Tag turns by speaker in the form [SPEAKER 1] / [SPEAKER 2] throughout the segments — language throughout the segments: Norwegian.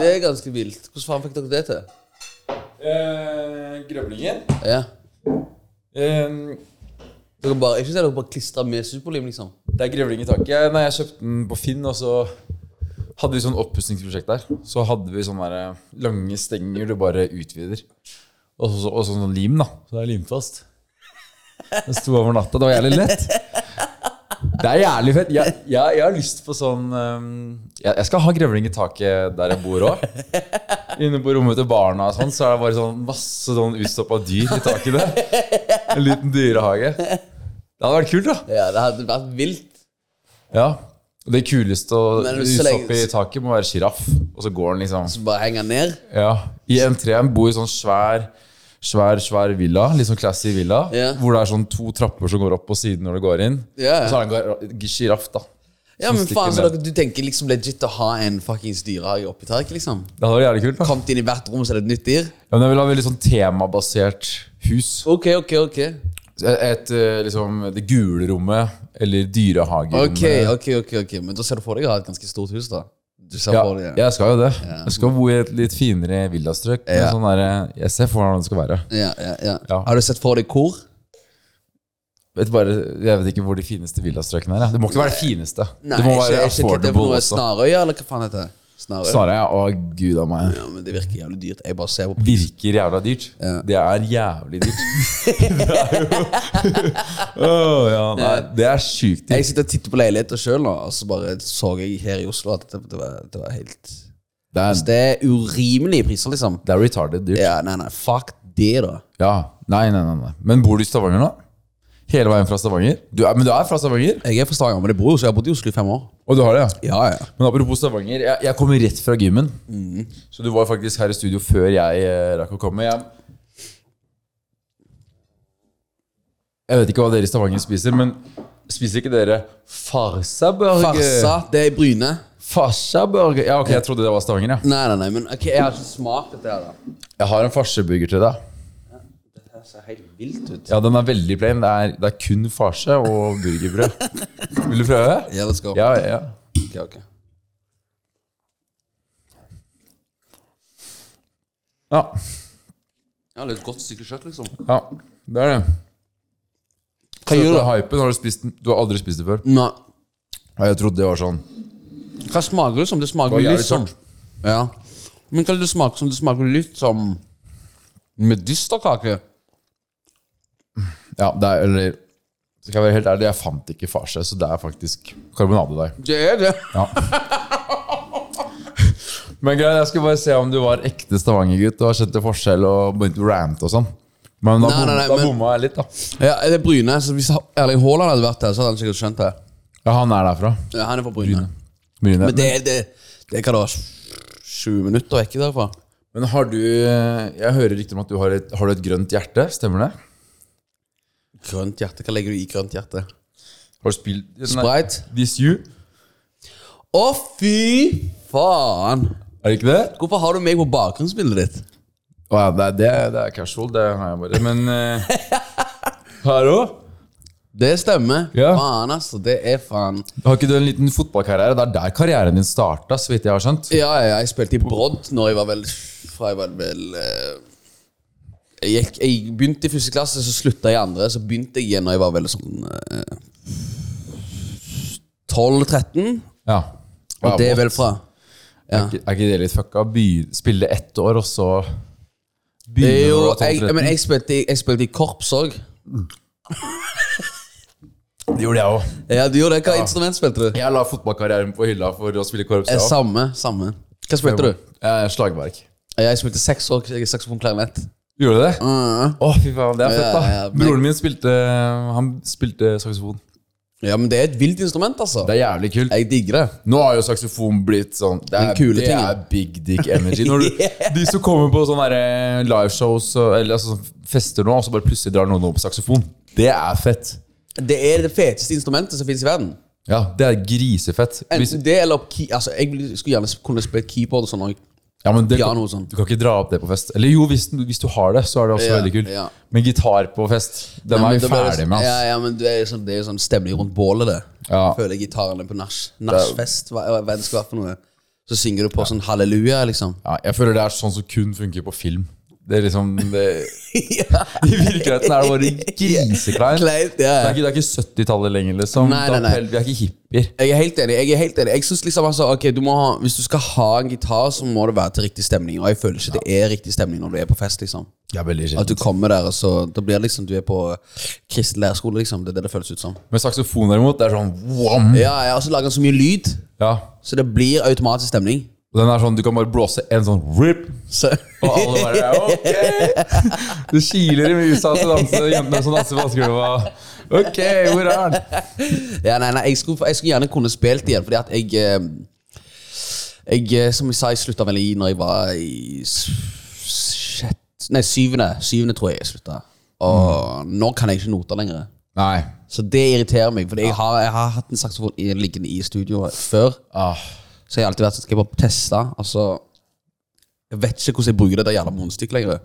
[SPEAKER 1] Det er ganske vilt. Hvordan faen fikk dere det til?
[SPEAKER 2] Eh, grøvlingen.
[SPEAKER 1] Ja.
[SPEAKER 2] Eh,
[SPEAKER 1] Dere bare, ikke se dere bare klistret med superlim, liksom.
[SPEAKER 2] det er grevling i taket. Jeg, nei, jeg kjøpte den på Finn, og så hadde vi sånn oppussingsprosjekt der. Så hadde vi sånne der eh, lange stenger du bare utvider. Og så, og så sånn lim, da. Så det er limfast. Den sto over natta. Det var jævlig lett. Det er jævlig fett. Jeg, jeg, jeg har lyst på sånn ehm, jeg, jeg skal ha grevling i taket der jeg bor òg. Inne på rommet til barna og sånn, så er det bare sånn masse sånn utstoppa dyr i taket der. En liten dyrehage. Det hadde vært kult, da.
[SPEAKER 1] Ja, det hadde vært vilt.
[SPEAKER 2] Ja. og Det kuleste å
[SPEAKER 1] Men så
[SPEAKER 2] lyse
[SPEAKER 1] lenge-
[SPEAKER 2] opp i taket må være sjiraff. Og så går den liksom
[SPEAKER 1] Så bare henger ned.
[SPEAKER 2] ja. I entreen bor en sånn svær Svær, svær villa, litt sånn classy villa,
[SPEAKER 1] Ja.
[SPEAKER 2] hvor det er sånn to trapper som går opp på siden når du går inn.
[SPEAKER 1] Ja.
[SPEAKER 2] Og så er det en gar- sjiraff, da.
[SPEAKER 1] Ja,
[SPEAKER 2] Som
[SPEAKER 1] men faen,
[SPEAKER 2] stikker
[SPEAKER 1] så
[SPEAKER 2] ned.
[SPEAKER 1] dere, du tenker liksom legit å ha en fuckings dyrehage oppi taket, liksom?
[SPEAKER 2] Det hadde vært jævlig kult. da.
[SPEAKER 1] Kommet inn i hvert rom, så er det et nytt dyr?
[SPEAKER 2] Ja, men jeg vil ha veldig sånn temabasert hus.
[SPEAKER 1] Ok, ok, ok.
[SPEAKER 2] Et, et eh, liksom Det gule rommet, eller dyrehagerommet.
[SPEAKER 1] Ok, ok, ok, ok. Men da ser du for deg å ha et ganske stort hus, da. Du ser
[SPEAKER 2] Ja,
[SPEAKER 1] for deg, ja.
[SPEAKER 2] jeg skal jo det. Jeg skal bo i et litt finere villastrøk. men
[SPEAKER 1] Ja.
[SPEAKER 2] Sånn der, jeg ser for meg hvordan det skal være.
[SPEAKER 1] Ja, ja, ja.
[SPEAKER 2] Ja.
[SPEAKER 1] Har du sett for deg kor?
[SPEAKER 2] vet bare, jeg vet ikke hvor de fineste villastrøkene er. jeg. Det må ikke være det fineste.
[SPEAKER 1] Nei,
[SPEAKER 2] det må
[SPEAKER 1] ikke,
[SPEAKER 2] være
[SPEAKER 1] ikke, ikke, det er
[SPEAKER 2] affordable
[SPEAKER 1] noe
[SPEAKER 2] også.
[SPEAKER 1] Snarøya, eller hva faen heter det? Snarøya.
[SPEAKER 2] Snarere, ja. Å, gud a meg.
[SPEAKER 1] Ja, men det virker jævlig dyrt. Jeg bare ser på
[SPEAKER 2] Virker jævla dyrt.
[SPEAKER 1] Ja.
[SPEAKER 2] Det er jævlig dyrt. det er jo Åh, ja, nei, Det er sjukt
[SPEAKER 1] Jeg
[SPEAKER 2] dyrt.
[SPEAKER 1] sitter og titter på leiligheter sjøl nå, og så bare så jeg her i Oslo at det, det, var, det var helt Altså,
[SPEAKER 2] Det er,
[SPEAKER 1] Det er urimelige priser, liksom.
[SPEAKER 2] det er retarded dyrt.
[SPEAKER 1] Ja, nei, nei, fuck det, da.
[SPEAKER 2] Ja. Nei, nei, nei, nei. Men bor du i Stavanger nå? Hele veien fra Stavanger? Du er, men du er fra Stavanger?
[SPEAKER 1] Jeg er fra Stavanger, men jeg bor jo så jeg har bodd i Oslo i fem år.
[SPEAKER 2] Og du har det, ja?
[SPEAKER 1] Ja, ja.
[SPEAKER 2] Men apropos Stavanger, jeg, jeg kommer rett fra gymmen. Så du var faktisk her i studio før jeg eh, rakk å komme. Jeg, jeg vet ikke hva dere i Stavanger spiser, men spiser ikke dere
[SPEAKER 1] Farsa,
[SPEAKER 2] farsaburger?
[SPEAKER 1] det er i Bryne.
[SPEAKER 2] Farsaburger? Ja, ok, jeg trodde det var Stavanger, ja.
[SPEAKER 1] Nei, nei, nei, men ok, jeg har ikke smakt dette her, da.
[SPEAKER 2] Jeg har en farseburger til deg.
[SPEAKER 1] Det her ser helt vilt ut.
[SPEAKER 2] Ja, den er veldig plain. Det er, det er kun farse og burgerbrød. Vil du prøve?
[SPEAKER 1] Ja, let's go.
[SPEAKER 2] Ja, ja.
[SPEAKER 1] Ok, ok.
[SPEAKER 2] Ja,
[SPEAKER 1] Ja, litt godt stykke kjøtt, liksom.
[SPEAKER 2] ja. det er det.
[SPEAKER 1] Hva gjør du?
[SPEAKER 2] Dette hypen har du spist den. Du har aldri spist det før.
[SPEAKER 1] Nei.
[SPEAKER 2] Ja, Jeg trodde det var sånn.
[SPEAKER 1] Hva smaker det som? Det smaker
[SPEAKER 2] Hva gjør det
[SPEAKER 1] litt som Ja. Men hva er det det smaker som? Det smaker litt som medisterkake.
[SPEAKER 2] Ja, det er, eller Skal jeg være helt ærlig, jeg fant ikke farse, så det er faktisk karbonadedeig.
[SPEAKER 1] Det er det.
[SPEAKER 2] Men greit, jeg skulle bare se om du var ekte Stavanger-gutt og skjønte forskjell og begynte å rante og sånn. Men da,
[SPEAKER 1] Nei,
[SPEAKER 2] bom,
[SPEAKER 1] nei, nei,
[SPEAKER 2] da
[SPEAKER 1] men-
[SPEAKER 2] bomma jeg litt, da.
[SPEAKER 1] Ja, er det Bryne? Så hvis Erling Haaland hadde vært her, så hadde han sikkert skjønt det.
[SPEAKER 2] Ja, han er derfra.
[SPEAKER 1] Ja, han er fra Bryne.
[SPEAKER 2] Bryne.
[SPEAKER 1] Men det, det, det er hva da? Sju minutter vekk derfra?
[SPEAKER 2] Men har du eh, Jeg hører rykter om at du har et, har du et grønt hjerte, stemmer det?
[SPEAKER 1] Grønt hjerte? Hva legger du i grønt hjerte?
[SPEAKER 2] Har du spilt nei,
[SPEAKER 1] Sprite?
[SPEAKER 2] This You?
[SPEAKER 1] Å, fy faen!
[SPEAKER 2] Er det ikke det?
[SPEAKER 1] Hvorfor har du meg på bakgrunnsbildet ditt?
[SPEAKER 2] Å ja, det, er- det, er- det er casual, det har jeg bare. Men eh, her òg?
[SPEAKER 1] Det stemmer.
[SPEAKER 2] Ja.
[SPEAKER 1] Faen, altså. Det er faen.
[SPEAKER 2] Har ikke du en liten fotballkarriere? Det er der karrieren din starta, så vidt jeg har skjønt.
[SPEAKER 1] Ja, ja, jeg spilte i Brodd når jeg var vel Fra jeg var vel eh, jeg, gikk, jeg begynte i første klasse, så slutta jeg i andre. Så begynte jeg igjen når jeg var vel sånn eh, 12-13.
[SPEAKER 2] Ja.
[SPEAKER 1] Og
[SPEAKER 2] Ja,
[SPEAKER 1] det er
[SPEAKER 2] what?
[SPEAKER 1] vel fra
[SPEAKER 2] Er ikke- Er ikke det litt fucka? By, spille ett år, og så
[SPEAKER 1] Det er
[SPEAKER 2] begynne
[SPEAKER 1] jo
[SPEAKER 2] når du er
[SPEAKER 1] jeg,
[SPEAKER 2] 12-13?
[SPEAKER 1] Men jeg spilte, i- jeg spilte i korps òg.
[SPEAKER 2] Det gjorde jeg òg.
[SPEAKER 1] Ja, du gjorde det. Hva instrument spilte du?
[SPEAKER 2] Jeg la fotballkarrieren på hylla for å spille korps.
[SPEAKER 1] Eh,
[SPEAKER 2] jeg også.
[SPEAKER 1] Samme. samme Hva spilte du?
[SPEAKER 2] Eh, Slagverk.
[SPEAKER 1] Jeg spilte seks år saksofon klarinett.
[SPEAKER 2] Gjorde du det? Å, fy faen, det er fett, da.
[SPEAKER 1] Ja, ja, men-
[SPEAKER 2] Broren min spilte Han spilte saksofon.
[SPEAKER 1] Ja, men det er et vilt instrument, altså.
[SPEAKER 2] Det er jævlig kult.
[SPEAKER 1] Jeg digger det.
[SPEAKER 2] Nå har jo saksofon blitt sånn Det er,
[SPEAKER 1] Den kule
[SPEAKER 2] det
[SPEAKER 1] tingen.
[SPEAKER 2] er big dick energy. Når du, De som kommer på sånne der, eh, liveshows og- eller altså, sånn fester nå, og så bare plutselig drar noen opp saksofon. Det er fett.
[SPEAKER 1] Det er det feteste instrumentet som fins i verden.
[SPEAKER 2] Ja, det er grisefett. Hvis-
[SPEAKER 1] Enten det eller key, altså Jeg vil- skulle gjerne kunne spille keyboard og sånn òg.
[SPEAKER 2] Ja, men det,
[SPEAKER 1] Piano og sånn.
[SPEAKER 2] Du kan ikke dra opp det på fest. Eller jo, hvis, du- hvis du har det, så er det også
[SPEAKER 1] Ja,
[SPEAKER 2] veldig kult.
[SPEAKER 1] ja.
[SPEAKER 2] Men gitar på fest, den er vi ferdig med. altså.
[SPEAKER 1] Ja,
[SPEAKER 2] ass.
[SPEAKER 1] ja, men det er jo sånn, det er jo sånn stemning rundt bålet, det.
[SPEAKER 2] Ja.
[SPEAKER 1] Føler jeg gitaren er på nach. Nachfest, hva, hva det skal være for noe. Så synger du på sånn halleluja, liksom.
[SPEAKER 2] Ja, jeg føler det er sånn som kun funker på film. Det er liksom det,
[SPEAKER 1] ja.
[SPEAKER 2] I virkeligheten er det bare griseklein. Det
[SPEAKER 1] Kleint, ja.
[SPEAKER 2] er ikke, det er ikke 70-tallet lenger, liksom.
[SPEAKER 1] Nei, nei, nei.
[SPEAKER 2] Da- Vi er ikke hippier.
[SPEAKER 1] Jeg er helt enig. Jeg er helt enig Jeg synes liksom altså Ok, du må ha Hvis du skal ha en gitar, så må det være til riktig stemning. Og jeg føler ikke det er riktig stemning når du er på fest. liksom
[SPEAKER 2] Jeg er veldig
[SPEAKER 1] At du kommer der, og så Da blir det liksom du er på kristen lærerskole. liksom Det er det det føles ut som.
[SPEAKER 2] Men saksofon derimot, det er sånn wham!
[SPEAKER 1] Ja, ja, Og så lager den så mye lyd,
[SPEAKER 2] Ja.
[SPEAKER 1] så det blir automatisk stemning.
[SPEAKER 2] Og den er sånn, du kan bare blåse en sånn rip,
[SPEAKER 1] Så
[SPEAKER 2] og alle bare ok! Det kiler i musa til danse, jentene som danser på dansegulvet. og, Ok, hvor er den?
[SPEAKER 1] Ja, nei, nei, jeg skulle, jeg skulle gjerne kunne spilt igjen, fordi at jeg eh, Jeg, eh, som jeg sa, jeg slutta vel i når jeg var i s- sjett Nei, syvende. Syvende tror jeg jeg slutta. Og
[SPEAKER 2] Mm.
[SPEAKER 1] nå kan jeg ikke noter lenger.
[SPEAKER 2] Nei.
[SPEAKER 1] Så det irriterer meg, for jeg, har- jeg har hatt en saksofon i- liggende i studio før.
[SPEAKER 2] Ah.
[SPEAKER 1] Så jeg har alltid vært sånn, skal jeg bare teste? Altså, jeg vet ikke hvordan jeg bruker det der jævla månestykket lenger.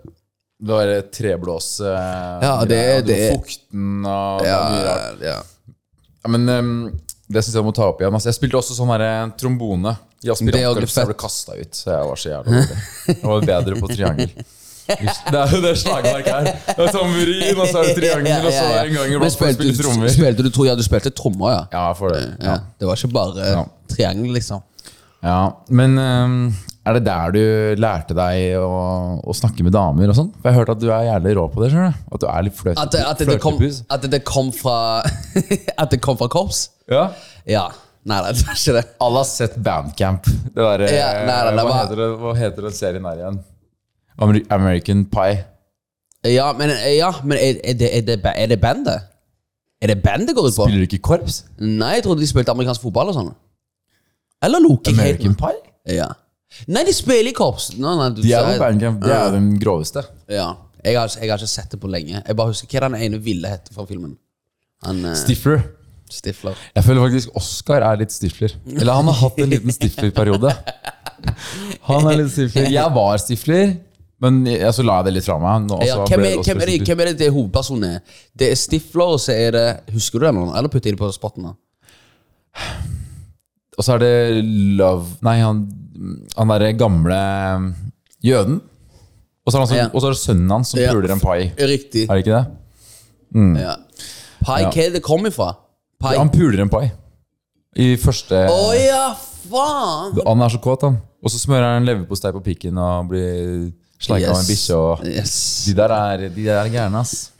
[SPEAKER 2] Det var det treblås eh,
[SPEAKER 1] Ja, det-
[SPEAKER 2] greier, og du
[SPEAKER 1] det-
[SPEAKER 2] var Fukten og det
[SPEAKER 1] Ja,
[SPEAKER 2] var mye rart.
[SPEAKER 1] ja.
[SPEAKER 2] Ja, men ehm, det syns jeg må ta opp igjen. Altså, jeg spilte også sånn her eh, trombone i
[SPEAKER 1] Det er jo litt
[SPEAKER 2] aspirantkorpset. Jeg ble kasta ut, så jeg var så jævla dårlig. Jeg var bedre på triangel. Det er jo det slagverket her. Det er tamburin, og så er det triangel, og så er det en gang
[SPEAKER 1] Men
[SPEAKER 2] iblant å
[SPEAKER 1] spilte,
[SPEAKER 2] spille
[SPEAKER 1] du-
[SPEAKER 2] trommer.
[SPEAKER 1] spilte du tro, ja, du spilte trommer, ja.
[SPEAKER 2] Ja, jeg får det.
[SPEAKER 1] ja. Det var ikke bare
[SPEAKER 2] Ja.
[SPEAKER 1] triangel, liksom.
[SPEAKER 2] Ja, Men ehm, er det der du lærte deg å, å snakke med damer og sånn? For jeg har hørt at du er jævlig rå på det. skjønner du? At du er litt fløte,
[SPEAKER 1] At det, at det, kom,
[SPEAKER 2] fløtepus.
[SPEAKER 1] at det kom fra At det kom fra korps?
[SPEAKER 2] Ja.
[SPEAKER 1] Ja. Nei, nei, det var ikke det.
[SPEAKER 2] Alle har sett Bandcamp. Det der, eh,
[SPEAKER 1] Ja, nei, nei, det
[SPEAKER 2] hva,
[SPEAKER 1] var-
[SPEAKER 2] heter det, hva heter den serien her igjen? Ameri- American Pie.
[SPEAKER 1] Ja, men, ja, men er, er, det, er, det, ba- er det bandet? Er det bandet går ut på?
[SPEAKER 2] Spiller du ikke i korps?
[SPEAKER 1] Nei, jeg trodde de spilte amerikansk fotball og sånn. Eller Loking
[SPEAKER 2] American Pie?
[SPEAKER 1] Ja. Nei, de spiller i korps. Nei, nei, du,
[SPEAKER 2] De er
[SPEAKER 1] så-
[SPEAKER 2] jo Bandcamp, de er jo den groveste.
[SPEAKER 1] ja. jeg, har, jeg har ikke sett det på lenge. Jeg bare husker hva den ene ville hette fra filmen. Han eh,
[SPEAKER 2] Stifler.
[SPEAKER 1] Stifler.
[SPEAKER 2] Jeg føler faktisk Oscar er litt stifler. Eller han har hatt en liten stiflerperiode. Han er litt stifler. Jeg var stifler, men jeg, så la jeg det litt fra meg. Nå,
[SPEAKER 1] Ja,
[SPEAKER 2] så
[SPEAKER 1] hvem,
[SPEAKER 2] ble
[SPEAKER 1] er,
[SPEAKER 2] det også
[SPEAKER 1] hvem, er det,
[SPEAKER 2] stifler.
[SPEAKER 1] hvem er det det er hovedpersonen er? Det er Stifler, og så er det Husker du det nå? Eller putter jeg det på spotten? da?
[SPEAKER 2] Og så er det Love Nei, han, han derre gamle mm, jøden. Og så er, han som,
[SPEAKER 1] Ja.
[SPEAKER 2] og så er det sønnen hans som
[SPEAKER 1] Ja.
[SPEAKER 2] puler en pai.
[SPEAKER 1] Riktig.
[SPEAKER 2] Er det ikke det?
[SPEAKER 1] Ja. Pai, hva
[SPEAKER 2] Ja.
[SPEAKER 1] er det det kommer fra? Pai Å
[SPEAKER 2] Han puler en pai. I første
[SPEAKER 1] ja, faen!
[SPEAKER 2] Han er så kåt, han. Og så smører han leverpostei på pikken og blir sleika av en bikkje. Og...
[SPEAKER 1] Yes.
[SPEAKER 2] De der er, de der er gærne, ass.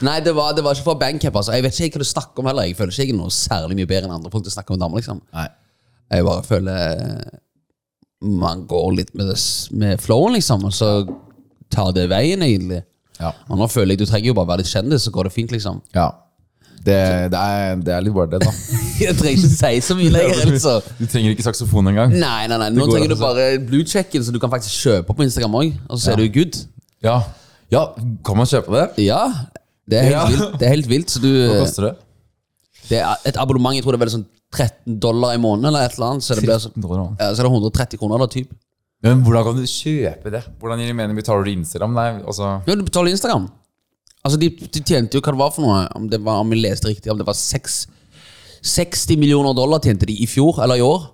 [SPEAKER 1] Nei, det var, det var ikke fra Bandcamp. Altså. Jeg vet ikke helt hva du snakker om heller. Jeg føler ikke jeg er noe særlig mye bedre enn andre folk til å snakke om damer. liksom
[SPEAKER 2] Nei.
[SPEAKER 1] Jeg bare føler eh, man går litt med, det, s- med flowen, liksom, og så tar det veien, egentlig.
[SPEAKER 2] Ja.
[SPEAKER 1] Og nå føler jeg du trenger jo bare være litt kjendis, så går det fint, liksom.
[SPEAKER 2] ja. Det, det, er, det er litt bare det, da.
[SPEAKER 1] Jeg trenger ikke si så mye lenger, altså.
[SPEAKER 2] Du trenger ikke saksofon engang.
[SPEAKER 1] Nei, nei, nei. Nå
[SPEAKER 2] går
[SPEAKER 1] trenger
[SPEAKER 2] altså
[SPEAKER 1] du bare bluechecken, så du kan faktisk kjøpe på Instagram òg. Og så er du good.
[SPEAKER 2] Ja. ja, kan man kjøpe det?
[SPEAKER 1] Ja. Det er helt
[SPEAKER 2] Ja.
[SPEAKER 1] vilt. Det er helt vilt så du,
[SPEAKER 2] Hva koster det?
[SPEAKER 1] det er et abonnement jeg tror det er vel sånn 13 dollar i måneden, eller et eller annet. Så det blir sånn,
[SPEAKER 2] 13 dollar, man.
[SPEAKER 1] ja, så er det 130 kroner, da, typ.
[SPEAKER 2] Men hvordan kan du kjøpe det? Hvordan gir det mening? Betaler du Instagram? Nei, altså
[SPEAKER 1] Jo, du betaler Instagram. Altså, de, de tjente jo hva det var for noe, om, det var, om jeg leste riktig, om det var seks- 60 millioner dollar tjente de i fjor, eller i år.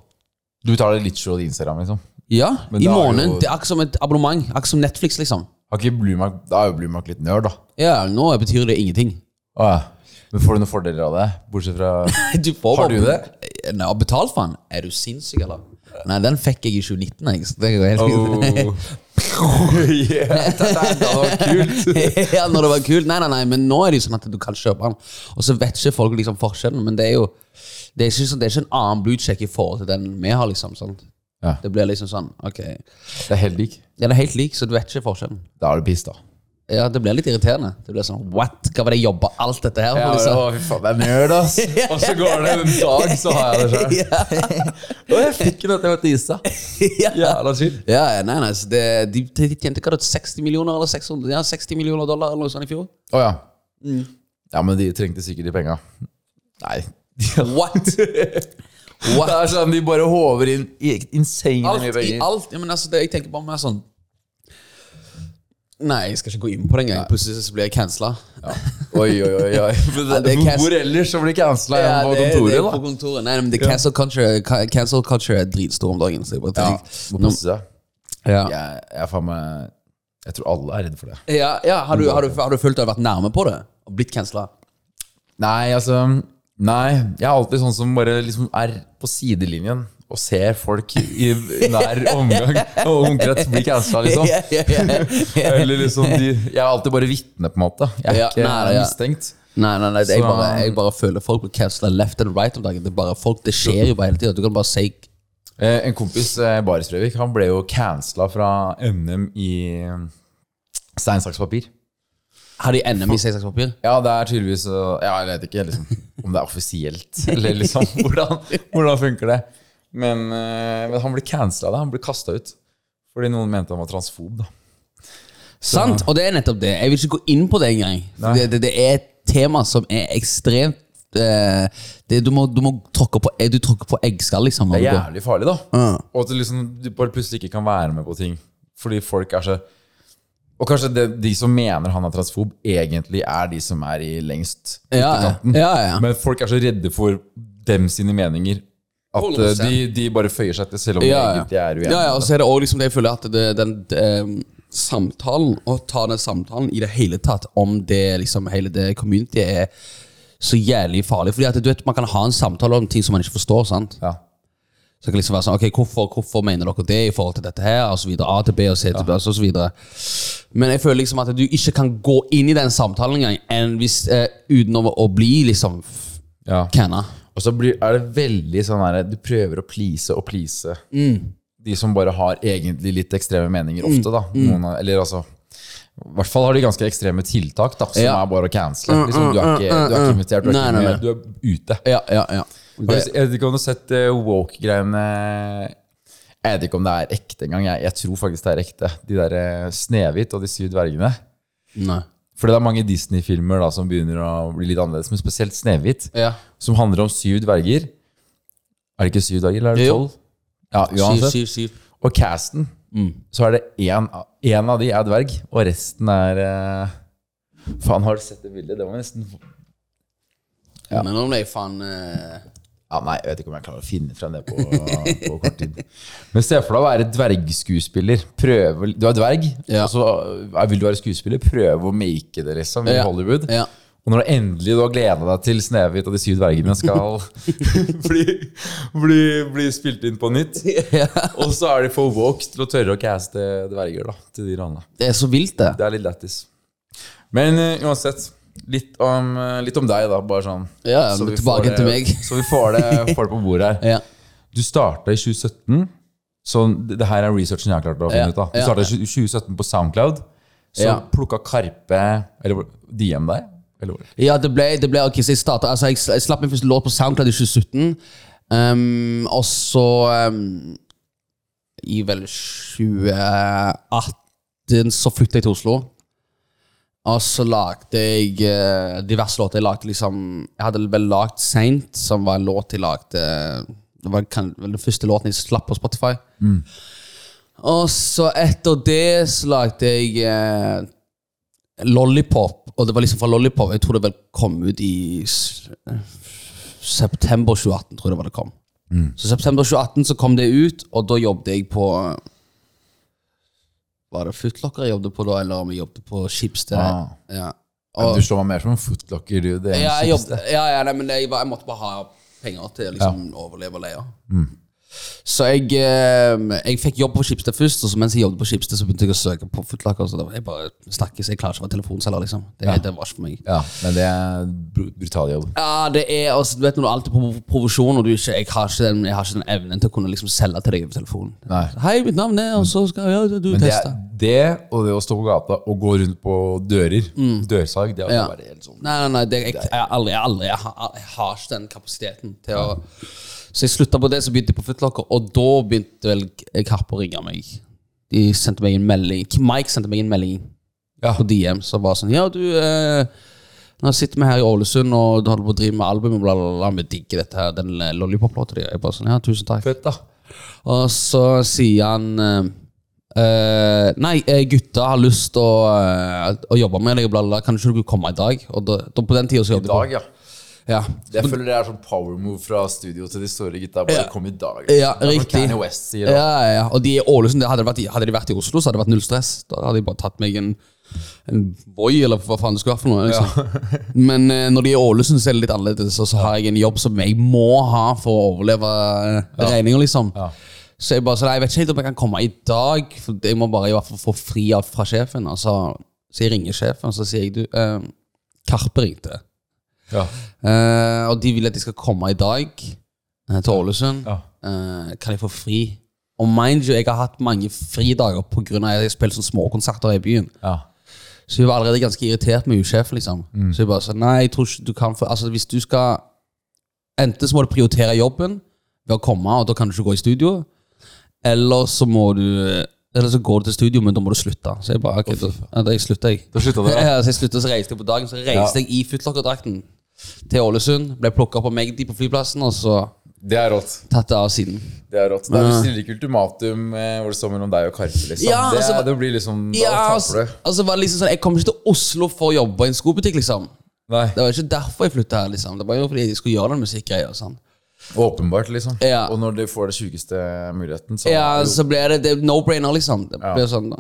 [SPEAKER 2] Du betaler literal Instagram, liksom.
[SPEAKER 1] Ja,
[SPEAKER 2] Men
[SPEAKER 1] i
[SPEAKER 2] da er
[SPEAKER 1] måneden.
[SPEAKER 2] jo-
[SPEAKER 1] Det er akkurat som et abonnement. Akkurat som Netflix, liksom.
[SPEAKER 2] Har ikke Blumark, da er jo Blumark litt nerd, da.
[SPEAKER 1] Ja, nå betyr det ingenting.
[SPEAKER 2] Å, ja. Men får du noen fordeler av det? Bortsett fra
[SPEAKER 1] Du får
[SPEAKER 2] Har
[SPEAKER 1] bare-
[SPEAKER 2] du det?
[SPEAKER 1] Nei, jeg har betalt for den. Er du sinnssyk, eller? Nei, den fikk jeg i 2019. Jeg. Så det går helt
[SPEAKER 2] Oh. yeah, dette er- Oh. det var kult.
[SPEAKER 1] ja, når det var kult. Nei, nei, nei, men nå er det jo sånn at du kan kjøpe den. Og så vet ikke folk liksom forskjellen, men det er jo Det er ikke, sånn, det er ikke en annen bluecheck i forhold til den vi har, liksom. sant?
[SPEAKER 2] Ja.
[SPEAKER 1] Det blir liksom sånn, ok Ja,
[SPEAKER 2] Det er helt lik.
[SPEAKER 1] det er helt lik, så du vet ikke forskjellen.
[SPEAKER 2] Da er det piss, da.
[SPEAKER 1] Ja, det blir litt irriterende. Det blir sånn What? Hva var det jeg jobba alt dette her for? liksom?
[SPEAKER 2] fy faen, det er nerd, ass. Og så går det en dag, så har jeg det sjøl. Og jeg fikk det til å tise.
[SPEAKER 1] Ja.
[SPEAKER 2] Jævla chill.
[SPEAKER 1] Ja, ja, nei, nei, så det, de, de tjente hva da, 60 millioner eller 600, ja, 60 millioner dollar eller noe sånt i fjor?
[SPEAKER 2] Å ja. Ja, men de trengte sikkert de penga. Nei.
[SPEAKER 1] What?
[SPEAKER 2] Det
[SPEAKER 1] What?
[SPEAKER 2] er sånn de bare håver inn i- insane mye
[SPEAKER 1] Alt i
[SPEAKER 2] penger.
[SPEAKER 1] alt. Ja, men altså, det, jeg tenker bare mer sånn Nei, jeg skal ikke gå inn på det engang. Plutselig så blir jeg cancela.
[SPEAKER 2] Oi, oi, oi. oi. Men
[SPEAKER 1] Ja,
[SPEAKER 2] det,
[SPEAKER 1] det er
[SPEAKER 2] hvor ellers så blir cancela
[SPEAKER 1] Ja,
[SPEAKER 2] igjen på
[SPEAKER 1] det er- det er
[SPEAKER 2] kontoret,
[SPEAKER 1] på
[SPEAKER 2] da?
[SPEAKER 1] kontoret. Nei, men det er cancel culture, ca- cancel culture er dritstor om dagen. Så jeg bare
[SPEAKER 2] Ja,
[SPEAKER 1] tenker,
[SPEAKER 2] må
[SPEAKER 1] nå-
[SPEAKER 2] passe seg.
[SPEAKER 1] ja.
[SPEAKER 2] Jeg, jeg, er faen meg- jeg tror alle er redd for det.
[SPEAKER 1] Ja, ja, har, du, har, du, har du følt at du har vært nærme på det? Og blitt cancela?
[SPEAKER 2] Nei, altså Nei, jeg er alltid sånn som bare liksom er på sidelinjen og ser folk i nær omgang og omkrets bli cancela, liksom.
[SPEAKER 1] Ja, ja, ja.
[SPEAKER 2] Eller liksom de Jeg er alltid bare vitne, på en måte. Jeg er
[SPEAKER 1] Ja,
[SPEAKER 2] ikke
[SPEAKER 1] nei, ja.
[SPEAKER 2] mistenkt.
[SPEAKER 1] Nei, nei, nei jeg,
[SPEAKER 2] Så-
[SPEAKER 1] bare, jeg bare føler folk blir cancela left and right om dagen. Det er bare folk, det skjer jo bare hele tida. Du kan bare si
[SPEAKER 2] Eh, En kompis, eh, Baris Brevik, han ble jo cancela fra NM i eh, stein, saks, papir.
[SPEAKER 1] Har de NM i seksakspapir?
[SPEAKER 2] Ja, det er tydeligvis eh, ja, Jeg vet ikke liksom, om det er offisielt, eller liksom Hvordan, hvordan funker det? Men, eh, men han ble cancela. da. Han ble kasta ut fordi noen mente han var transfob. da.
[SPEAKER 1] Sant, og det er nettopp det. Jeg vil ikke gå inn på det engang. For
[SPEAKER 2] Nei.
[SPEAKER 1] Det, det, det er et tema som er ekstremt eh, det, du, må, du må tråkke på eh, Du tråkker på eggskall, liksom. når
[SPEAKER 2] Det er
[SPEAKER 1] du går.
[SPEAKER 2] jævlig farlig, da.
[SPEAKER 1] Ja.
[SPEAKER 2] Og at du, liksom, du bare plutselig ikke kan være med på ting. Fordi folk er så Og kanskje det, de som mener han er transfob, egentlig er de som er i lengst
[SPEAKER 1] Ja, ja.
[SPEAKER 2] ytterkanten.
[SPEAKER 1] ja, ja.
[SPEAKER 2] Men folk er så redde for dem sine meninger at eh,
[SPEAKER 1] 100%.
[SPEAKER 2] de, de bare føyer seg til, selv om
[SPEAKER 1] Ja,
[SPEAKER 2] de
[SPEAKER 1] ja.
[SPEAKER 2] egentlig er uenige.
[SPEAKER 1] ja, ja og så er det også liksom det jeg føler at det, den eh, samtalen, å ta den samtalen i det hele tatt om det liksom hele det community er så jævlig farlig. Fordi at du vet, man kan ha en samtale om ting som man ikke forstår, sant.
[SPEAKER 2] Ja.
[SPEAKER 1] Så det kan liksom være sånn, ok, hvorfor, hvorfor mener dere det i forhold til dette her, og så videre, A til B og C til B, og så videre. Men jeg føler liksom at du ikke kan gå inn i den samtalen engang, enn hvis, eh, uten å, å bli liksom f-
[SPEAKER 2] Ja.
[SPEAKER 1] canna.
[SPEAKER 2] Og så blir, er det veldig sånn her Du prøver å please og please
[SPEAKER 1] Mm.
[SPEAKER 2] de som bare har egentlig litt ekstreme meninger ofte, da.
[SPEAKER 1] Mm.
[SPEAKER 2] Noen, av- eller altså I hvert fall har de ganske ekstreme tiltak, da, som
[SPEAKER 1] Ja. Mm,
[SPEAKER 2] er bare å cancele. Liksom, du, er ikke- du er ikke invitert, du er
[SPEAKER 1] Nei,
[SPEAKER 2] ikke
[SPEAKER 1] nei, nei.
[SPEAKER 2] med, du er ute.
[SPEAKER 1] Ja, ja, ja.
[SPEAKER 2] Har
[SPEAKER 1] Det,
[SPEAKER 2] du- Jeg vet ikke om du har sett eh, woke-greiene Jeg vet ikke om det er ekte engang. Jeg, jeg tror faktisk det er ekte. De der eh, Snehvit og de syv dvergene.
[SPEAKER 1] nei.
[SPEAKER 2] For det er mange Disney-filmer da som begynner å bli litt annerledes, men spesielt Snehvit
[SPEAKER 1] Ja.
[SPEAKER 2] som handler om syv dverger. Er det ikke syv dverger, eller er det
[SPEAKER 1] Jo.
[SPEAKER 2] tolv? Ja,
[SPEAKER 1] Syv,
[SPEAKER 2] uansett.
[SPEAKER 1] syv, syv. Mm.
[SPEAKER 2] Og casten, så er det én av- én av de er dverg, og resten er eh, Faen, har du sett det bildet? Det var nesten
[SPEAKER 1] Men om det er faen... eh,
[SPEAKER 2] Ja, Nei, jeg vet ikke om jeg klarer å finne frem det på, på kort tid. Men se for deg å være dvergskuespiller. Prøve, du er dverg,
[SPEAKER 1] Ja.
[SPEAKER 2] og så eh, vil du være skuespiller. Prøve å make det, liksom, i
[SPEAKER 1] Ja.
[SPEAKER 2] Hollywood.
[SPEAKER 1] ja.
[SPEAKER 2] Og når du endelig du har gleda deg til Snehvit og de syv dvergene skal bli, bli, bli spilt inn på nytt, og så er de for woke til å tørre å caste dverger da, til de rollene.
[SPEAKER 1] Det er så vilt det.
[SPEAKER 2] Det er litt lættis. Men eh, uansett, litt om, eh, litt om deg, da. Bare sånn.
[SPEAKER 1] Ja, men tilbake
[SPEAKER 2] får det,
[SPEAKER 1] til meg.
[SPEAKER 2] så vi får det, får det på bordet her.
[SPEAKER 1] Ja.
[SPEAKER 2] Du starta i 2017. Så det det her er researchen jeg har klart å
[SPEAKER 1] Ja,
[SPEAKER 2] finne ut. da. Du
[SPEAKER 1] ja.
[SPEAKER 2] starta i 2017 på Soundcloud. Så
[SPEAKER 1] Ja.
[SPEAKER 2] plukka Karpe Eller DM deg? Eller hvor?
[SPEAKER 1] Ja, det ble, det ble ok, så jeg startet Altså, jeg, sl- jeg slapp min første låt på SoundCloud i 2017. ehm, og så ehm, I vel 2018 så flyttet jeg til Oslo. Og så lagde jeg eh, diverse låter. Jeg lagde liksom Jeg hadde vel lagd Saint, som var en låt jeg lagde Det var kan, vel den første låten jeg slapp på Spotify. Og så etter det så lagde jeg eh, Lollipop, og det var liksom fra Lollipop Jeg tror det vel kom ut i s- september 2018, tror jeg det var det kom.
[SPEAKER 2] Mm.
[SPEAKER 1] Så september 2018 så kom det ut, og da jobbet jeg på Var det Footlocker jeg jobbet på da, eller om jeg jobbet på Schibsted?
[SPEAKER 2] Ah.
[SPEAKER 1] Ja.
[SPEAKER 2] Men
[SPEAKER 1] Og,
[SPEAKER 2] du slår meg mer som en footlocker, du. Det er en
[SPEAKER 1] ja, jeg
[SPEAKER 2] kjipeste.
[SPEAKER 1] jobbet, ja, ja, nei, men jeg, var, jeg måtte bare ha penger til å liksom, overleve og leie.
[SPEAKER 2] Mm.
[SPEAKER 1] Så jeg, eh, jeg fikk jobb på Schibsted først, og så mens jeg jobbet på Schibsted, så begynte jeg å søke på Footlocker. Så da var jeg bare snakkes, jeg klarer ikke å være telefonselger, liksom. Det, det var ikke for meg.
[SPEAKER 2] Ja, men det er br- brutal jobb.
[SPEAKER 1] Ja, det er altså, Du vet når du alltid er på provosjon, og du ikke, jeg, har ikke den, jeg har ikke den evnen til å kunne liksom selge til deg over telefonen.
[SPEAKER 2] Nei.
[SPEAKER 1] Hei, mitt navn er Og så skal ja, du
[SPEAKER 2] Men det, er,
[SPEAKER 1] teste.
[SPEAKER 2] det og det å stå på gata og gå rundt på dører, dørsalg, det er jo
[SPEAKER 1] Mm. Ja.
[SPEAKER 2] bare helt sånn
[SPEAKER 1] Nei, nei, nei det, jeg, jeg, har aldri, jeg, har aldri, jeg, har, jeg har ikke den kapasiteten til å Så jeg slutta på det, så begynte jeg på Footlocker, og da begynte vel Karpe å ringe meg. De sendte meg en melding Mike sendte meg en melding
[SPEAKER 2] Ja.
[SPEAKER 1] på DM som var sånn Ja, du eh, Nå sitter vi her i Ålesund, og du holder på å drive med album, og bla, bla, bla. Vi digger dette her, den eh, lollipop-låta di. Jeg bare sånn Ja, tusen takk.
[SPEAKER 2] fett, da.
[SPEAKER 1] Og så sier han eh, Eh, nei, eh, gutta har lyst til å, eh, å jobbe med deg. Bla, bla, bla. Kan ikke du komme i dag? Og da, da, på den tida så
[SPEAKER 2] I
[SPEAKER 1] jobbet
[SPEAKER 2] dag, ja.
[SPEAKER 1] jeg på- Ja.
[SPEAKER 2] Jeg føler det er sånn power move fra studio til de store gutta. Bare
[SPEAKER 1] Ja.
[SPEAKER 2] kom i dag.
[SPEAKER 1] Ja,
[SPEAKER 2] Det er hva
[SPEAKER 1] riktig.
[SPEAKER 2] Kanye West sier.
[SPEAKER 1] Ja,
[SPEAKER 2] da.
[SPEAKER 1] ja, ja. Og de i Ålesund, det hadde, det vært, i- hadde de vært i Oslo, så hadde det vært null stress. Da hadde de bare tatt meg en, en Voi, eller hva faen det skulle vært for noe. Liksom. Men eh, når de er i Ålesund, så er det litt annerledes. Og så har jeg en jobb som jeg må ha for å overleve eh, regninger, liksom.
[SPEAKER 2] Ja.
[SPEAKER 1] Så jeg bare så, nei, jeg vet ikke helt om jeg kan komme i dag, for jeg må bare i hvert fall få fri av fra sjefen. Og så, så jeg ringer sjefen, og så sier jeg du eh, Karpe ringte.
[SPEAKER 2] Ja.
[SPEAKER 1] Eh, og de vil at de skal komme i dag eh, til Ålesund.
[SPEAKER 2] Ja.
[SPEAKER 1] Eh, kan jeg få fri? Og mind you, jeg har hatt mange fridager pga. at jeg spiller sånne småkonserter i byen.
[SPEAKER 2] Ja.
[SPEAKER 1] Så hun var allerede ganske irritert med usjefen, liksom. Så jeg bare sa nei, jeg tror ikke du kan få Altså, hvis du skal Enten så må du prioritere jobben ved å komme, og da kan du ikke gå i studio. Eller så må du Eller så går du til studio, men da må du slutte. Så jeg bare ok, da, ja, da jeg slutter jeg.
[SPEAKER 2] Da slutta dere?
[SPEAKER 1] Ja, så jeg sluttet, så reiste jeg på dagen. Så reiste
[SPEAKER 2] Ja.
[SPEAKER 1] jeg i footlocker-drakten til Ålesund. Ble plukka opp av Magdi på flyplassen, og så
[SPEAKER 2] Det er rått.
[SPEAKER 1] tatt det av siden.
[SPEAKER 2] Det er rått. Det er, du stiller ikke ultimatum eh, hvor det står mellom deg og Karpe. Liksom.
[SPEAKER 1] Ja,
[SPEAKER 2] det,
[SPEAKER 1] altså,
[SPEAKER 2] er, det blir liksom da
[SPEAKER 1] Ja,
[SPEAKER 2] taper
[SPEAKER 1] altså,
[SPEAKER 2] du.
[SPEAKER 1] altså var det liksom sånn Jeg kom ikke til Oslo for å jobbe i en skobutikk, liksom.
[SPEAKER 2] Nei,
[SPEAKER 1] Det var ikke derfor jeg flytta her, liksom. Det var jo fordi jeg skulle gjøre den musikkgreia. og Sånn.
[SPEAKER 2] åpenbart, liksom.
[SPEAKER 1] Ja.
[SPEAKER 2] Og når du får det sjukeste muligheten, så
[SPEAKER 1] Ja, altså, så ble det, det er no-brainer, liksom. Det ble sånn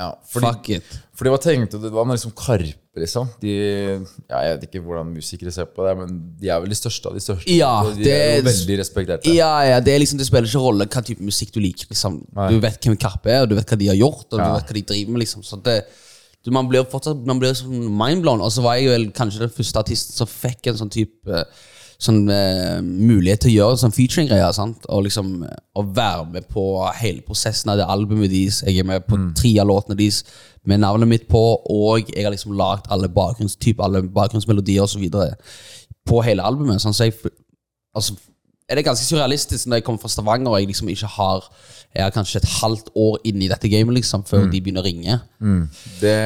[SPEAKER 2] ja, fordi,
[SPEAKER 1] Fuck it.
[SPEAKER 2] fordi hva tenkte du da med liksom Karpe, liksom? De, ja, jeg vet ikke hvordan musikere ser på det, men de er vel de største av de største.
[SPEAKER 1] Ja,
[SPEAKER 2] og de er
[SPEAKER 1] det-
[SPEAKER 2] jo veldig respekterte.
[SPEAKER 1] Ja, ja, det, er liksom, det spiller ikke rolle hva type musikk du liker. Liksom.
[SPEAKER 2] Nei.
[SPEAKER 1] Du vet hvem Karpe er, og du vet hva de har gjort, og du
[SPEAKER 2] Ja.
[SPEAKER 1] vet hva de driver med. Liksom. Så det, du, man blir fortsatt man blir sånn mindblown. Og så var jeg vel kanskje den første artisten som fikk en sånn type eh, sånn, eh, mulighet til å gjøre sånn featuring-greier. sant? Og liksom eh, å være med på hele prosessen av det albumet deres. Jeg er med på
[SPEAKER 2] Mm.
[SPEAKER 1] tre av låtene deres med navnet mitt på, og jeg har liksom lagd alle, bakgrunns, typ alle bakgrunnsmelodier osv. på hele albumet. Sånn, så jeg f- altså, er det ganske surrealistisk når jeg kommer fra Stavanger og jeg liksom ikke har Jeg er kanskje et halvt år inne i dette gamet liksom før de begynner å ringe.
[SPEAKER 2] Mm. Det,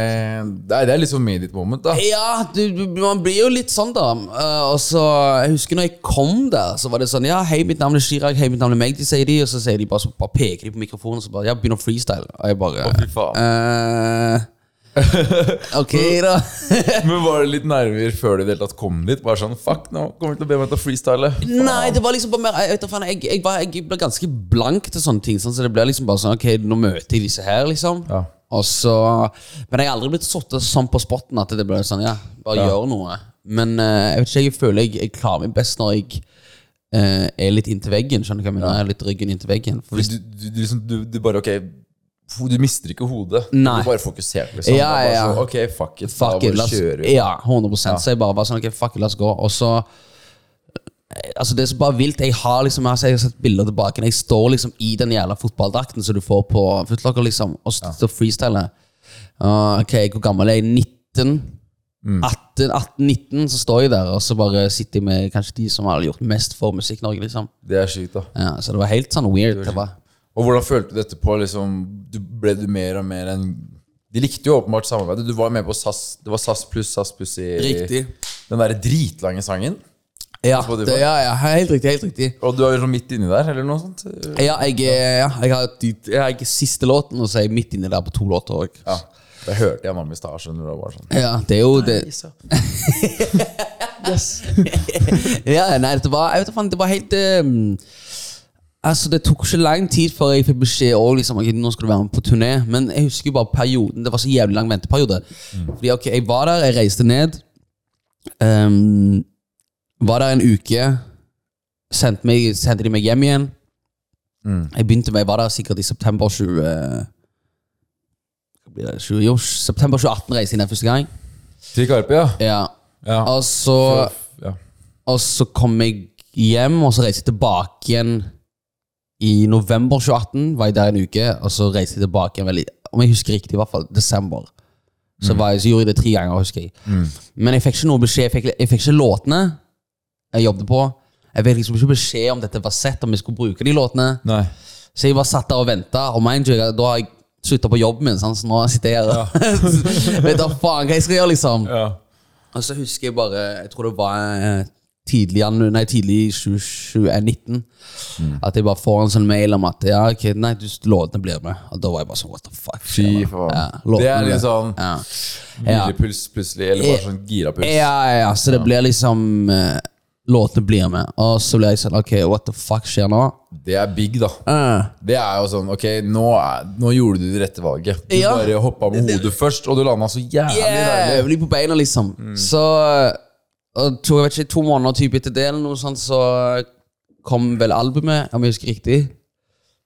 [SPEAKER 2] det, er, det er litt sånn made it moment, da.
[SPEAKER 1] Ja, du, du- man blir jo litt sånn, da. Eh, og så, Jeg husker når jeg kom der, så var det sånn Ja, hei, mitt navn er Chirag. Hei, mitt navn er Magdi, sier de. Og så sier de bare, så bare peker de på mikrofonen og så bare Ja, begynner å freestyle. Og jeg bare
[SPEAKER 2] Fy faen.
[SPEAKER 1] eh, Ok, da.
[SPEAKER 2] Men var det litt nerver før du i det hele tatt kom dit? Bare sånn, fuck, nå kommer de til å be meg til å freestyle.
[SPEAKER 1] Nei, det var liksom bare mer Jeg, vet da faen, jeg, jeg, var, jeg ble ganske blank til sånne ting. Sånn, så det ble liksom bare sånn Ok, nå møter jeg disse her, liksom.
[SPEAKER 2] Ja.
[SPEAKER 1] Og så Men jeg har aldri blitt satt sånn på spotten at det ble sånn Ja, bare gjør noe. Men eh, jeg vet ikke, jeg føler jeg, jeg klarer meg best når jeg eh, er litt inntil veggen. Skjønner du hva jeg mener? Jeg er litt ryggen inntil veggen. For
[SPEAKER 2] Du,
[SPEAKER 1] hvis,
[SPEAKER 2] du, du, liksom, du, du bare, ok ho- Du mister ikke hodet.
[SPEAKER 1] Nei.
[SPEAKER 2] Du bare fokusert, liksom.
[SPEAKER 1] Ja,
[SPEAKER 2] Det er
[SPEAKER 1] ja.
[SPEAKER 2] bare Så, ok, fuck it.
[SPEAKER 1] Fuck
[SPEAKER 2] da
[SPEAKER 1] it,
[SPEAKER 2] bare
[SPEAKER 1] la oss,
[SPEAKER 2] kjører vi.
[SPEAKER 1] ja, 100 Så jeg bare var sånn, ok, fuck it, la oss gå. Og så Altså Det er så bare vilt. Jeg har liksom altså, Jeg har sett bilder tilbake. Jeg står liksom i den jævla fotballdrakten som du får på Footlocker, liksom, og står og freestyler. Uh, ok, Hvor gammel er jeg? 19? 18, 18-19, så står jeg der, og så bare sitter jeg med kanskje de som har gjort mest for Musikk-Norge. liksom
[SPEAKER 2] Det er sykt, da.
[SPEAKER 1] ja, Så det var helt sånn weird. Det var,
[SPEAKER 2] Og hvordan følte du dette på? liksom du Ble du mer og mer en De likte jo åpenbart samarbeidet. Du var med på SAS. Det var SAS pluss SAS pluss i
[SPEAKER 1] Riktig.
[SPEAKER 2] den derre dritlange sangen.
[SPEAKER 1] ja,
[SPEAKER 2] Spotify.
[SPEAKER 1] det, ja, ja, helt riktig. Helt riktig.
[SPEAKER 2] Og du var jo sånn midt inni der, eller noe sånt?
[SPEAKER 1] Ja, jeg, eh, ja, jeg har de- jeg har ikke siste låten, og så er jeg midt inni der på to låter òg.
[SPEAKER 2] Ja. Det hørte jeg mamma i stad. skjønner du, og var sånn.
[SPEAKER 1] Ja, det er jo det ja, Nei, det var, jeg vet da faen, det var helt ehm, Altså, det tok ikke lang tid før jeg fikk beskjed òg, liksom, ok, nå skal du være med på turné. Men jeg husker jo bare perioden. Det var så jævlig lang venteperiode. Fordi ok, jeg var der, jeg reiste ned. ehm, var der en uke. Sendte, meg, sendte de meg hjem igjen. Jeg begynte med, jeg var der sikkert i september 20... Hva blir det? 20, jo, september 2018 reiste jeg ned første gang.
[SPEAKER 2] Til Karpe, ja.
[SPEAKER 1] Ja. Altså-
[SPEAKER 2] ja.
[SPEAKER 1] Og så,
[SPEAKER 2] ja.
[SPEAKER 1] og så kom jeg hjem, og så reiste jeg tilbake igjen i november 2018. Var jeg der en uke, og så reiste jeg tilbake igjen vel i- om jeg husker riktig, i hvert fall desember. Så, var jeg, så gjorde jeg det tre ganger, husker jeg. Men jeg fikk ikke noe beskjed. Jeg fikk, jeg fikk ikke låtene jeg jobbet på. Jeg fikk liksom ikke beskjed om dette var sett, om jeg skulle bruke de låtene.
[SPEAKER 2] Nei.
[SPEAKER 1] Så jeg bare satt der og venta, og mind you, da har jeg slutta på jobben min, sant? så nå sitter jeg her og vet da faen hva jeg skal gjøre, liksom.
[SPEAKER 2] Ja.
[SPEAKER 1] Og så husker jeg bare Jeg tror det var eh, tidlig, janu- nei, tidlig i 2019
[SPEAKER 2] Mm.
[SPEAKER 1] at jeg bare får en sånn mail om at ja, ok, nei, du, låtene blir med. Og da var jeg bare sånn what the fuck.
[SPEAKER 2] Fy
[SPEAKER 1] skjer da?
[SPEAKER 2] faen.
[SPEAKER 1] Ja,
[SPEAKER 2] det
[SPEAKER 1] låtene
[SPEAKER 2] er
[SPEAKER 1] blir-
[SPEAKER 2] litt sånn
[SPEAKER 1] ja.
[SPEAKER 2] hvilepuls plutselig, eller bare sånn gira puls.
[SPEAKER 1] Ja, ja, ja, så det blir liksom eh, Låtene blir med. Og så blir jeg sånn Ok, what the fuck skjer nå?
[SPEAKER 2] Det er big, da.
[SPEAKER 1] Eh,
[SPEAKER 2] Det er jo sånn, ok, nå, er, nå gjorde du det rette valget. Du
[SPEAKER 1] Ja.
[SPEAKER 2] bare hoppa med hodet først, og du landa så jævlig
[SPEAKER 1] yeah,
[SPEAKER 2] deilig.
[SPEAKER 1] Øvelig på beina, liksom.
[SPEAKER 2] Mm.
[SPEAKER 1] Så eh, og to, jeg vet ikke, to måneder typ etter det, eller noe sånt, så kom vel albumet, om jeg husker riktig.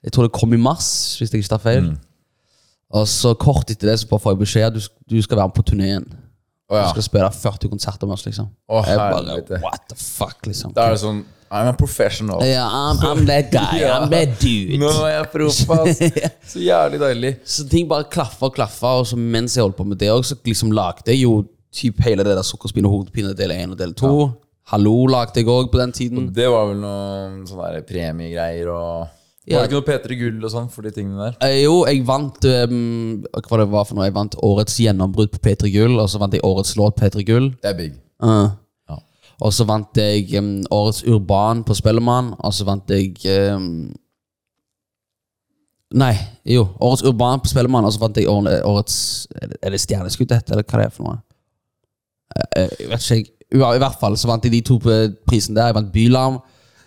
[SPEAKER 1] Jeg tror det kom i mars, hvis jeg ikke tar feil.
[SPEAKER 2] Mm.
[SPEAKER 1] Og så kort etter det så bare får jeg beskjed du, sk- du skal være med på turneen.
[SPEAKER 2] Å,
[SPEAKER 1] Du
[SPEAKER 2] ja.
[SPEAKER 1] skal spille 40 konserter med oss, liksom.
[SPEAKER 2] Å,
[SPEAKER 1] jeg bare,
[SPEAKER 2] helvete.
[SPEAKER 1] what the fuck, liksom.
[SPEAKER 2] Da er det sånn I'm a professional.
[SPEAKER 1] Ja, I'm, I'm that guy.
[SPEAKER 2] Ja.
[SPEAKER 1] I'm that dude.
[SPEAKER 2] Nå er jeg proff, ass. Så jævlig deilig.
[SPEAKER 1] Så ting bare klaffa og klaffa, og så mens jeg holdt på med det også, så liksom lagde jeg jo typ hele det der sukkerspinn og hodepine del 1 og del 2. Hallo lagde jeg òg på den tiden.
[SPEAKER 2] Det var vel noen sånne der premiegreier og
[SPEAKER 1] Ja.
[SPEAKER 2] Var det ikke noe P3 Gull og sånn for de tingene der?
[SPEAKER 1] Eh, jo, jeg vant ehm, hva det var for noe, jeg vant årets gjennombrudd på P3 Gull, og så vant jeg årets låt P3 Gull.
[SPEAKER 2] Det er big.
[SPEAKER 1] Eh,
[SPEAKER 2] Ja.
[SPEAKER 1] Og så vant jeg ehm, årets Urban på Spellemann, og så vant jeg ehm, Nei, jo. Årets Urban på Spellemann, og så vant jeg åre- årets Er det- er det Stjerneskudd det heter, eller hva det er for noe? Eh, eh, Jeg vet ikke, jeg. Ua- I hvert fall så vant jeg de to på prisen der. Jeg vant Bylarm.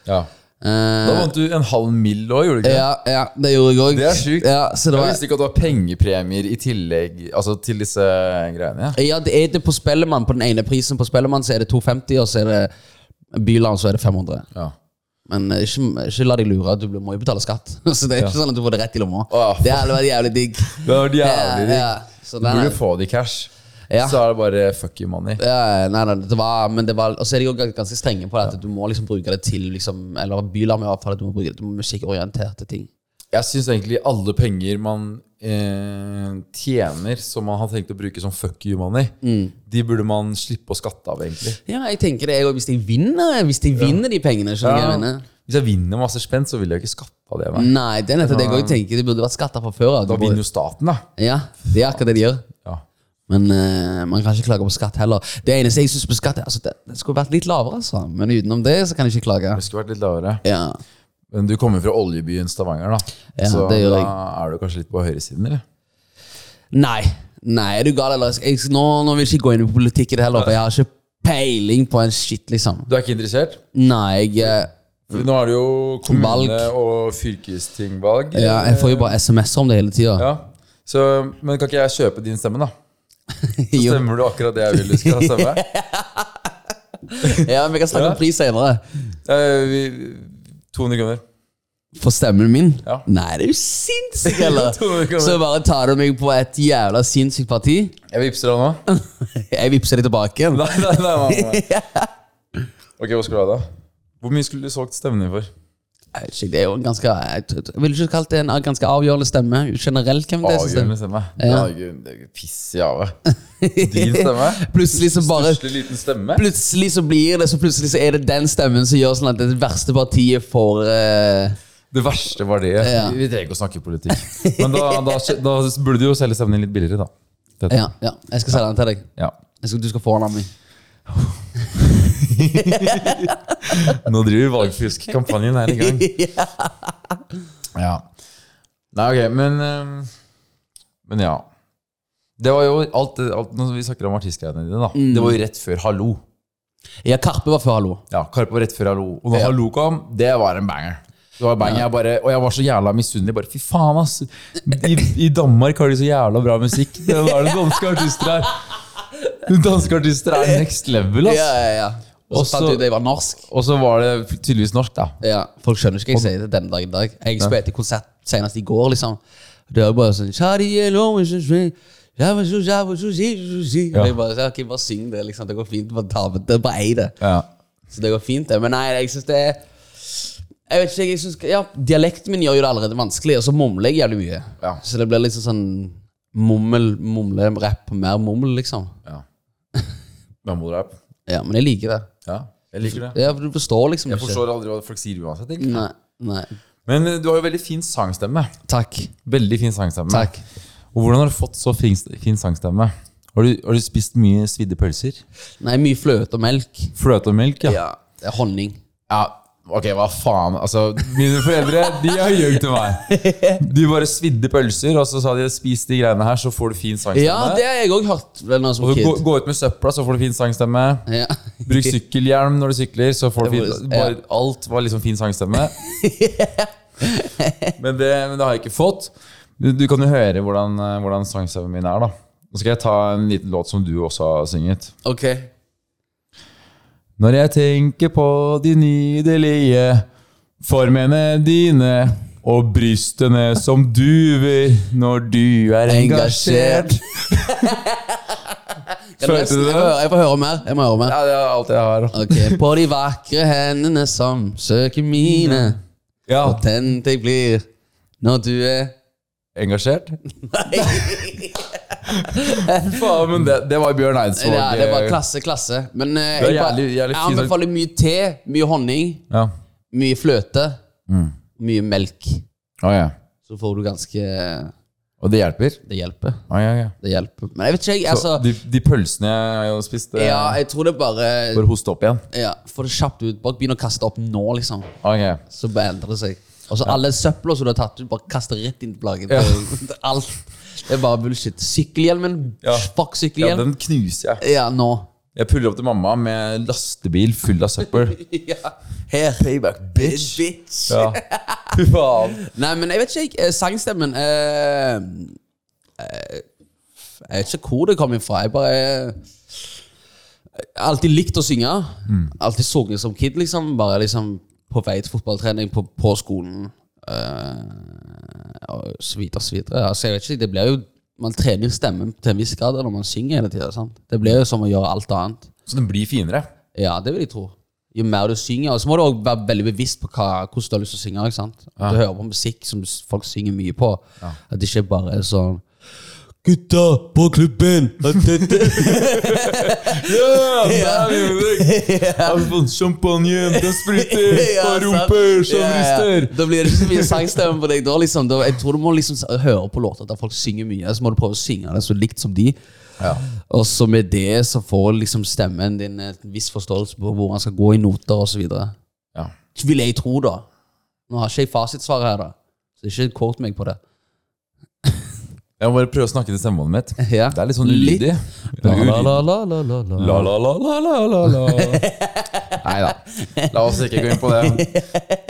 [SPEAKER 2] Ja.
[SPEAKER 1] Eh,
[SPEAKER 2] Da vant du en halv mill. òg, gjorde du ikke? det?
[SPEAKER 1] ja, ja, det gjorde jeg òg.
[SPEAKER 2] Det er sykt.
[SPEAKER 1] Ja, så det
[SPEAKER 2] Jeg
[SPEAKER 1] var,
[SPEAKER 2] visste ikke at det var pengepremier i tillegg altså til disse greiene. Ja.
[SPEAKER 1] ja, det er det på Spellemann. På den ene prisen på Spellemann så er det 250, og så er det Bylarm, så er det 500.
[SPEAKER 2] Ja.
[SPEAKER 1] Men eh, ikke, ikke la deg lure, du må jo betale skatt. Så det er ikke sånn at du får det rett i lomma.
[SPEAKER 2] Å,
[SPEAKER 1] det hadde vært jævlig digg.
[SPEAKER 2] Det var jævlig digg.
[SPEAKER 1] Ja, ja. Så
[SPEAKER 2] Du
[SPEAKER 1] nei,
[SPEAKER 2] burde
[SPEAKER 1] nei.
[SPEAKER 2] få det i cash.
[SPEAKER 1] Ja.
[SPEAKER 2] Så er det bare fuck you money.
[SPEAKER 1] Ja, nei, nei, det var, men det var, og så er de jo ganske strenge på det, at du må liksom bruke det til liksom, Eller Bylarm i hvert fall, at du må bruke det til musikkorienterte ting.
[SPEAKER 2] Jeg syns egentlig alle penger man eh, tjener som man har tenkt å bruke som fuck you money,
[SPEAKER 1] Mm.
[SPEAKER 2] de burde man slippe å skatte av, egentlig.
[SPEAKER 1] Ja, jeg tenker det, jeg òg. Hvis de vinner eh, Hvis de vinner de pengene, skjønner du hva jeg
[SPEAKER 2] Ja.
[SPEAKER 1] mener?
[SPEAKER 2] Hvis jeg vinner masse spenn, så vil jeg ikke skatte av det. Nei.
[SPEAKER 1] Nei, det er nettopp det jeg òg tenker. Det burde vært skatta fra før av.
[SPEAKER 2] Da vinner jo staten, da.
[SPEAKER 1] Ja, det er akkurat det de gjør.
[SPEAKER 2] Ja.
[SPEAKER 1] Men eh, man kan ikke klage på skatt heller. Det eneste jeg syns på skatt, er altså, det, det skulle vært litt lavere, altså. Men utenom det så kan jeg ikke klage.
[SPEAKER 2] Det skulle vært litt lavere.
[SPEAKER 1] Ja.
[SPEAKER 2] Men du kommer fra oljebyen Stavanger, da.
[SPEAKER 1] Ja,
[SPEAKER 2] så
[SPEAKER 1] det gjør
[SPEAKER 2] da
[SPEAKER 1] jeg.
[SPEAKER 2] er du kanskje litt på høyresiden, eller?
[SPEAKER 1] Nei. Nei, er du gal? Eller? Jeg, nå, nå vil jeg ikke gå inn i politikk i det heller, for jeg har ikke peiling på en shit, liksom.
[SPEAKER 2] Du er ikke interessert?
[SPEAKER 1] Nei, jeg, eh,
[SPEAKER 2] For nå er det jo kommune- og fylkestingvalg.
[SPEAKER 1] eh, ja, jeg får jo bare SMS-er om det hele tida.
[SPEAKER 2] Ja. Så, men kan ikke jeg kjøpe din stemme, da? Så
[SPEAKER 1] Jo.
[SPEAKER 2] stemmer du akkurat det jeg vil du skal stemme.
[SPEAKER 1] Ja, men vi kan snakke
[SPEAKER 2] Ja.
[SPEAKER 1] om pris senere.
[SPEAKER 2] Eh, vi- 200 kroner.
[SPEAKER 1] For stemmen min?
[SPEAKER 2] Ja.
[SPEAKER 1] Nei, det er jo sinnssyk, eller?
[SPEAKER 2] Tror ikke om det.
[SPEAKER 1] Så bare tar du meg på et jævla sinnssykt parti.
[SPEAKER 2] Jeg vippser deg nå.
[SPEAKER 1] Jeg vippser det tilbake igjen.
[SPEAKER 2] Nei, nei, nei, nei, nei. Ok, hva skulle du ha, da? Hvor mye skulle du solgt stemmen din for?
[SPEAKER 1] Jeg vet ikke, Det er jo en ganske eh, Jeg tror- jeg ville ikke kalt det en eh, ganske avgjørende stemme. Generelt, hvem det er som
[SPEAKER 2] Avgjørende
[SPEAKER 1] stemmer.
[SPEAKER 2] stemme.
[SPEAKER 1] Ja.
[SPEAKER 2] Det er jo- det er jo piss i havet. Din stemme?
[SPEAKER 1] Plutselig så bare
[SPEAKER 2] Største liten stemme?
[SPEAKER 1] Plutselig så blir det Så plutselig så er det den stemmen som gjør sånn at det verste partiet får eh,
[SPEAKER 2] Det verste var det.
[SPEAKER 1] Ja.
[SPEAKER 2] Vi trenger ikke å snakke politikk. Men da, da, da burde du jo selge stemmen din litt billigere, da. Dette.
[SPEAKER 1] Ja, ja, jeg skal selge den til deg.
[SPEAKER 2] Ja.
[SPEAKER 1] Jeg skal, du skal få den av meg.
[SPEAKER 2] Nå driver valgfuskkampanjen her i gang. Ja. Nei, ok, men eh, Men ja. Det var jo alt, alt Når vi snakker om artistgreiene dine, da.
[SPEAKER 1] Mm.
[SPEAKER 2] Det var jo rett før Hallo.
[SPEAKER 1] Ja, Karpe var før Hallo.
[SPEAKER 2] Ja, Karpe var rett før Hallo. Og da
[SPEAKER 1] Ja.
[SPEAKER 2] Hallo kom, det var en banger. Det var en banger, jeg bare, Og jeg var så jævla misunnelig. Bare fy faen, ass! I, I Danmark har de så jævla bra musikk. Det var det danske artister her. Danske artister er next level,
[SPEAKER 1] Ja,
[SPEAKER 2] ass.
[SPEAKER 1] ja, ja. Og så
[SPEAKER 2] Også-
[SPEAKER 1] fant jeg ut at jeg var norsk.
[SPEAKER 2] Og så var det tydeligvis norsk, da.
[SPEAKER 1] Ja, Folk skjønner ikke hva jeg sier det denne dag i dag. Jeg spilte konsert senest i går, liksom. Det er jo bare sånn Shawty, you know what you think. Ja, hva så, ja, hva så, si, så, si. Og
[SPEAKER 2] Ja.
[SPEAKER 1] Jeg bare, så, ok, bare syng det, liksom. Det går fint. Bare ta med det. Bare ei det.
[SPEAKER 2] Ja.
[SPEAKER 1] Så det går fint, det. Men nei, jeg syns det er Jeg vet ikke, jeg synes, ja, Dialekten min gjør jo det allerede vanskelig, og så mumler jeg jævlig mye.
[SPEAKER 2] Ja.
[SPEAKER 1] Så det blir liksom sånn mummel, mumle, rapp, mer mummel, liksom.
[SPEAKER 2] ja. Mumble-rap.
[SPEAKER 1] Ja, men jeg liker det.
[SPEAKER 2] Ja, jeg liker det.
[SPEAKER 1] Ja, for Du forstår liksom
[SPEAKER 2] Jeg forstår aldri hva folk sier uansett. egentlig.
[SPEAKER 1] Nei, nei.
[SPEAKER 2] Men eh, du har jo veldig fin sangstemme.
[SPEAKER 1] Takk.
[SPEAKER 2] Veldig fin sangstemme.
[SPEAKER 1] Takk.
[SPEAKER 2] Og hvordan har du fått så fin, fin sangstemme? Har du, har du spist mye svidde pølser?
[SPEAKER 1] Nei, mye fløte og melk.
[SPEAKER 2] Fløte og melk, ja.
[SPEAKER 1] Ja. Det er honning.
[SPEAKER 2] Ja, ok, hva faen. Altså, mine foreldre de har ljugd til meg. De bare svidde pølser, og så sa de spis de greiene her, så får du fin sangstemme.
[SPEAKER 1] Ja, det har jeg òg hørt. Vel, når jeg
[SPEAKER 2] Og
[SPEAKER 1] som
[SPEAKER 2] så gå,
[SPEAKER 1] kid.
[SPEAKER 2] gå ut med søpla, så får du fin sangstemme.
[SPEAKER 1] Ja.
[SPEAKER 2] Bruk sykkelhjelm når du sykler, så får du
[SPEAKER 1] Det
[SPEAKER 2] fin,
[SPEAKER 1] var-
[SPEAKER 2] bare, alt var liksom fin sangstemme. Men det, men det har jeg ikke fått. Du, du kan jo høre hvordan, eh, hvordan sangstemmen min er, da. Nå skal jeg ta en liten låt som du også har synget.
[SPEAKER 1] Ok.
[SPEAKER 2] Når jeg tenker på de nydelige formene dine og brystene som duver når du er engasjert.
[SPEAKER 1] Engasjert. Kan du
[SPEAKER 2] Følte
[SPEAKER 1] resten?
[SPEAKER 2] du
[SPEAKER 1] Jeg må
[SPEAKER 2] det?
[SPEAKER 1] høre- Jeg får høre mer. Jeg må høre mer.
[SPEAKER 2] Ja, det er alt jeg har.
[SPEAKER 1] Ok, På de vakre hendene som søker mine,
[SPEAKER 2] Ja,
[SPEAKER 1] og tent jeg blir når du er
[SPEAKER 2] engasjert? Faen, men det, det var Bjørn Eidsvåg.
[SPEAKER 1] Ja, det er bare
[SPEAKER 2] eh,
[SPEAKER 1] klasse, klasse. Men eh,
[SPEAKER 2] er
[SPEAKER 1] jeg, bare,
[SPEAKER 2] jævlig- jævlig
[SPEAKER 1] jeg
[SPEAKER 2] fint.
[SPEAKER 1] anbefaler mye te, mye honning,
[SPEAKER 2] Ja.
[SPEAKER 1] mye fløte,
[SPEAKER 2] Mm.
[SPEAKER 1] mye melk.
[SPEAKER 2] Å, ja.
[SPEAKER 1] Så får du ganske eh,
[SPEAKER 2] Og det hjelper?
[SPEAKER 1] Det hjelper.
[SPEAKER 2] Å, ja, ja.
[SPEAKER 1] Det hjelper. Men jeg vet ikke, jeg.
[SPEAKER 2] Så
[SPEAKER 1] Altså,
[SPEAKER 2] de, de pølsene jeg har spist, eh,
[SPEAKER 1] ja, jeg tror det bare
[SPEAKER 2] bare hoste opp igjen?
[SPEAKER 1] ja, Få det kjapt ut. Bare begynn å kaste opp nå, liksom.
[SPEAKER 2] Ok.
[SPEAKER 1] Så bare endrer det seg. Og så alle søpla som du har tatt ut, bare kaster rett inn på plagen. Alt. Det er bare bullshit. Sykkelhjelmen.
[SPEAKER 2] Ja.
[SPEAKER 1] Fuck
[SPEAKER 2] Ja,
[SPEAKER 1] sykkelhjelm.
[SPEAKER 2] den knuser jeg.
[SPEAKER 1] Ja, nå.
[SPEAKER 2] Jeg puller opp til mamma med lastebil full av søppel.
[SPEAKER 1] Ja. Her. Payback, bitch. bitch.
[SPEAKER 2] Ja. Fy faen.
[SPEAKER 1] Nei, men jeg vet ikke. jeg- eh, Sangstemmen eh, eh, Jeg vet ikke hvor det kom ifra. Jeg bare eh, jeg har Alltid likt å synge. Alltid sunget som kid, liksom. Bare liksom på vei til fotballtrening, på, på skolen. eh, og så videre, så videre. Altså, jeg vet ikke, det blir jo Man trener jo stemmen til en viss grad når man synger hele tida. sant? Det blir jo som å gjøre alt annet.
[SPEAKER 2] Så den blir finere.
[SPEAKER 1] Ja, det vil jeg tro. Jo mer du synger, og så må du også være veldig bevisst på hva, hvordan du har lyst til å synge. ikke sant? Du hører på musikk som s- folk synger mye på. At det ikke bare er sånn Gutta på klubben!
[SPEAKER 2] Ja, der er Henrik. Har vi fått champagne? Den spruter
[SPEAKER 1] Ja,
[SPEAKER 2] og
[SPEAKER 1] sant.
[SPEAKER 2] rumper som
[SPEAKER 1] Ja, ja.
[SPEAKER 2] rister.
[SPEAKER 1] Da blir det ikke så mye sangstemme på deg. da liksom. Da, jeg tror du må liksom s- høre på låter der folk synger mye, så må du prøve å synge det så likt som de. Og så med det så får liksom stemmen din en viss forståelse på hvor han skal gå i noter osv.
[SPEAKER 2] Ja.
[SPEAKER 1] Vil jeg tro, da. Nå har ikke jeg fasitsvaret her, da. Så ikke quote meg på det.
[SPEAKER 2] Jeg må bare prøve å snakke til stemmebåndet mitt.
[SPEAKER 1] Ja.
[SPEAKER 2] Det er litt sånn ulydig. La,
[SPEAKER 1] La-la-la-la-la-la.
[SPEAKER 2] la, la, la, la, la, la. Nei da. La oss ikke gå inn på det.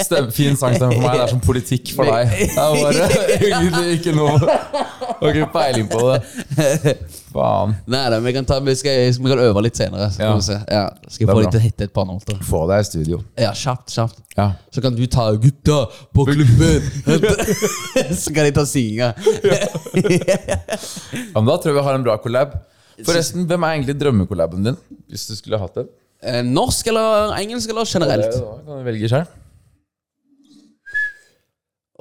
[SPEAKER 2] Stem, fin sangstemme for meg. Det er som politikk for deg. Det er bare egentlig ikke noe Har ikke peiling på det. Faen.
[SPEAKER 1] Nei da, vi kan, ta, vi skal, vi kan øve litt senere. Så
[SPEAKER 2] Ja.
[SPEAKER 1] kan vi se. Ja, skal jeg
[SPEAKER 2] er
[SPEAKER 1] få
[SPEAKER 2] bra.
[SPEAKER 1] deg til å hitte et par noter?
[SPEAKER 2] Få deg i studio.
[SPEAKER 1] Ja, kjapt, kjapt.
[SPEAKER 2] Ja.
[SPEAKER 1] Så kan du ta 'gutta på klubben'. så kan jeg ta synginga.
[SPEAKER 2] Ja, men da tror jeg vi har en bra collab. Forresten, hvem er egentlig drømmecollaben din? Hvis du skulle hatt en?
[SPEAKER 1] Eh, Norsk eller engelsk eller generelt?
[SPEAKER 2] Da kan du velge selv.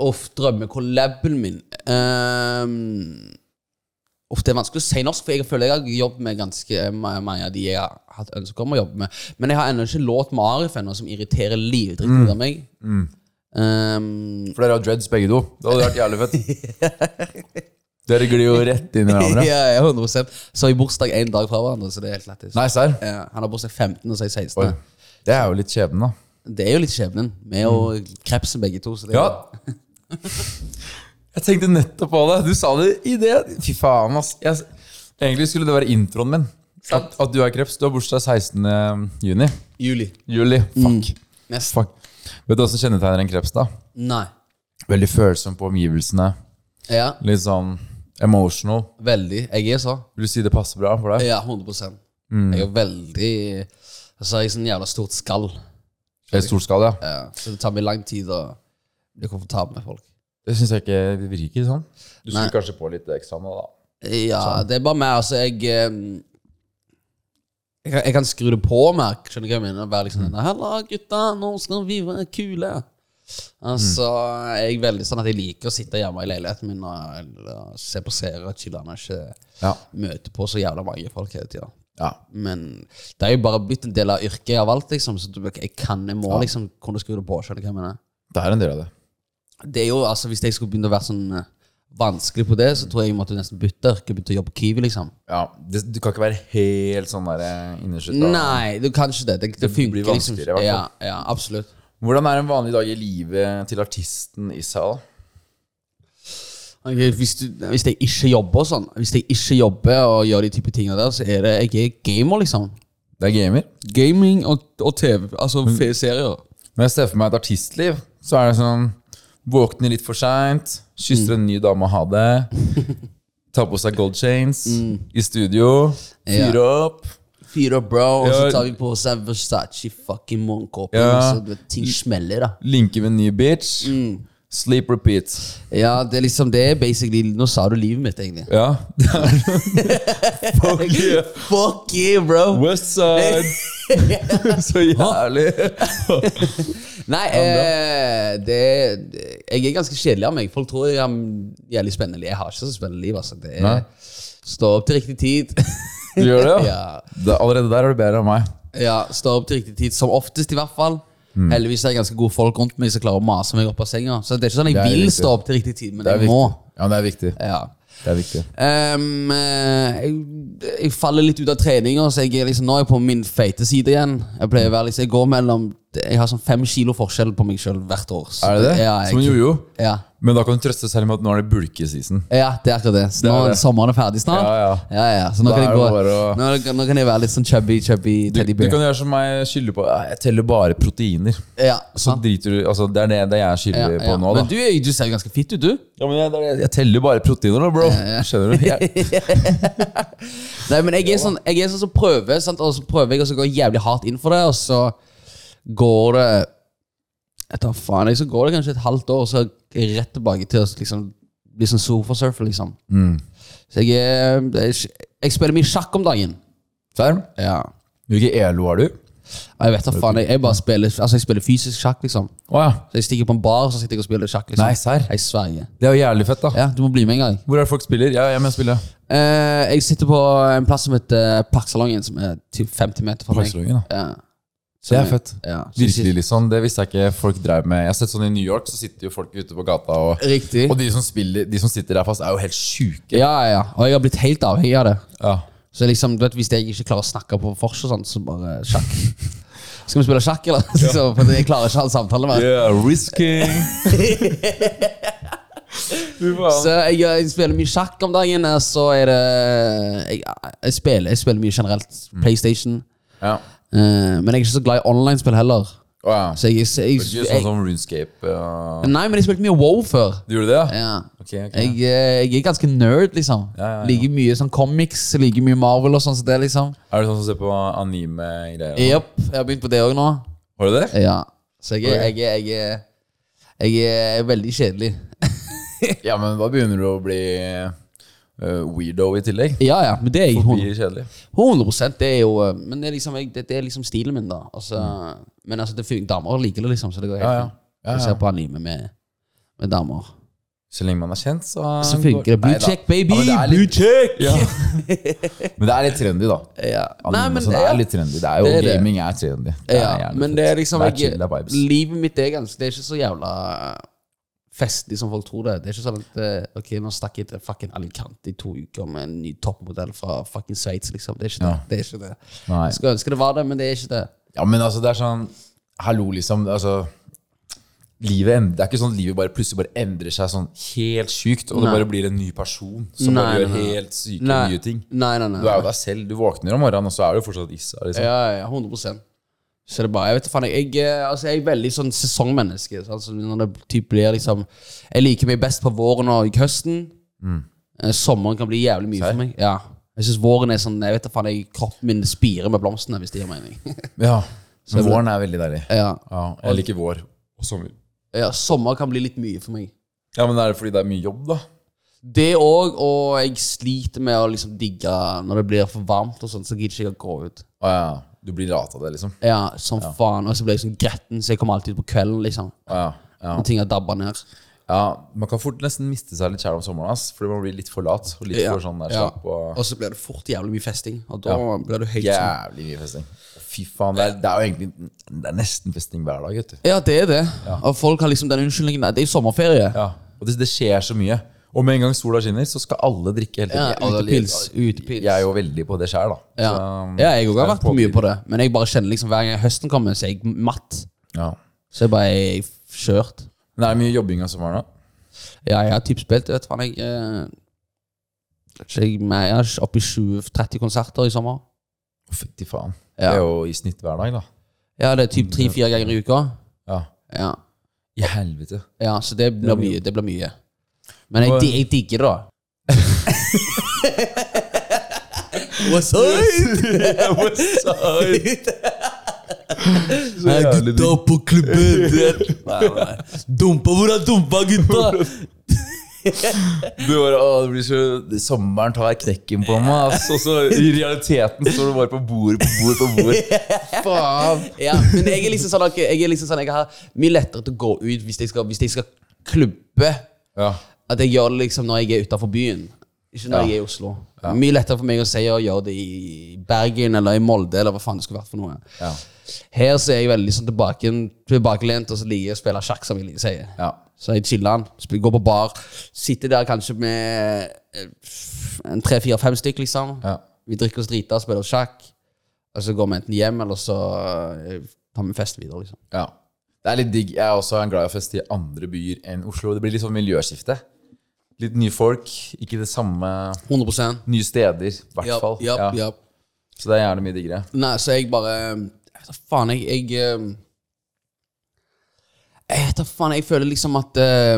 [SPEAKER 1] Uff, drømmekollaben min Ehm, Uff, det er vanskelig å si norsk, for jeg føler jeg har jobbet med ganske ma- mange av de jeg har hatt ønske om å jobbe med. Men jeg har ennå ikke låt med Arif ennå, som irriterer
[SPEAKER 2] Mm.
[SPEAKER 1] livdritten ut av meg. Ehm,
[SPEAKER 2] For dere har dreads begge to. Det hadde vært jævlig fett. Dere glir jo rett inn i hverandre.
[SPEAKER 1] ja, ja, 100 Så har vi bursdag én dag fra hverandre, så det er helt lættis.
[SPEAKER 2] Nei, serr?
[SPEAKER 1] Ja, han har bursdag 15, og så er jeg 16.
[SPEAKER 2] Oi. Det er jo litt skjebnen, da.
[SPEAKER 1] Det er jo litt skjebnen. Vi er jo krepsen begge to. Så det er
[SPEAKER 2] Mm. Ja. Jeg tenkte nettopp på det. Du sa det i det. Fy faen, ass. Jeg, egentlig skulle det være introen min. At, at du er kreps. Du har bursdag 16. juni.
[SPEAKER 1] juli.
[SPEAKER 2] Juli. Fuck.
[SPEAKER 1] Nest.
[SPEAKER 2] Fuck. Vet du hva som kjennetegner en kreps, da?
[SPEAKER 1] Nei.
[SPEAKER 2] Veldig følsom på omgivelsene.
[SPEAKER 1] Ja,
[SPEAKER 2] Litt sånn emotional.
[SPEAKER 1] veldig. Jeg er så.
[SPEAKER 2] Vil du si det passer bra for deg?
[SPEAKER 1] Ja, Mm. 100 Jeg er veldig Altså, jeg er sånn jævla stort skall.
[SPEAKER 2] I stor skala, ja.
[SPEAKER 1] Ja, så det tar meg lang tid å bli komfortabel med folk.
[SPEAKER 2] Det syns jeg ikke det virker sånn. Du
[SPEAKER 1] Nei.
[SPEAKER 2] skulle kanskje på litt eksamen, da.
[SPEAKER 1] Ja, det er bare mer Altså, jeg ehm, jeg kan, jeg kan skru det på mer. Skjønner du hva jeg mener? Være liksom denne, 'Halla, gutta, nå skal vi være kule'. Altså, jeg er veldig sånn at jeg liker å sitte hjemme i leiligheten min og, og se på serier og chille og ikke
[SPEAKER 2] Ja.
[SPEAKER 1] møte på så jævla mange folk hele tida.
[SPEAKER 2] ja.
[SPEAKER 1] Men det er jo bare blitt en del av yrket jeg har valgt, liksom, så du- jeg kan, jeg må liksom kunne skru det på. Skjønner du hva jeg mener?
[SPEAKER 2] Det er en del av det.
[SPEAKER 1] Det er jo, altså Hvis jeg skulle begynne å være sånn eh, vanskelig på det, så tror jeg jeg måtte nesten bytte yrke. Begynte å jobbe på Kiwi, liksom.
[SPEAKER 2] Ja, det, Du kan ikke være helt sånn der innerskytta.
[SPEAKER 1] Nei, du kan ikke det. Det, det
[SPEAKER 2] blir
[SPEAKER 1] funker liksom.
[SPEAKER 2] vanskeligere, i
[SPEAKER 1] ikke.
[SPEAKER 2] hvert
[SPEAKER 1] Ja,
[SPEAKER 2] fall.
[SPEAKER 1] ja, absolutt.
[SPEAKER 2] Hvordan er en vanlig dag i livet til artisten Issa? da?
[SPEAKER 1] Ok, hvis, du, hvis jeg ikke jobber og sånn, hvis jeg ikke jobber og gjør de type tingene der, så er det Jeg er gamer, liksom.
[SPEAKER 2] Det er gamer.
[SPEAKER 1] Gaming og, og TV, altså fe- serier.
[SPEAKER 2] Når jeg ser for meg et artistliv, så er det sånn Våkner litt for seint, kysser en ny dame og ha det. Tar på seg gold chains.
[SPEAKER 1] Mm.
[SPEAKER 2] I studio. Fyre opp.
[SPEAKER 1] Fyr opp, bro, og
[SPEAKER 2] Ja.
[SPEAKER 1] så tar vi på oss en Versace fucking morgenkåpe.
[SPEAKER 2] Ja.
[SPEAKER 1] og Så du vet, ting smeller, da.
[SPEAKER 2] Linker med en ny bitch.
[SPEAKER 1] Mm.
[SPEAKER 2] Sleep repeat.
[SPEAKER 1] Ja, det er liksom det. er Basically, nå sa du livet mitt, egentlig.
[SPEAKER 2] Ja. det er- Fuck yeah.
[SPEAKER 1] Fuck you, bro!
[SPEAKER 2] West side. så jævlig.
[SPEAKER 1] Nei, eh, det, jeg er ganske kjedelig av meg. Folk tror jeg har jævlig spennende liv. Jeg har ikke så spennende liv. altså. Det
[SPEAKER 2] Nei.
[SPEAKER 1] er, stå opp til riktig tid.
[SPEAKER 2] Du gjør det, ja?
[SPEAKER 1] ja.
[SPEAKER 2] Det- Allerede der er du bedre enn meg.
[SPEAKER 1] ja, Stå opp til riktig tid, som oftest i hvert fall.
[SPEAKER 2] Mm.
[SPEAKER 1] Heldigvis er det ganske gode folk rundt meg som klarer å mase meg opp av senga. Så det er ikke sånn
[SPEAKER 2] Det
[SPEAKER 1] jeg
[SPEAKER 2] er
[SPEAKER 1] vil
[SPEAKER 2] riktig.
[SPEAKER 1] stå opp til riktig tid, men
[SPEAKER 2] Det er
[SPEAKER 1] jeg må.
[SPEAKER 2] viktig. Ja, det er viktig.
[SPEAKER 1] Ja.
[SPEAKER 2] Det er viktig.
[SPEAKER 1] Ehm, eh, jeg, jeg faller litt ut av treninga, så jeg er liksom, nå er jeg på min feite side igjen. Jeg pleier å være liksom, jeg går mellom Jeg har sånn fem kilo forskjell på meg sjøl hvert år. så
[SPEAKER 2] Er det det?
[SPEAKER 1] Ja,
[SPEAKER 2] Som en
[SPEAKER 1] jeg,
[SPEAKER 2] jojo?
[SPEAKER 1] ja.
[SPEAKER 2] Men da kan du trøste selv med at nå er det bulkeseason.
[SPEAKER 1] ja, det er akkurat det. Så nå
[SPEAKER 2] Det er
[SPEAKER 1] er
[SPEAKER 2] det.
[SPEAKER 1] sommeren er ferdig snart.
[SPEAKER 2] Ja, ja.
[SPEAKER 1] ja, ja. Så nå
[SPEAKER 2] Da
[SPEAKER 1] kan,
[SPEAKER 2] er
[SPEAKER 1] jeg
[SPEAKER 2] det
[SPEAKER 1] gå,
[SPEAKER 2] bare å-
[SPEAKER 1] nå, kan- nå kan jeg være litt sånn chubby, chubby
[SPEAKER 2] Du,
[SPEAKER 1] teddy
[SPEAKER 2] du
[SPEAKER 1] bear.
[SPEAKER 2] kan gjøre som meg, skylde på «Ah, Jeg teller bare proteiner.
[SPEAKER 1] Ja,
[SPEAKER 2] Så
[SPEAKER 1] sant?
[SPEAKER 2] driter du Altså, det er det, det er jeg
[SPEAKER 1] ja,
[SPEAKER 2] skylder
[SPEAKER 1] ja.
[SPEAKER 2] på nå, da.
[SPEAKER 1] Men du, er- du ser jo ganske fitt ut, du.
[SPEAKER 2] ja, men jeg, det er det- jeg teller bare proteiner nå, bro. Skjønner du? Jeg,
[SPEAKER 1] Nei, men jeg er sånn, jeg er sånn som prøver, sant? og så prøver jeg, og så går jeg jævlig hardt inn for det, og så går det Jeg tar faen, jeg, så går det kanskje et halvt år, og så er jeg rett tilbake til å liksom, bli sånn sofasurfer, liksom.
[SPEAKER 2] Mm.
[SPEAKER 1] Så jeg er jeg, jeg spiller mye sjakk om dagen.
[SPEAKER 2] Ferm?
[SPEAKER 1] Ja.
[SPEAKER 2] Hvilken ELO har du?
[SPEAKER 1] Og Jeg vet da faen, jeg, jeg bare spiller Altså jeg spiller fysisk sjakk, liksom.
[SPEAKER 2] Å ja.
[SPEAKER 1] Så Jeg stikker på en bar, så sitter jeg og spiller sjakk. liksom
[SPEAKER 2] Nei, serr?
[SPEAKER 1] Jeg sverger.
[SPEAKER 2] Det er jo jævlig fett, da.
[SPEAKER 1] Ja, du må bli med en gang.
[SPEAKER 2] Hvor er det folk spiller? Ja, jeg er med og spiller.
[SPEAKER 1] Eh, jeg sitter på en plass som heter Parksalongen, som er typ 50 meter fra meg.
[SPEAKER 2] Parksalongen, da.
[SPEAKER 1] Ja.
[SPEAKER 2] Det er fett.
[SPEAKER 1] Ja, så
[SPEAKER 2] Virkelig, liksom. Det visste jeg ikke folk drev med. Jeg har sett sånn I New York så sitter jo folk ute på gata, og,
[SPEAKER 1] Riktig.
[SPEAKER 2] og de, som spiller, de som sitter der fast, er jo helt sjuke.
[SPEAKER 1] Ja, ja, ja. Og jeg har blitt helt avhengig av det.
[SPEAKER 2] Ja.
[SPEAKER 1] Så liksom, du vet, Hvis jeg ikke klarer å snakke på vors og sånn, så bare sjakk. Skal vi spille sjakk, eller? Så, for jeg klarer ikke å ha en samtale med
[SPEAKER 2] Yeah, risking. Fy faen.
[SPEAKER 1] Så jeg, eh, jeg spiller mye sjakk om dagen, og så er det eh, jeg, jeg, spiller, jeg spiller mye generelt.
[SPEAKER 2] Mm.
[SPEAKER 1] PlayStation.
[SPEAKER 2] Ja.
[SPEAKER 1] Eh, men jeg er ikke så glad i online-spill heller.
[SPEAKER 2] Å, ja.
[SPEAKER 1] Så jeg, jeg,
[SPEAKER 2] Det er
[SPEAKER 1] jeg,
[SPEAKER 2] ikke sånn som RuneScape og
[SPEAKER 1] Nei, men jeg spilte mye Wow før.
[SPEAKER 2] Du gjorde det, ja?
[SPEAKER 1] Ja.
[SPEAKER 2] Ok, ok.
[SPEAKER 1] Jeg, eh, jeg er ganske nerd, liksom.
[SPEAKER 2] Ja, ja, ja.
[SPEAKER 1] Liker mye sånn comics, liker mye Marvel og sånn. Så det liksom
[SPEAKER 2] Er du sånn som ser på anime-greier? og sånn?
[SPEAKER 1] Jepp. Jeg har begynt på det òg nå.
[SPEAKER 2] Har du det?
[SPEAKER 1] Ja. Så jeg, er-
[SPEAKER 2] Ok.
[SPEAKER 1] jeg, er- jeg, er- jeg er veldig kjedelig.
[SPEAKER 2] Ja, men da begynner du å bli eh, weirdo i tillegg.
[SPEAKER 1] Ja, ja, men det er jeg.
[SPEAKER 2] Blir
[SPEAKER 1] 100,
[SPEAKER 2] kjedelig.
[SPEAKER 1] 100 det er jo eh, Men det er liksom, jeg, det, det er liksom stilen min, da. Altså, Men altså, det funker. Damer liker det, liksom, så det går helt
[SPEAKER 2] Ja, ja.
[SPEAKER 1] fint. Jeg ser på anime med, med damer.
[SPEAKER 2] Så lenge man er kjent, så
[SPEAKER 1] Så funker det. Blue
[SPEAKER 2] Nei da.
[SPEAKER 1] check, baby!
[SPEAKER 2] Ja, men det er
[SPEAKER 1] Blue
[SPEAKER 2] litt-
[SPEAKER 1] check!
[SPEAKER 2] Ja. men det er litt trendy, da.
[SPEAKER 1] Ja.
[SPEAKER 2] Anime,
[SPEAKER 1] Nei, men
[SPEAKER 2] så det
[SPEAKER 1] ja.
[SPEAKER 2] er litt trendy. Det er jo,
[SPEAKER 1] sånn, Det er det.
[SPEAKER 2] gaming er trendy. Det er
[SPEAKER 1] Ja,
[SPEAKER 2] jævlig
[SPEAKER 1] men
[SPEAKER 2] fett.
[SPEAKER 1] det er liksom
[SPEAKER 2] Det er
[SPEAKER 1] jeg-
[SPEAKER 2] chill, det er vibes.
[SPEAKER 1] Livet mitt er ganske Det er ikke så jævla festlig som folk tror det. Det er ikke sånn at eh, Ok, nå stakk jeg til fucking Alicante i to uker med en ny toppmodell fra fucking Sveits, liksom. Det er ikke det.
[SPEAKER 2] Ja.
[SPEAKER 1] det, er ikke det.
[SPEAKER 2] Nei.
[SPEAKER 1] Jeg skulle ønske det var det, men det er ikke det.
[SPEAKER 2] Ja, men altså, det er sånn Hallo, liksom. Altså, livet end- Det er ikke sånn at livet bare plutselig bare endrer seg sånn helt sykt, og
[SPEAKER 1] Nei.
[SPEAKER 2] det bare blir en ny person som
[SPEAKER 1] Nei,
[SPEAKER 2] bare gjør
[SPEAKER 1] nei, nei.
[SPEAKER 2] helt syke
[SPEAKER 1] Nei.
[SPEAKER 2] nye ting.
[SPEAKER 1] Nei, nei,
[SPEAKER 2] Du er
[SPEAKER 1] nei.
[SPEAKER 2] jo deg selv. Du våkner om morgenen, og så er du fortsatt Issa. Liksom.
[SPEAKER 1] Ja, ja, 100 så det er bare, Jeg vet da faen, jeg, jeg, eh, altså, jeg er veldig sånn sesongmenneske. sånn, så når det typ blir liksom Jeg liker meg best på våren og høsten. Eh, Sommeren kan bli jævlig mye
[SPEAKER 2] Serr?
[SPEAKER 1] for meg. Ja Jeg synes våren er sånn Jeg vet da faen, jeg, kroppen min spirer med blomstene, hvis det gir mening.
[SPEAKER 2] Ja. Men våren er veldig deilig.
[SPEAKER 1] ja.
[SPEAKER 2] Ja, jeg liker vår og sommer.
[SPEAKER 1] ja, Sommer kan bli litt mye for meg.
[SPEAKER 2] Ja, men er det fordi det er mye jobb, da?
[SPEAKER 1] Det òg, og jeg sliter med å liksom digge når det blir for varmt, og sånn, så gidder ikke jeg å gå ut.
[SPEAKER 2] Å ja. Du blir lat av det, liksom?
[SPEAKER 1] Ja, som faen. Og så blir jeg sånn gretten, så jeg kommer alltid ut på kvelden, liksom.
[SPEAKER 2] Å ja. Ja.
[SPEAKER 1] Når ting har dabba ned.
[SPEAKER 2] ja. Man kan fort nesten miste seg litt kjær om sommeren, ass, fordi man blir litt for lat. Og litt
[SPEAKER 1] Ja.
[SPEAKER 2] for sånn der
[SPEAKER 1] Ja.
[SPEAKER 2] slapp og
[SPEAKER 1] Og så blir det fort jævlig mye festing, og da blir du høyt sånn.
[SPEAKER 2] Jævlig mye festing. Fy faen, det er, det er jo egentlig Det er nesten festing hver dag, vet du.
[SPEAKER 1] Ja, det er det. Og folk har liksom den unnskyldningen at det er sommerferie.
[SPEAKER 2] Ja. Og det, det skjer så mye. Og med en gang sola skinner, så skal alle drikke hele
[SPEAKER 1] Ja,
[SPEAKER 2] tiden.
[SPEAKER 1] alle- Utepils. Utepils.
[SPEAKER 2] Jeg er jo veldig på det sjæl, da.
[SPEAKER 1] Ja.
[SPEAKER 2] Så, um,
[SPEAKER 1] ja, jeg òg har vært
[SPEAKER 2] på
[SPEAKER 1] mye på det. Men jeg bare kjenner liksom hver gang høsten kommer, så er jeg matt.
[SPEAKER 2] ja.
[SPEAKER 1] Så jeg bare jeg er kjørt.
[SPEAKER 2] Men er det mye jobbing sånn av sommeren, da?
[SPEAKER 1] Ja, jeg har tippspilt. Vet faen, jeg eh, vet ikke, jeg, men jeg er oppe i 20-30 konserter i sommer.
[SPEAKER 2] Å, Fytti faen.
[SPEAKER 1] Ja.
[SPEAKER 2] Det er jo i snitt hver dag, da.
[SPEAKER 1] Ja, det er typ tre-fire ganger i uka.
[SPEAKER 2] Ja.
[SPEAKER 1] Ja,
[SPEAKER 2] I helvete.
[SPEAKER 1] ja Så det blir mye. Det blir mye. Men jeg, di- jeg digger det, da. What's
[SPEAKER 2] Westside.
[SPEAKER 1] Nei,
[SPEAKER 2] jævlig
[SPEAKER 1] gutta på klubben det- Nei, nei. Dumpa hvor er dumpa, gutta?
[SPEAKER 2] Du bare, å, det blir så, Sommeren tar knekken på meg, ass. Og så i realiteten står du bare på bord på bord på bord. Faen.
[SPEAKER 1] Ja, men jeg er liksom sånn at jeg, er liksom sånn, jeg har mye lettere til å gå ut hvis jeg skal, hvis jeg skal klubbe.
[SPEAKER 2] Ja.
[SPEAKER 1] At jeg gjør det liksom når jeg er utenfor byen. Ikke når
[SPEAKER 2] Ja.
[SPEAKER 1] jeg er i Oslo. Mye lettere for meg å si å gjøre det i Bergen eller i Molde eller hva faen det skulle vært for noe.
[SPEAKER 2] Ja.
[SPEAKER 1] Her så er jeg veldig sånn tilbake, tilbakelent og så liker jeg å spille sjakk, som jeg liker å si.
[SPEAKER 2] ja.
[SPEAKER 1] Så jeg chiller den, sp- går på bar, sitter der kanskje med eh, en tre-fire-fem stykk, liksom.
[SPEAKER 2] Ja.
[SPEAKER 1] Vi drikker oss drita, spiller sjakk. Og så går vi enten hjem, eller så eh, tar vi festen videre, liksom.
[SPEAKER 2] Ja. Det er litt digg. Jeg er også en glad i å feste i andre byer enn Oslo. Det blir litt sånn miljøskifte. Litt nye folk, ikke det samme
[SPEAKER 1] 100
[SPEAKER 2] Nye steder, i hvert
[SPEAKER 1] Ja,
[SPEAKER 2] fall.
[SPEAKER 1] ja,
[SPEAKER 2] Ja.
[SPEAKER 1] ja.
[SPEAKER 2] Så det er gjerne mye diggere.
[SPEAKER 1] Nei, så jeg bare eh, Jeg vet da faen, jeg Jeg, eh, jeg vet da faen, jeg føler liksom at eh,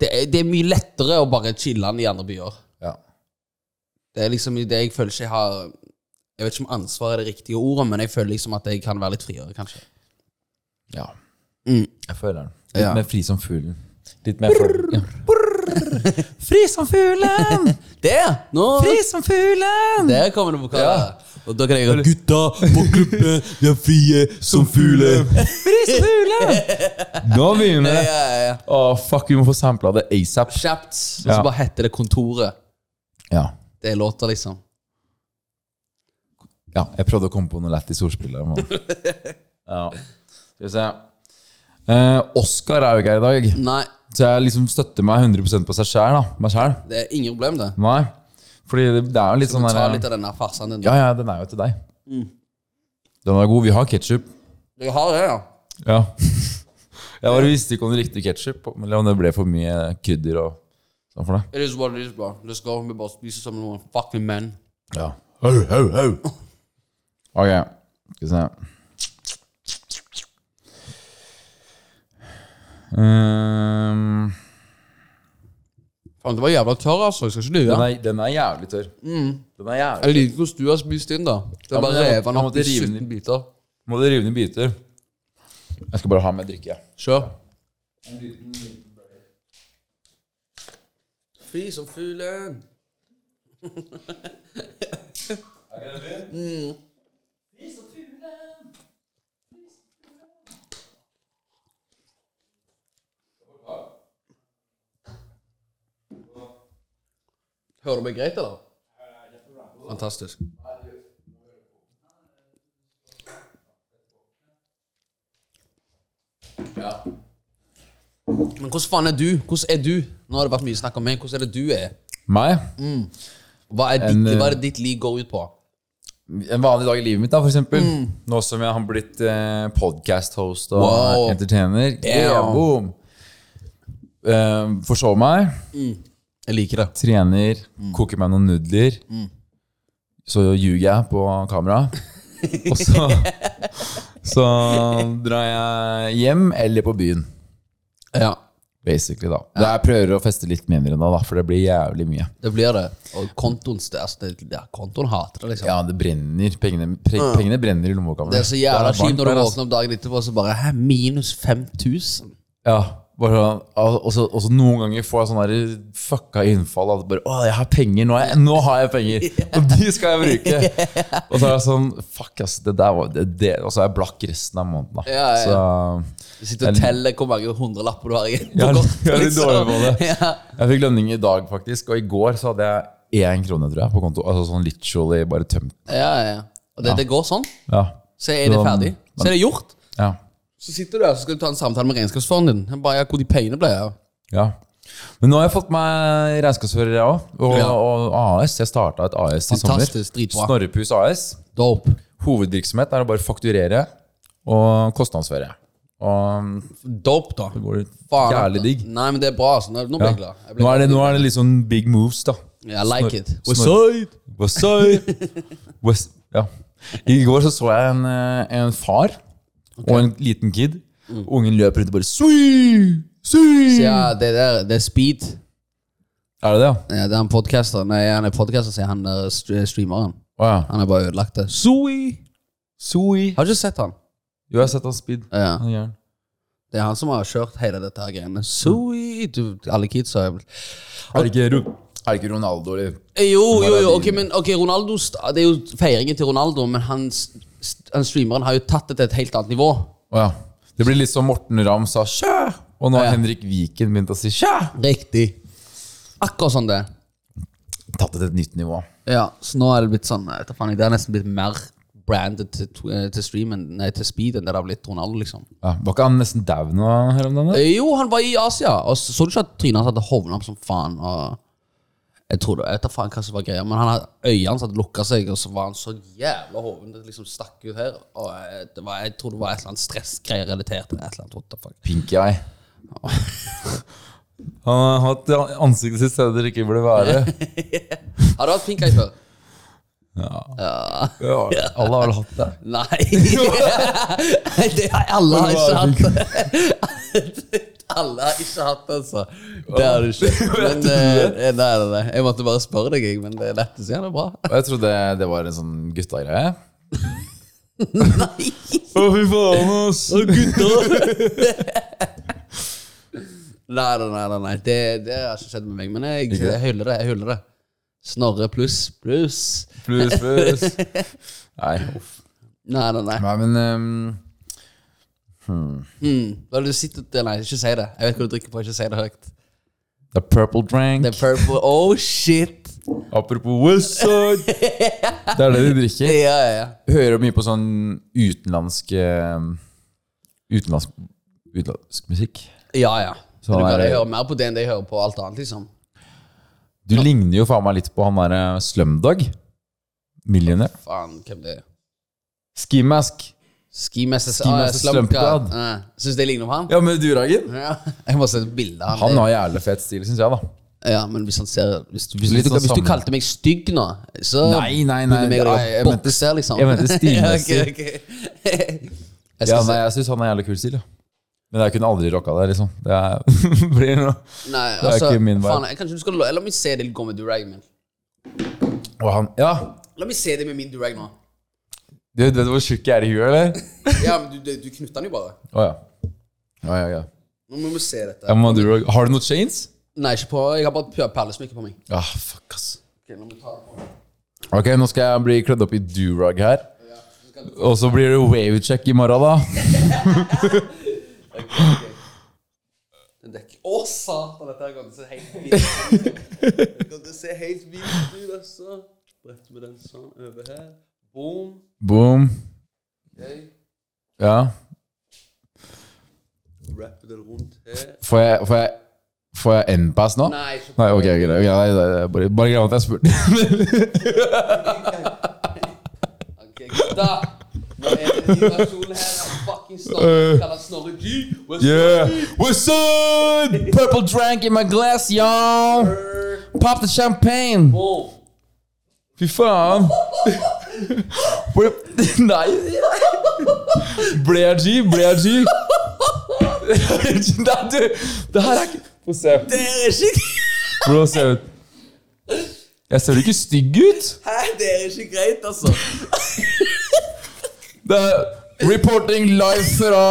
[SPEAKER 1] det, er, det er mye lettere å bare chille den i andre byer.
[SPEAKER 2] Ja.
[SPEAKER 1] Det er liksom det jeg føler ikke jeg har Jeg vet ikke om ansvar er det riktige ordet, men jeg føler liksom at jeg kan være litt friere, kanskje.
[SPEAKER 2] ja.
[SPEAKER 1] Mm.
[SPEAKER 2] Jeg føler den. Litt
[SPEAKER 1] Ja.
[SPEAKER 2] mer fri som fuglen. Litt mer fri. Fri som fuglen!
[SPEAKER 1] Der! Nå
[SPEAKER 2] som fuglen!
[SPEAKER 1] Der kommer det vokaler. Og da kan jeg gjøre
[SPEAKER 3] Gutta på klubben, vi er frie som fugler.
[SPEAKER 2] Fri som fuglen! Nå begynner det.
[SPEAKER 1] ja, ja, ja.
[SPEAKER 2] Å, fuck, vi må få sampla det asap.
[SPEAKER 1] Kjapt. Og så
[SPEAKER 2] Ja.
[SPEAKER 1] bare heter det Kontoret.
[SPEAKER 2] Ja.
[SPEAKER 1] Det er låta, liksom.
[SPEAKER 2] ja. Jeg prøvde å komme på noe lættis ordspill der. men- Ja. Skal vi se. Eh, Oscar er jo ikke her i dag,
[SPEAKER 1] Nei,
[SPEAKER 2] så jeg liksom støtter meg 100 på seg sjæl. Meg sjæl.
[SPEAKER 1] det er ingen problem, det.
[SPEAKER 2] Nei. Fordi det, det er jo litt sånn
[SPEAKER 1] Ta
[SPEAKER 2] der-
[SPEAKER 1] litt av Mm. denne farsen din.
[SPEAKER 2] Ja, ja, den er jo til deg. Den er god. Vi har ketsjup.
[SPEAKER 1] Jeg har det, ja.
[SPEAKER 2] Ja. Jeg bare visste ikke om du likte ketsjup, eller om det ble for mye krydder og sånn for deg.
[SPEAKER 1] It is what it is, bro. Let's go. Vi bare spiser som noen fucking menn.
[SPEAKER 2] Ja. Ho, ho, ho. Ok, skal vi se. Ehm,
[SPEAKER 1] Faen, det var jævla tørr, altså. Jeg skal ikke lyve.
[SPEAKER 2] den, er, den er jævlig tørr.
[SPEAKER 1] Mm.
[SPEAKER 2] Den er jævlig
[SPEAKER 1] Jeg liker hvordan du har spist inn, da. Det
[SPEAKER 2] Ja,
[SPEAKER 1] er
[SPEAKER 2] men
[SPEAKER 1] bare
[SPEAKER 2] jeg må-
[SPEAKER 1] revet den opp
[SPEAKER 2] jeg måtte
[SPEAKER 1] i
[SPEAKER 2] rive den
[SPEAKER 1] 17 biter.
[SPEAKER 2] Må du rive den i biter? Jeg skal bare ha med drikke.
[SPEAKER 1] Kjør. Fri som fuglen. Mm. Hører du meg greit, eller? Fantastisk. Men hvordan faen er du? Hvordan er du? Nå har det vært mye snakk om meg. Hvordan er det du er?
[SPEAKER 2] Meg?
[SPEAKER 1] Hva er ditt,
[SPEAKER 2] En, eh,
[SPEAKER 1] hva er det ditt liv går ut på?
[SPEAKER 2] en vanlig dag i livet mitt, da, for eksempel.
[SPEAKER 1] Mm.
[SPEAKER 2] Nå som jeg har blitt eh, podcast-host og
[SPEAKER 1] Wow.
[SPEAKER 2] entertainer. Yeah,
[SPEAKER 1] Damn.
[SPEAKER 2] boom. Eh, forsov meg,
[SPEAKER 1] Jeg liker det.
[SPEAKER 2] trener,
[SPEAKER 1] Mm.
[SPEAKER 2] koker meg noen nudler. Så ljuger jeg på kamera. Og så, så drar jeg hjem eller på byen,
[SPEAKER 1] Ja,
[SPEAKER 2] basically. da. Det Jeg prøver å feste litt mindre nå, da, for det blir jævlig mye.
[SPEAKER 1] det blir det. Og kontoen, st- altså, det, det, kontoen hater det, liksom.
[SPEAKER 2] Ja, det brenner. Pengene, pre, pengene brenner i lommeboka. mi.
[SPEAKER 1] Det er så
[SPEAKER 2] Det
[SPEAKER 1] jævla
[SPEAKER 2] varmt
[SPEAKER 1] kjipt når
[SPEAKER 2] der,
[SPEAKER 1] du
[SPEAKER 2] altså.
[SPEAKER 1] våkner om dagen etterpå og så bare Hæ, minus 5000?
[SPEAKER 2] Ja, bare sånn, al- og så- og så noen ganger får jeg sånne der fucka innfall. At bare, å, jeg har penger, nå, har jeg, nå har jeg penger! Og de skal jeg bruke! Og så er jeg sånn Fuck, ass. Det der var det, det. Og så er jeg blakk resten av måneden. Da.
[SPEAKER 1] Ja, ja.
[SPEAKER 2] Så
[SPEAKER 1] Du sitter og
[SPEAKER 2] Jeg-
[SPEAKER 1] teller hvor mange hundrelapper du har igjen. på
[SPEAKER 2] jeg er,
[SPEAKER 1] kontoen,
[SPEAKER 2] jeg er litt
[SPEAKER 1] liksom.
[SPEAKER 2] dårlig på det.
[SPEAKER 1] Ja.
[SPEAKER 2] Jeg fikk lønning i dag, faktisk. Og i går så hadde jeg én krone, tror jeg, på konto. Altså sånn literally bare tømt.
[SPEAKER 1] ja, ja. Og det, det går sånn.
[SPEAKER 2] Ja.
[SPEAKER 1] Så er det
[SPEAKER 2] Sånn.
[SPEAKER 1] ferdig. Så er det gjort.
[SPEAKER 2] ja.
[SPEAKER 1] Så sitter du her så skal du ta en samtale med regnskapsføreren din. Han bare, ja, hvor de pengene ble av.
[SPEAKER 2] Ja. Men nå har jeg fått meg regnskapsfører, jeg òg. Og,
[SPEAKER 1] Ja.
[SPEAKER 2] og AS. Jeg starta et AS i sommer.
[SPEAKER 1] Fantastisk, dritbra.
[SPEAKER 2] Snorrepus AS.
[SPEAKER 1] Dope.
[SPEAKER 2] Hovedvirksomhet er å bare fakturere og kostnadsføre. Og
[SPEAKER 1] Dope, da.
[SPEAKER 2] det går
[SPEAKER 1] Faen,
[SPEAKER 2] jævlig
[SPEAKER 1] altså.
[SPEAKER 2] digg.
[SPEAKER 1] Nei, men det er bra. altså. Nå nå ble
[SPEAKER 2] Ja.
[SPEAKER 1] jeg glad. Jeg ble
[SPEAKER 2] Nå, er det,
[SPEAKER 1] glad.
[SPEAKER 2] nå er det litt sånn big moves, da.
[SPEAKER 1] I like it.
[SPEAKER 2] Westside, Westside West, ja. I går så, så jeg en, eh, en far og en liten kid. Ungen løper rundt og bare Sui! Sui!
[SPEAKER 1] Mm. Så ja, det, der, det er Speed.
[SPEAKER 2] Er det det, ja?
[SPEAKER 1] Ja, det er han podcaster. Nei, han er podcaster, sier han der st- eh, streameren.
[SPEAKER 2] Å ja.
[SPEAKER 1] Han er bare ødelagt det.
[SPEAKER 2] Sui! Sui.
[SPEAKER 1] Har du ikke sett han?
[SPEAKER 2] Jo, jeg har sett han speed.
[SPEAKER 1] Ja.
[SPEAKER 2] Han er gæren.
[SPEAKER 1] Det er han som har kjørt hele dette her greiene. Sui, du, alle kids har vel
[SPEAKER 2] Er det ikke, Ro- er det ikke Ronaldo eller
[SPEAKER 1] Eh, Jo, jo, jo,
[SPEAKER 2] Maradona.
[SPEAKER 1] ok, men ok, Ronaldo st- Det er jo feiringen til Ronaldo, men han, s- st- han streameren har jo tatt det til et helt annet nivå.
[SPEAKER 2] Å ja. Det blir litt som Morten Ramm sa sjø, og nå har Henrik Viken begynt å si sjø.
[SPEAKER 1] Riktig. Akkurat sånn det.
[SPEAKER 2] Tatt det til et nytt nivå.
[SPEAKER 1] Ja, så nå er det blitt sånn jeg vet da faen, Det er nesten blitt mer branded til, tw- eh, til streamen, nei, til speed enn det det har blitt Ronaldo, liksom.
[SPEAKER 2] Ja. Var ikke han nesten dau nå her om dagen? da?
[SPEAKER 1] Eh, Jo, han var i Asia, og så, så du ikke at trynet hans hadde hovna opp som faen? og... Jeg tror det, jeg vet da faen hva som var greia, men han hadde øynene hans hadde lukka seg, og så var han så jævla hoven. Det liksom stakk ut her. Og jeg, det var, jeg tror det var et eller annet stressgreier relatert til det. Et eller annet, what the fuck.
[SPEAKER 2] Pinky eye. Han har hatt ansiktet sitt stedet det ikke burde være.
[SPEAKER 1] Har du hatt pink eye før?
[SPEAKER 2] Ja, alle har vel hatt det.
[SPEAKER 1] Nei. det har alle har ikke hatt. Alle har ikke hatt det, altså. Det har du ikke. Men, eh, nei, nei, nei. Jeg måtte bare spørre deg, jeg, men det er lett å si han er bra.
[SPEAKER 2] Og jeg trodde det var en sånn gutta-greie.
[SPEAKER 1] Nei.
[SPEAKER 2] Å, fy faen, ass!
[SPEAKER 1] Nei, nei, nei, nei, nei. Det, det har ikke skjedd med meg, men jeg, jeg hyller det. jeg hyller det Snorre pluss pluss.
[SPEAKER 2] Pluss, pluss. Nei, uff.
[SPEAKER 1] Nei, nei, nei.
[SPEAKER 2] Nei, men ehm,
[SPEAKER 1] Mm. Hva er det du sitter til? Nei, ikke si det. Jeg vet hva du drikker på, ikke si det høyt.
[SPEAKER 2] The Purple Drank.
[SPEAKER 1] Det er purple. Oh, shit!
[SPEAKER 2] Apropos Westside. Det er det de drikker.
[SPEAKER 1] Ja, ja, ja.
[SPEAKER 2] Hører mye på sånn utenlandsk ehm, Utenlandsk, utenlandsk musikk.
[SPEAKER 1] Ja, ja.
[SPEAKER 2] Så
[SPEAKER 1] Men du
[SPEAKER 2] er
[SPEAKER 1] bare
[SPEAKER 2] det-
[SPEAKER 1] hører mer på det enn det jeg hører på alt annet, liksom.
[SPEAKER 2] Du ligner jo faen meg litt på han derre Slumdog. Millionaire.
[SPEAKER 1] Faen, hvem det er.
[SPEAKER 2] Ski Mask.
[SPEAKER 1] Ski Masters
[SPEAKER 2] Ski Masters Slumpgod.
[SPEAKER 1] Syns det ligner på han?
[SPEAKER 2] Ja, med Duragen.
[SPEAKER 1] Ja. Jeg må se et bilde av
[SPEAKER 2] Han
[SPEAKER 1] han.
[SPEAKER 2] har jævlig fet stil, syns jeg, da.
[SPEAKER 1] Ja, men hvis han ser Hvis, du- hvis,
[SPEAKER 2] Litt
[SPEAKER 1] du-
[SPEAKER 2] sånn
[SPEAKER 1] hvis du
[SPEAKER 2] sammen.
[SPEAKER 1] kalte meg stygg nå, så
[SPEAKER 2] Nei, nei, nei,
[SPEAKER 1] burde meg og
[SPEAKER 2] nei, eh, ah, jeg
[SPEAKER 1] deg
[SPEAKER 2] mente-
[SPEAKER 1] bokkes her, liksom.
[SPEAKER 2] jeg mente stilmessig.
[SPEAKER 1] Ja, ok, ok. Jeg
[SPEAKER 2] Ja,
[SPEAKER 1] skal
[SPEAKER 2] nei, jeg syns han har jævlig kul stil, ja. Men jeg kunne aldri rocka det, liksom. Det er, blir noe.
[SPEAKER 1] se Nei,
[SPEAKER 2] er
[SPEAKER 1] altså
[SPEAKER 2] ikke min vei.
[SPEAKER 1] Faen, jeg, kanskje du skal la La meg se det gå med durag min.
[SPEAKER 2] Og han Ja!
[SPEAKER 1] La meg se det med min durag nå.
[SPEAKER 2] Du vet du hvor tjukk jeg er i huet, eller?
[SPEAKER 1] Ja, men du, du, du knytter den jo bare.
[SPEAKER 2] Å ja. Ja, ja, ja.
[SPEAKER 1] Nå må vi se
[SPEAKER 2] Jeg
[SPEAKER 1] dette.
[SPEAKER 2] må ha Durag. Har du noen chains?
[SPEAKER 1] Nei, ikke på Jeg har bare p- perlesmykke på meg.
[SPEAKER 2] Ja, Ah, fuck, ass.
[SPEAKER 1] Ok, nå må vi ta det på meg.
[SPEAKER 2] Ok, nå skal jeg bli kledd opp i durag her. Og så blir det wavecheck i morgen, da.
[SPEAKER 1] Den dekker Å, satan, dette her kommer til å se helt vilt ut. Det kommer til å se helt vilt ut, altså. Brett med den sånn over her. Boom.
[SPEAKER 2] Boom.
[SPEAKER 1] Okay.
[SPEAKER 2] Ja.
[SPEAKER 1] Wrapper den rundt her.
[SPEAKER 2] Får jeg, får jeg, får jeg N-pass nå?
[SPEAKER 1] Nei, ikke
[SPEAKER 2] Nei, ok, greit. ok, nei, nei, nei, bare bare glem at jeg spurte.
[SPEAKER 1] Ok, gutta. Nå er det en versjon her av fucking Snorre. Kaller Snorre G. What's
[SPEAKER 2] Eh, Yeah! What's up? Purple drank in my glass, y'all!
[SPEAKER 1] up?
[SPEAKER 2] Pop the champagne!
[SPEAKER 1] Boom.
[SPEAKER 2] Fy faen! Ble- Nei! Ble jeg G? Ble jeg G? Nei, du! Det her er ikke Få se.
[SPEAKER 1] Det er ikke,
[SPEAKER 2] Hvordan ser jeg ut? Jeg ser jo ikke stygg ut!
[SPEAKER 1] Hæ? Det er ikke greit, altså.
[SPEAKER 2] Det er reporting live fra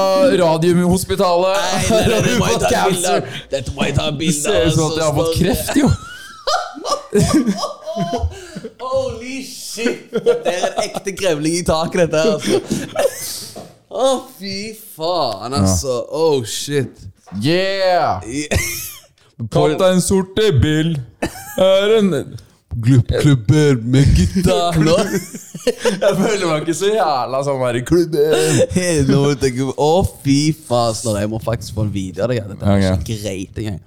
[SPEAKER 2] Radiumhospitalet.
[SPEAKER 1] Nei, nei, nei, det må jeg ta et bilde
[SPEAKER 2] Cancer.
[SPEAKER 1] av. Dette må jeg ta et
[SPEAKER 2] Det
[SPEAKER 1] bilde
[SPEAKER 2] ser ut som at jeg har fått
[SPEAKER 1] altså, Snorre.
[SPEAKER 2] kreft, jo.
[SPEAKER 1] Holy shit! Det er en ekte grevling i taket, dette her, altså. Å, fy faen, altså. Oh, shit.
[SPEAKER 2] Yeah!
[SPEAKER 1] Kaptein
[SPEAKER 2] Kaptein Sorte Bill er en Klubbklubber med gutta.
[SPEAKER 1] nå
[SPEAKER 2] Jeg føler meg ikke så jævla sånn der i klubben.
[SPEAKER 1] Nå tenker jeg Å, fy faen, Snorre. Jeg må faktisk få en video av deg. Dette er
[SPEAKER 2] Ok.
[SPEAKER 1] ikke greit engang.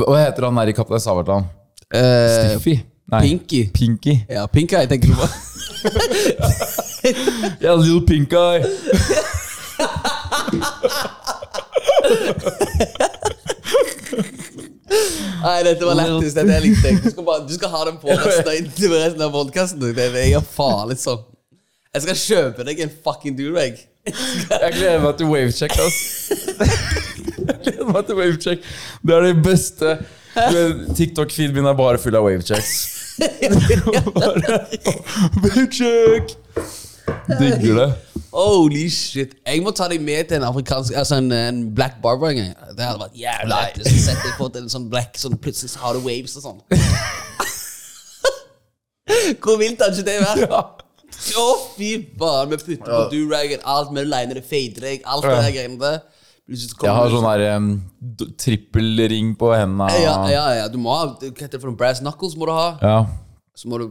[SPEAKER 2] Hva heter han der i Kaptein Sabeltann?
[SPEAKER 1] Eh,
[SPEAKER 2] Stiffy? Nei.
[SPEAKER 1] Pinky.
[SPEAKER 2] Pinky.
[SPEAKER 1] Ja, Pink Eye tenker du på.
[SPEAKER 2] Yeah, little pink eye.
[SPEAKER 1] Nei, dette var lettest. Dette er litt tenkt. Du skal, bare, du skal ha den på resten av, resten av podcasten. du. Det det er farlig sånn. Jeg skal kjøpe deg en fucking durag.
[SPEAKER 2] Jeg gleder meg til wavecheck, ass. Jeg gleder meg til wavecheck. Det er det beste. Du vet, TikTok-feeden min er bare full av wavechecks. bare wavecheck! Digger det.
[SPEAKER 1] Holy shit. Jeg må ta deg med til en afrikansk Altså en, en black barber en gang. Det hadde vært jævlig lettest. å Sette deg på til en sånn black sånn plutselig så har du waves og sånn. Hvor vilt hadde ikke det vært? Å, fy faen. Vi putter på duragen, alt vi liner det, fader deg, alt det der greiene der. Plutselig så kommer
[SPEAKER 2] Jeg har
[SPEAKER 1] det
[SPEAKER 2] sånn der um, d- trippelring på hendene.
[SPEAKER 1] Ja, ja, ja. Du må ha Hva heter det for noe? Brass knuckles må du ha.
[SPEAKER 2] Ah. Ja.
[SPEAKER 1] Så må du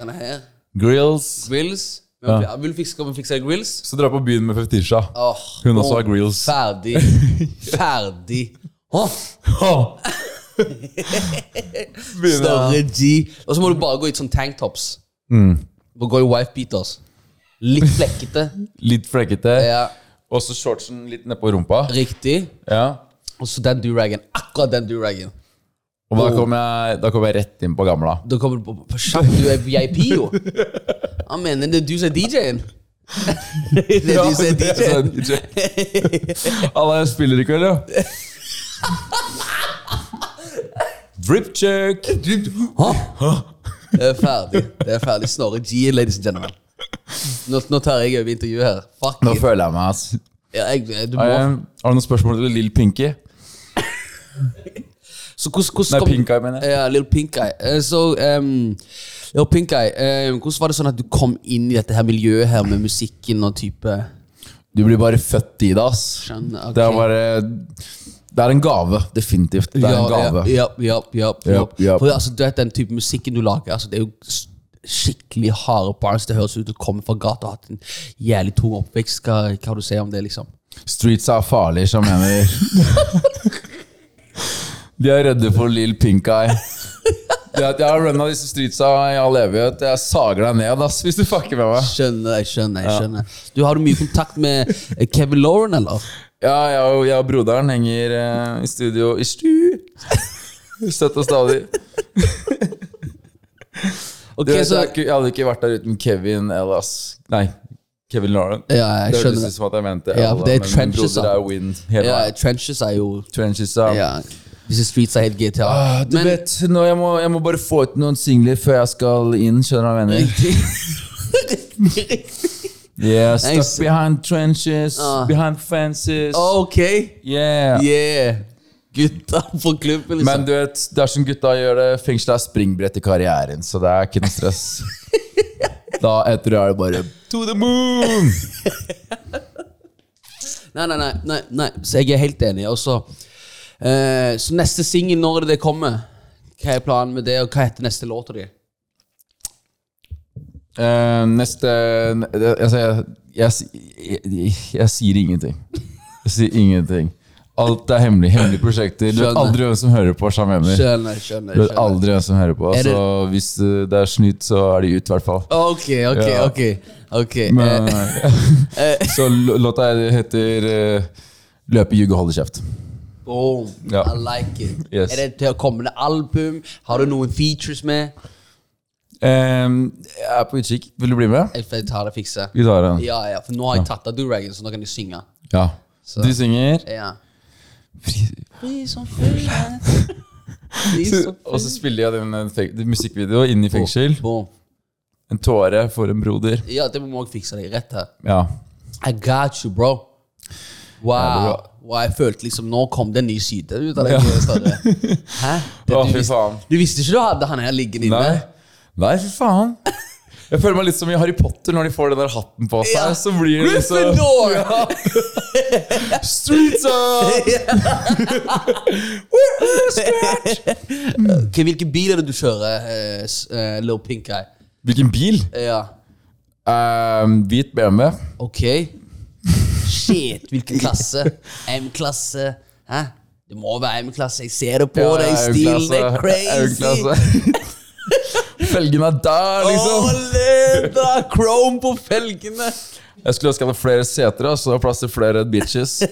[SPEAKER 1] Denne her.
[SPEAKER 2] Grills.
[SPEAKER 1] Grills. Vi må- Vil du fikse, skal vi fikse grills?
[SPEAKER 2] Så dra på byen med Fetisha.
[SPEAKER 1] Åh,
[SPEAKER 2] Hun også
[SPEAKER 1] åh,
[SPEAKER 2] har grills.
[SPEAKER 1] Ferdig. Ferdig. Åh, Større G. Og så må du bare gå i sånn tanktops. Mm. Gå i wife beaters. Litt flekkete.
[SPEAKER 2] Litt flekkete.
[SPEAKER 1] Ja,
[SPEAKER 2] Og så shortsen litt nedpå rumpa.
[SPEAKER 1] riktig.
[SPEAKER 2] Ja.
[SPEAKER 1] Og så den duragen. Akkurat den duragen.
[SPEAKER 2] Og da kom, jeg, da kom jeg rett inn på gamla.
[SPEAKER 1] Da kommer du på, på kjapt. Du er VIP, jo. Han mener det er du som er DJ-en. det er du som er
[SPEAKER 2] det er sånn-
[SPEAKER 1] DJ-en.
[SPEAKER 2] DJ. Alla, jeg spiller i kveld, ja. Dripcheck!
[SPEAKER 1] Det er ferdig. Det er ferdig. Snorre G, ladies and gentlemen. Nå, nå tar jeg over intervjuet her. Fuck
[SPEAKER 2] Nå
[SPEAKER 1] it.
[SPEAKER 2] føler jeg meg ass.
[SPEAKER 1] Ja, jeg, du må.
[SPEAKER 2] Har jeg- har du noen spørsmål til Lill Pinky?
[SPEAKER 1] Så hvordan, hvordan
[SPEAKER 2] Nei,
[SPEAKER 1] kom-
[SPEAKER 2] Pink Eye, mener jeg.
[SPEAKER 1] Ja, Little Pink Eye. Eh, Så ehm, Little Pink Eye, eh, hvordan var det sånn at du kom inn i dette her miljøet her med musikken og type
[SPEAKER 2] Du blir bare født i det, ass.
[SPEAKER 1] Skjønner, ok.
[SPEAKER 2] Det er bare Det er en gave, definitivt. Det er en gave.
[SPEAKER 1] Ja, ja, ja, ja, ja.
[SPEAKER 2] Japp, japp.
[SPEAKER 1] For altså, du vet den type musikken du lager, altså, det er jo s- skikkelig harde bars. Det høres ut som du kommer fra gata og har hatt en jævlig tung oppvekst. Hva, hva har du å si om det, liksom?
[SPEAKER 2] Streets er farlige, som mener De er redde for Lill Pink Eye. Det at jeg har runna disse streetsa i all evighet. Jeg sager deg ned, ass, hvis du fucker med meg.
[SPEAKER 1] Skjønner, jeg skjønner. jeg skjønner. Du Har du mye kontakt med eh, Kevin Lauren, eller?
[SPEAKER 2] Ja, jeg og, jeg og broderen henger eh, i studio i stu. Støtt og stadig.
[SPEAKER 1] Ok,
[SPEAKER 2] Du vet,
[SPEAKER 1] så,
[SPEAKER 2] jeg, er ikke- jeg hadde ikke vært der uten Kevin eller ass. Nei, Kevin Lauren.
[SPEAKER 1] ja, jeg
[SPEAKER 2] det høres
[SPEAKER 1] skjønner.
[SPEAKER 2] ut som at jeg mente
[SPEAKER 1] Ja,
[SPEAKER 2] Ella,
[SPEAKER 1] det er
[SPEAKER 2] men
[SPEAKER 1] trenches,
[SPEAKER 2] broder
[SPEAKER 1] da.
[SPEAKER 2] er wind hele
[SPEAKER 1] Ja,
[SPEAKER 2] veien.
[SPEAKER 1] trenches er jo
[SPEAKER 2] Trenches, da.
[SPEAKER 1] ja, Disse streets er helt GTA.
[SPEAKER 2] Ah, Du
[SPEAKER 1] Men-
[SPEAKER 2] vet, nå, jeg, må, jeg må bare få ut noen singler før jeg skal inn, skjønner du hva jeg mener? Yeah, stuck
[SPEAKER 1] Nice.
[SPEAKER 2] behind trenches,
[SPEAKER 1] Ah.
[SPEAKER 2] behind fences.
[SPEAKER 1] ok!
[SPEAKER 2] Yeah.
[SPEAKER 1] Yeah! Gutta på klubben, liksom.
[SPEAKER 2] Men du vet, dersom gutta gjør det, fengselet er springbrett i karrieren, så det er ikke noe stress. da etter det er det bare To the moon!
[SPEAKER 1] Nei, nei, nei, nei, nei. Så jeg er helt enig. Og så eh, Så neste singel, når er det det kommer? Hva er planen med det, og hva heter neste låta di?
[SPEAKER 2] Eh, neste det- Altså, jeg, jeg, si- jeg, jeg, jeg sier ingenting. Jeg sier ingenting. Alt er hemmelig. Hemmelige prosjekter. Du vet
[SPEAKER 1] Skjønner.
[SPEAKER 2] aldri hvem som hører på. Sam Emmer.
[SPEAKER 1] Skjønner, skjønner.
[SPEAKER 2] Du vet
[SPEAKER 1] skjønner.
[SPEAKER 2] aldri hvem som hører på.
[SPEAKER 1] Er det- Eh,
[SPEAKER 2] Så hvis eh, det er snytt, så er de ut, i hvert fall.
[SPEAKER 1] Ok, ok,
[SPEAKER 2] Ja.
[SPEAKER 1] ok. ok
[SPEAKER 2] Men,
[SPEAKER 1] eh,
[SPEAKER 2] så lå- låta her heter eh, 'Løpe, ljuge, holde kjeft'.
[SPEAKER 1] Boom.
[SPEAKER 2] Ja.
[SPEAKER 1] I like it.
[SPEAKER 2] Yes.
[SPEAKER 1] Er det til å kommende album? Har du noen features med?
[SPEAKER 2] Ehm, jeg er på utkikk. Vil du bli med?
[SPEAKER 1] Jeg jeg tar det og fikser.
[SPEAKER 2] Vi tar den.
[SPEAKER 1] Ja, ja, for nå har jeg tatt av duragen, så nå kan jeg synge.
[SPEAKER 2] Ja. Du synger,
[SPEAKER 1] Ja.
[SPEAKER 2] fri-
[SPEAKER 1] Fri som fugle. Fri som
[SPEAKER 2] og så spiller jeg den eh, feng- musikkvideo inn i fengsel.
[SPEAKER 1] Boom.
[SPEAKER 2] En tåre for en broder.
[SPEAKER 1] Ja, det må vi også fikse deg rett her.
[SPEAKER 2] Ja.
[SPEAKER 1] I got you, bro. Wow.
[SPEAKER 2] bra.
[SPEAKER 1] wow jeg følte liksom Nå kom det en ny side ut av deg.
[SPEAKER 2] Ja.
[SPEAKER 1] Stare. Hæ? Det,
[SPEAKER 2] Å,
[SPEAKER 1] du,
[SPEAKER 2] fy
[SPEAKER 1] visste,
[SPEAKER 2] faen.
[SPEAKER 1] du visste ikke du hadde han her liggende inne?
[SPEAKER 2] Nei. Nei, fy faen. Jeg føler meg litt som i Harry Potter når de får den der hatten på seg.
[SPEAKER 1] Ja.
[SPEAKER 2] Så blir det liksom- så
[SPEAKER 1] Gryffindor!
[SPEAKER 2] Streets up!
[SPEAKER 1] Ok, Hvilken bil er det du kjører, eh, s- eh, Lil Pink Eye?
[SPEAKER 2] Hvilken bil?
[SPEAKER 1] Ja.
[SPEAKER 2] Ehm, hvit BMW.
[SPEAKER 1] Ok. Shit, hvilken klasse? M-klasse? Hæ? Det må være M-klasse. Jeg ser det på
[SPEAKER 2] Ja,
[SPEAKER 1] deg.
[SPEAKER 2] jeg er jo
[SPEAKER 1] Stilen
[SPEAKER 2] klasse.
[SPEAKER 1] er
[SPEAKER 2] Jeg er jo
[SPEAKER 1] crazy.
[SPEAKER 2] klasse. Felgen er der, liksom.
[SPEAKER 1] Ole, da! Chrome på felgene.
[SPEAKER 2] Jeg skulle ønske jeg hadde flere seter, ass, så det var plass til flere bitches.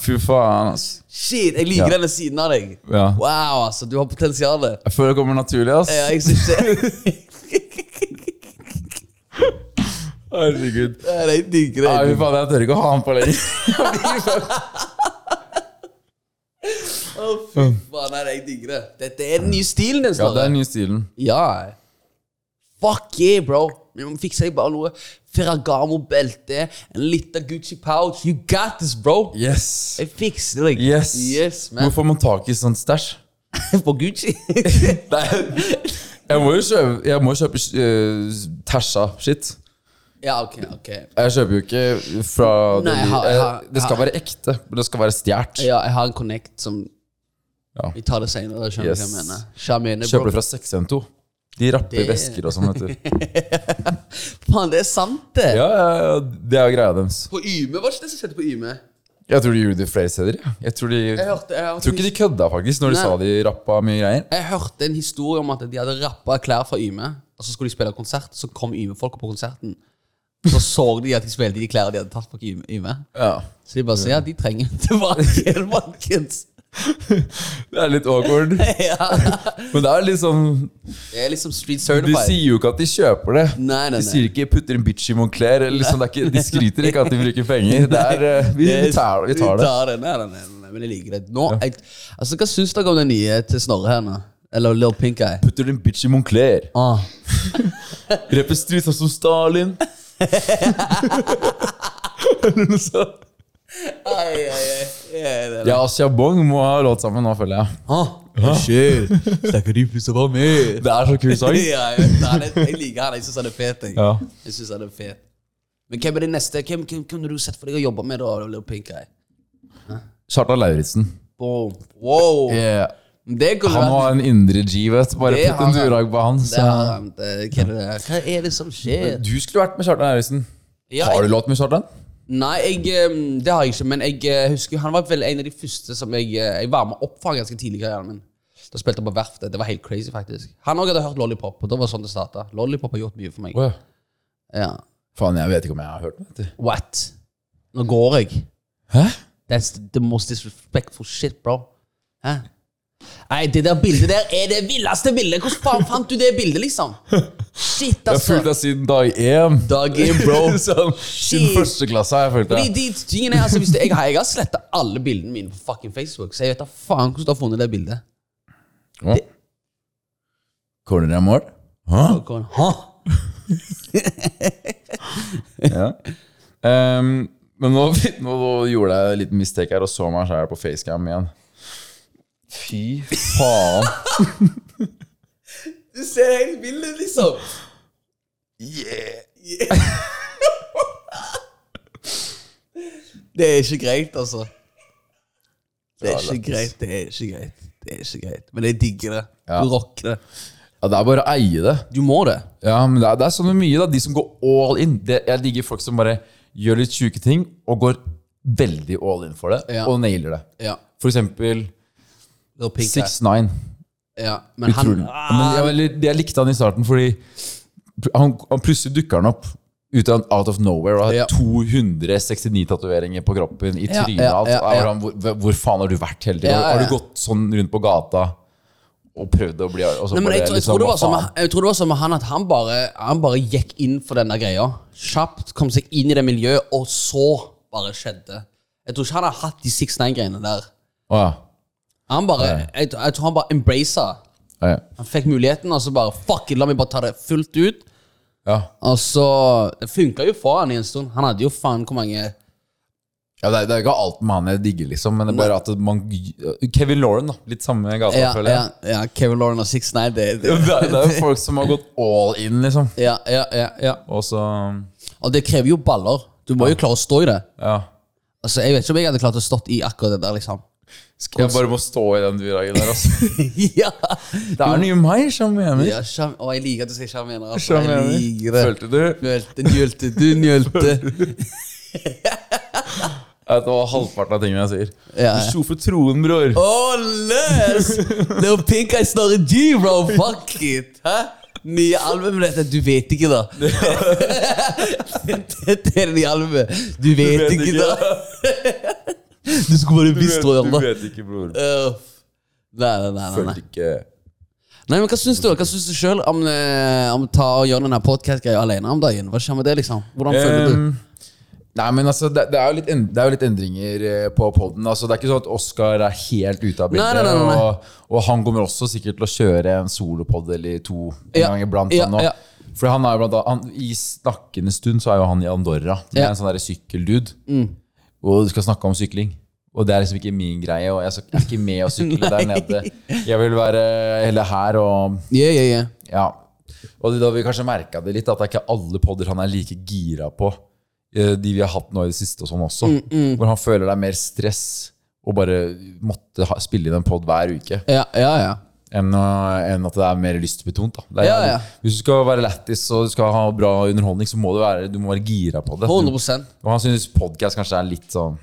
[SPEAKER 2] Fy faen, ass.
[SPEAKER 1] Shit, jeg liker
[SPEAKER 2] Ja.
[SPEAKER 1] denne siden av deg.
[SPEAKER 2] Ja.
[SPEAKER 1] Wow, altså. Du har potensial.
[SPEAKER 2] Jeg føler det kommer naturlig, ass.
[SPEAKER 1] Ja, jeg synes det.
[SPEAKER 2] Herregud.
[SPEAKER 1] Ja, Jeg digger
[SPEAKER 2] Nei, fy
[SPEAKER 1] det.
[SPEAKER 2] faen, jeg tør ikke å ha han på lenger.
[SPEAKER 1] Å, fy faen, nei, jeg digger det. Dette er den nye stilen din,
[SPEAKER 2] Ja, det er
[SPEAKER 1] Snorre.
[SPEAKER 2] den nye stilen.
[SPEAKER 1] Ja. Fuck yeah, bro. Vi må fikse bare noe. Ferragamo-belte, en liten Gucci-pouch. You got this, bro.
[SPEAKER 2] Yes.
[SPEAKER 1] Jeg fikser deg.
[SPEAKER 2] Yes.
[SPEAKER 1] Yes, man.
[SPEAKER 2] Hvor får man tak i sånn stæsj?
[SPEAKER 1] På Gucci?
[SPEAKER 2] Jeg må jo kjøpe, jeg må kjøpe eh, tæsja shit.
[SPEAKER 1] ja, ok, ok.
[SPEAKER 2] Jeg kjøper jo ikke fra det,
[SPEAKER 1] Nei, jeg har- jeg har-
[SPEAKER 2] Det skal være ekte, men det skal være stjålet.
[SPEAKER 1] Ja, jeg har en connect som
[SPEAKER 2] Ja.
[SPEAKER 1] Vi tar det senere. Skjønner du hva jeg
[SPEAKER 2] Yes.
[SPEAKER 1] mener. Sjarmerende,
[SPEAKER 2] Kjøper
[SPEAKER 1] bro.
[SPEAKER 2] det fra 612. De rapper
[SPEAKER 1] Det-
[SPEAKER 2] vesker og sånn, vet du.
[SPEAKER 1] Faen, det er sant, det.
[SPEAKER 2] Ja, ja, ja, det er jo greia deres.
[SPEAKER 1] På Yme var det ikke det som skjedde på Yme.
[SPEAKER 2] Jeg tror de gjorde det flere steder. ja. Jeg tror, de,
[SPEAKER 1] Jeg hørte, jeg,
[SPEAKER 2] tror
[SPEAKER 1] hørte,
[SPEAKER 2] ikke de kødda, faktisk, når de
[SPEAKER 1] Nei.
[SPEAKER 2] sa de rappa mye greier.
[SPEAKER 1] jeg hørte en historie om at de hadde rappa klær fra Yme, og så skulle de spille konsert, så kom Yme-folka på konserten. Så så de at de spilte i de klærne de hadde tatt fra Yme- Yme.
[SPEAKER 2] Ja.
[SPEAKER 1] Så de bare sier ja, de trenger den tilbake igjen, folkens.
[SPEAKER 2] Det er litt awkward.
[SPEAKER 1] Ja.
[SPEAKER 2] Men det er litt sånn
[SPEAKER 1] Det er liksom street
[SPEAKER 2] De
[SPEAKER 1] certified.
[SPEAKER 2] sier jo ikke at de kjøper det.
[SPEAKER 1] Nei, nei,
[SPEAKER 2] De
[SPEAKER 1] nei.
[SPEAKER 2] sier ikke 'putter en bitch i Moncler'. Eller liksom, det er ikke, de skryter ikke at de bruker penger. Det er, eh, vi, vi, tar, vi tar det.
[SPEAKER 1] Nei, nei, nei, nei, nei, men jeg liker det. Nå, jeg, altså, Hva syns dere om den nye til Snorre her nå? Eller Lil Pink Eye?
[SPEAKER 2] Putter en bitch i Moncler.
[SPEAKER 1] Ah.
[SPEAKER 2] Rapper stritt sånn som Stalin. Eller noe sånt.
[SPEAKER 1] Ai, ai, ai. Ja, det er det.
[SPEAKER 2] Ja, Siabong må ha låt sammen nå, føler jeg.
[SPEAKER 1] Ah. Hva skjer? Snakker du plutselig om meg?
[SPEAKER 2] Det er så kul sang.
[SPEAKER 1] Ja, jeg, vet det. Han er- jeg liker han. Jeg syns han er fet. Jeg,
[SPEAKER 2] Ja.
[SPEAKER 1] jeg synes han er fet. Men hvem er det neste? Hvem, hvem kunne du sett for deg å jobbe med, da? Lil Pink Eye?
[SPEAKER 2] Kjartan Lauritzen.
[SPEAKER 1] Boom. Wow.
[SPEAKER 2] Yeah.
[SPEAKER 1] Det kunne
[SPEAKER 2] Han
[SPEAKER 1] vært
[SPEAKER 2] har en indre G, vet du. Bare
[SPEAKER 1] Det
[SPEAKER 2] putt
[SPEAKER 1] har
[SPEAKER 2] en
[SPEAKER 1] han.
[SPEAKER 2] durag på han.
[SPEAKER 1] det
[SPEAKER 2] Så.
[SPEAKER 1] har han. Det- Hva er det- hva er det som skjer?
[SPEAKER 2] Du skulle vært med Kjartan Lauritzen.
[SPEAKER 1] Ja,
[SPEAKER 2] Har du låt med Kjartan?
[SPEAKER 1] Nei, jeg, ehm, det har jeg ikke. Men jeg eh, husker han var vel en av de første som jeg, eh, jeg var med opp for ganske tidlig i karrieren min. Da spilte jeg på Verftet. Det var helt crazy, faktisk. Han òg hadde hørt Lollipop, og da var det sånn det starta. Lollipop har gjort mye for meg.
[SPEAKER 2] Wow.
[SPEAKER 1] Ja.
[SPEAKER 2] Faen, jeg vet ikke om jeg har hørt den. vet du.
[SPEAKER 1] What? Nå går jeg.
[SPEAKER 2] Hæ?
[SPEAKER 1] That's the most disrespectful shit, bro. Hæ? Nei, det der bildet der er det villeste bildet! Hvordan faen fant du det bildet, liksom? Shit,
[SPEAKER 2] Jeg har
[SPEAKER 1] altså.
[SPEAKER 2] fulgt deg siden dag én.
[SPEAKER 1] Dag én, bro.
[SPEAKER 2] sånn, siden
[SPEAKER 1] Shit.
[SPEAKER 2] første klasse har jeg fulgt
[SPEAKER 1] Fordi
[SPEAKER 2] deg.
[SPEAKER 1] de tingene er, altså, hvis det, jeg, har- jeg har sletta alle bildene mine på fucking Facebook, så jeg vet da faen hvordan du har funnet det bildet.
[SPEAKER 2] Hva? Corner er mål? Hæ?
[SPEAKER 1] Og går, Hå?
[SPEAKER 2] Ja. Ehm, men nå, nå gjorde jeg en liten mistake her og så meg sjæl på facecam igjen. Fy faen.
[SPEAKER 1] Du ser hele bildet, liksom.
[SPEAKER 2] Yeah.
[SPEAKER 1] Det er ikke greit, altså. Det er
[SPEAKER 2] Ja,
[SPEAKER 1] ikke greit, det er ikke greit. Det er ikke greit. Men jeg digger det.
[SPEAKER 2] Ja.
[SPEAKER 1] Du rocker det.
[SPEAKER 2] Ja, det er bare å eie det.
[SPEAKER 1] Du må det.
[SPEAKER 2] Ja, men det er, det er sånn mye, da. De som går all in. Det, jeg digger folk som bare gjør litt sjuke ting og går veldig all in for det,
[SPEAKER 1] Ja.
[SPEAKER 2] og nailer det.
[SPEAKER 1] Ja.
[SPEAKER 2] For eksempel
[SPEAKER 1] Little Pink Eye.
[SPEAKER 2] 6ix9ine.
[SPEAKER 1] Ja. Men han
[SPEAKER 2] Utrolig. Men jeg, eller, jeg likte han i starten fordi han, han plutselig dukker han opp ut av, out of nowhere og har
[SPEAKER 1] Ja.
[SPEAKER 2] 269 tatoveringer på kroppen i
[SPEAKER 1] Ja,
[SPEAKER 2] trynet.
[SPEAKER 1] ja,
[SPEAKER 2] alt.
[SPEAKER 1] ja,
[SPEAKER 2] Og jeg
[SPEAKER 1] ja.
[SPEAKER 2] var sånn, hvor, hvor faen har du vært hele tiden?
[SPEAKER 1] Ja, ja,
[SPEAKER 2] Har
[SPEAKER 1] ja.
[SPEAKER 2] du gått sånn rundt på gata og prøvd å bli og så
[SPEAKER 1] Nei, men
[SPEAKER 2] bare
[SPEAKER 1] jeg, tror- jeg,
[SPEAKER 2] liksom,
[SPEAKER 1] tror det var
[SPEAKER 2] hva
[SPEAKER 1] som,
[SPEAKER 2] faen?
[SPEAKER 1] jeg tror det var som med han at han bare, han bare gikk inn for denne greia. Kjapt kom seg inn i det miljøet, og så bare skjedde. Jeg tror ikke han har hatt de 6-9-greiene der.
[SPEAKER 2] Å, ja.
[SPEAKER 1] Han bare, jeg, tror- jeg tror han bare embracet.
[SPEAKER 2] Ja, ja.
[SPEAKER 1] Han fikk muligheten, og så bare fuck it, la meg bare ta det fullt ut.
[SPEAKER 2] Ja.
[SPEAKER 1] Og så Det funka jo for han i en stund. Han hadde jo faen hvor mange
[SPEAKER 2] Ja, det, er, det er ikke alt med han jeg digger, liksom, men det er bare at man Kevin Lauren, da. Litt samme gata,
[SPEAKER 1] Ja,
[SPEAKER 2] føler
[SPEAKER 1] ja,
[SPEAKER 2] jeg.
[SPEAKER 1] ja Kevin Lauren og 6-9, det,
[SPEAKER 2] Det,
[SPEAKER 1] det
[SPEAKER 2] er- det er jo folk som har gått all in, liksom.
[SPEAKER 1] ja, ja, ja, ja.
[SPEAKER 2] Og så
[SPEAKER 1] Og det krever jo baller. Du må jo klare å stå i det.
[SPEAKER 2] Ja.
[SPEAKER 1] Altså, Jeg vet ikke om jeg hadde klart å stått i akkurat det der, liksom.
[SPEAKER 2] Jeg bare må stå i den duragen der, altså.
[SPEAKER 1] ja.
[SPEAKER 2] Det er nye meg som mener.
[SPEAKER 1] ja sjarm- Å, jeg liker at du sier sjarmerer. Altså.
[SPEAKER 2] Sjarmerer.
[SPEAKER 1] Jeg liker det.
[SPEAKER 2] Følte du?
[SPEAKER 1] Nølte, nølte, du nølte.
[SPEAKER 2] At det var halvparten av tingene jeg sier.
[SPEAKER 1] Ja.
[SPEAKER 2] Du slo for troen, bror.
[SPEAKER 1] Oh, les! Little Pink Eye Snarre G, bro. Fuck it. Hæ? Nye albumet dette. Du vet ikke, da. dette er det nye albumet. Du vet,
[SPEAKER 2] vet
[SPEAKER 1] ikke,
[SPEAKER 2] ikke.
[SPEAKER 1] da. du skulle bare
[SPEAKER 2] Du vet,
[SPEAKER 1] visst, tror jeg.
[SPEAKER 2] du
[SPEAKER 1] da.
[SPEAKER 2] vet ikke, bror.
[SPEAKER 1] Øh. Nei, nei, nei. nei, nei.
[SPEAKER 2] Følte ikke
[SPEAKER 1] nei men hva syns du Hva syns du sjøl om, eh, om å ta og gjøre denne podkast-greia alene om dagen? Hva skjer med det, liksom? Hvordan føler du?
[SPEAKER 2] Ehm, Nei, men altså, det, det, er jo litt end, det er jo litt endringer eh, på poden. Altså, det er ikke sånn at Oskar er helt ute av bildet.
[SPEAKER 1] Nei, nei, nei, nei, nei.
[SPEAKER 2] Og, og han kommer også sikkert til å kjøre en solopod eller to en
[SPEAKER 1] Ja,
[SPEAKER 2] gang iblant.
[SPEAKER 1] ja,
[SPEAKER 2] han, nå.
[SPEAKER 1] ja.
[SPEAKER 2] For han er jo blant annet, han, I snakkende stund så er jo han i Andorra. Det er
[SPEAKER 1] Ja. Mm.
[SPEAKER 2] En sånn derre sykkeldude. Og du skal snakke om sykling. Og det er liksom ikke min greie. Og jeg er ikke med å sykle der nede. Jeg vil være heller her og
[SPEAKER 1] Ja, ja, ja.
[SPEAKER 2] ja. Og da har vi kanskje merka det litt, at det er ikke alle podder han er like gira på. eh, De vi har hatt nå i det siste og sånn også. Hvor han føler det er mer stress å bare måtte ha, spille inn en pod hver uke.
[SPEAKER 1] Ja, ja, ja.
[SPEAKER 2] Enn, å- enn at det er mer lystbetont. Da. Det er,
[SPEAKER 1] Ja, ja.
[SPEAKER 2] Hvis du skal være lættis og du skal ha bra underholdning, så må du, være, du må være gira på det.
[SPEAKER 1] 100
[SPEAKER 2] Og han syns podkast kanskje er litt sånn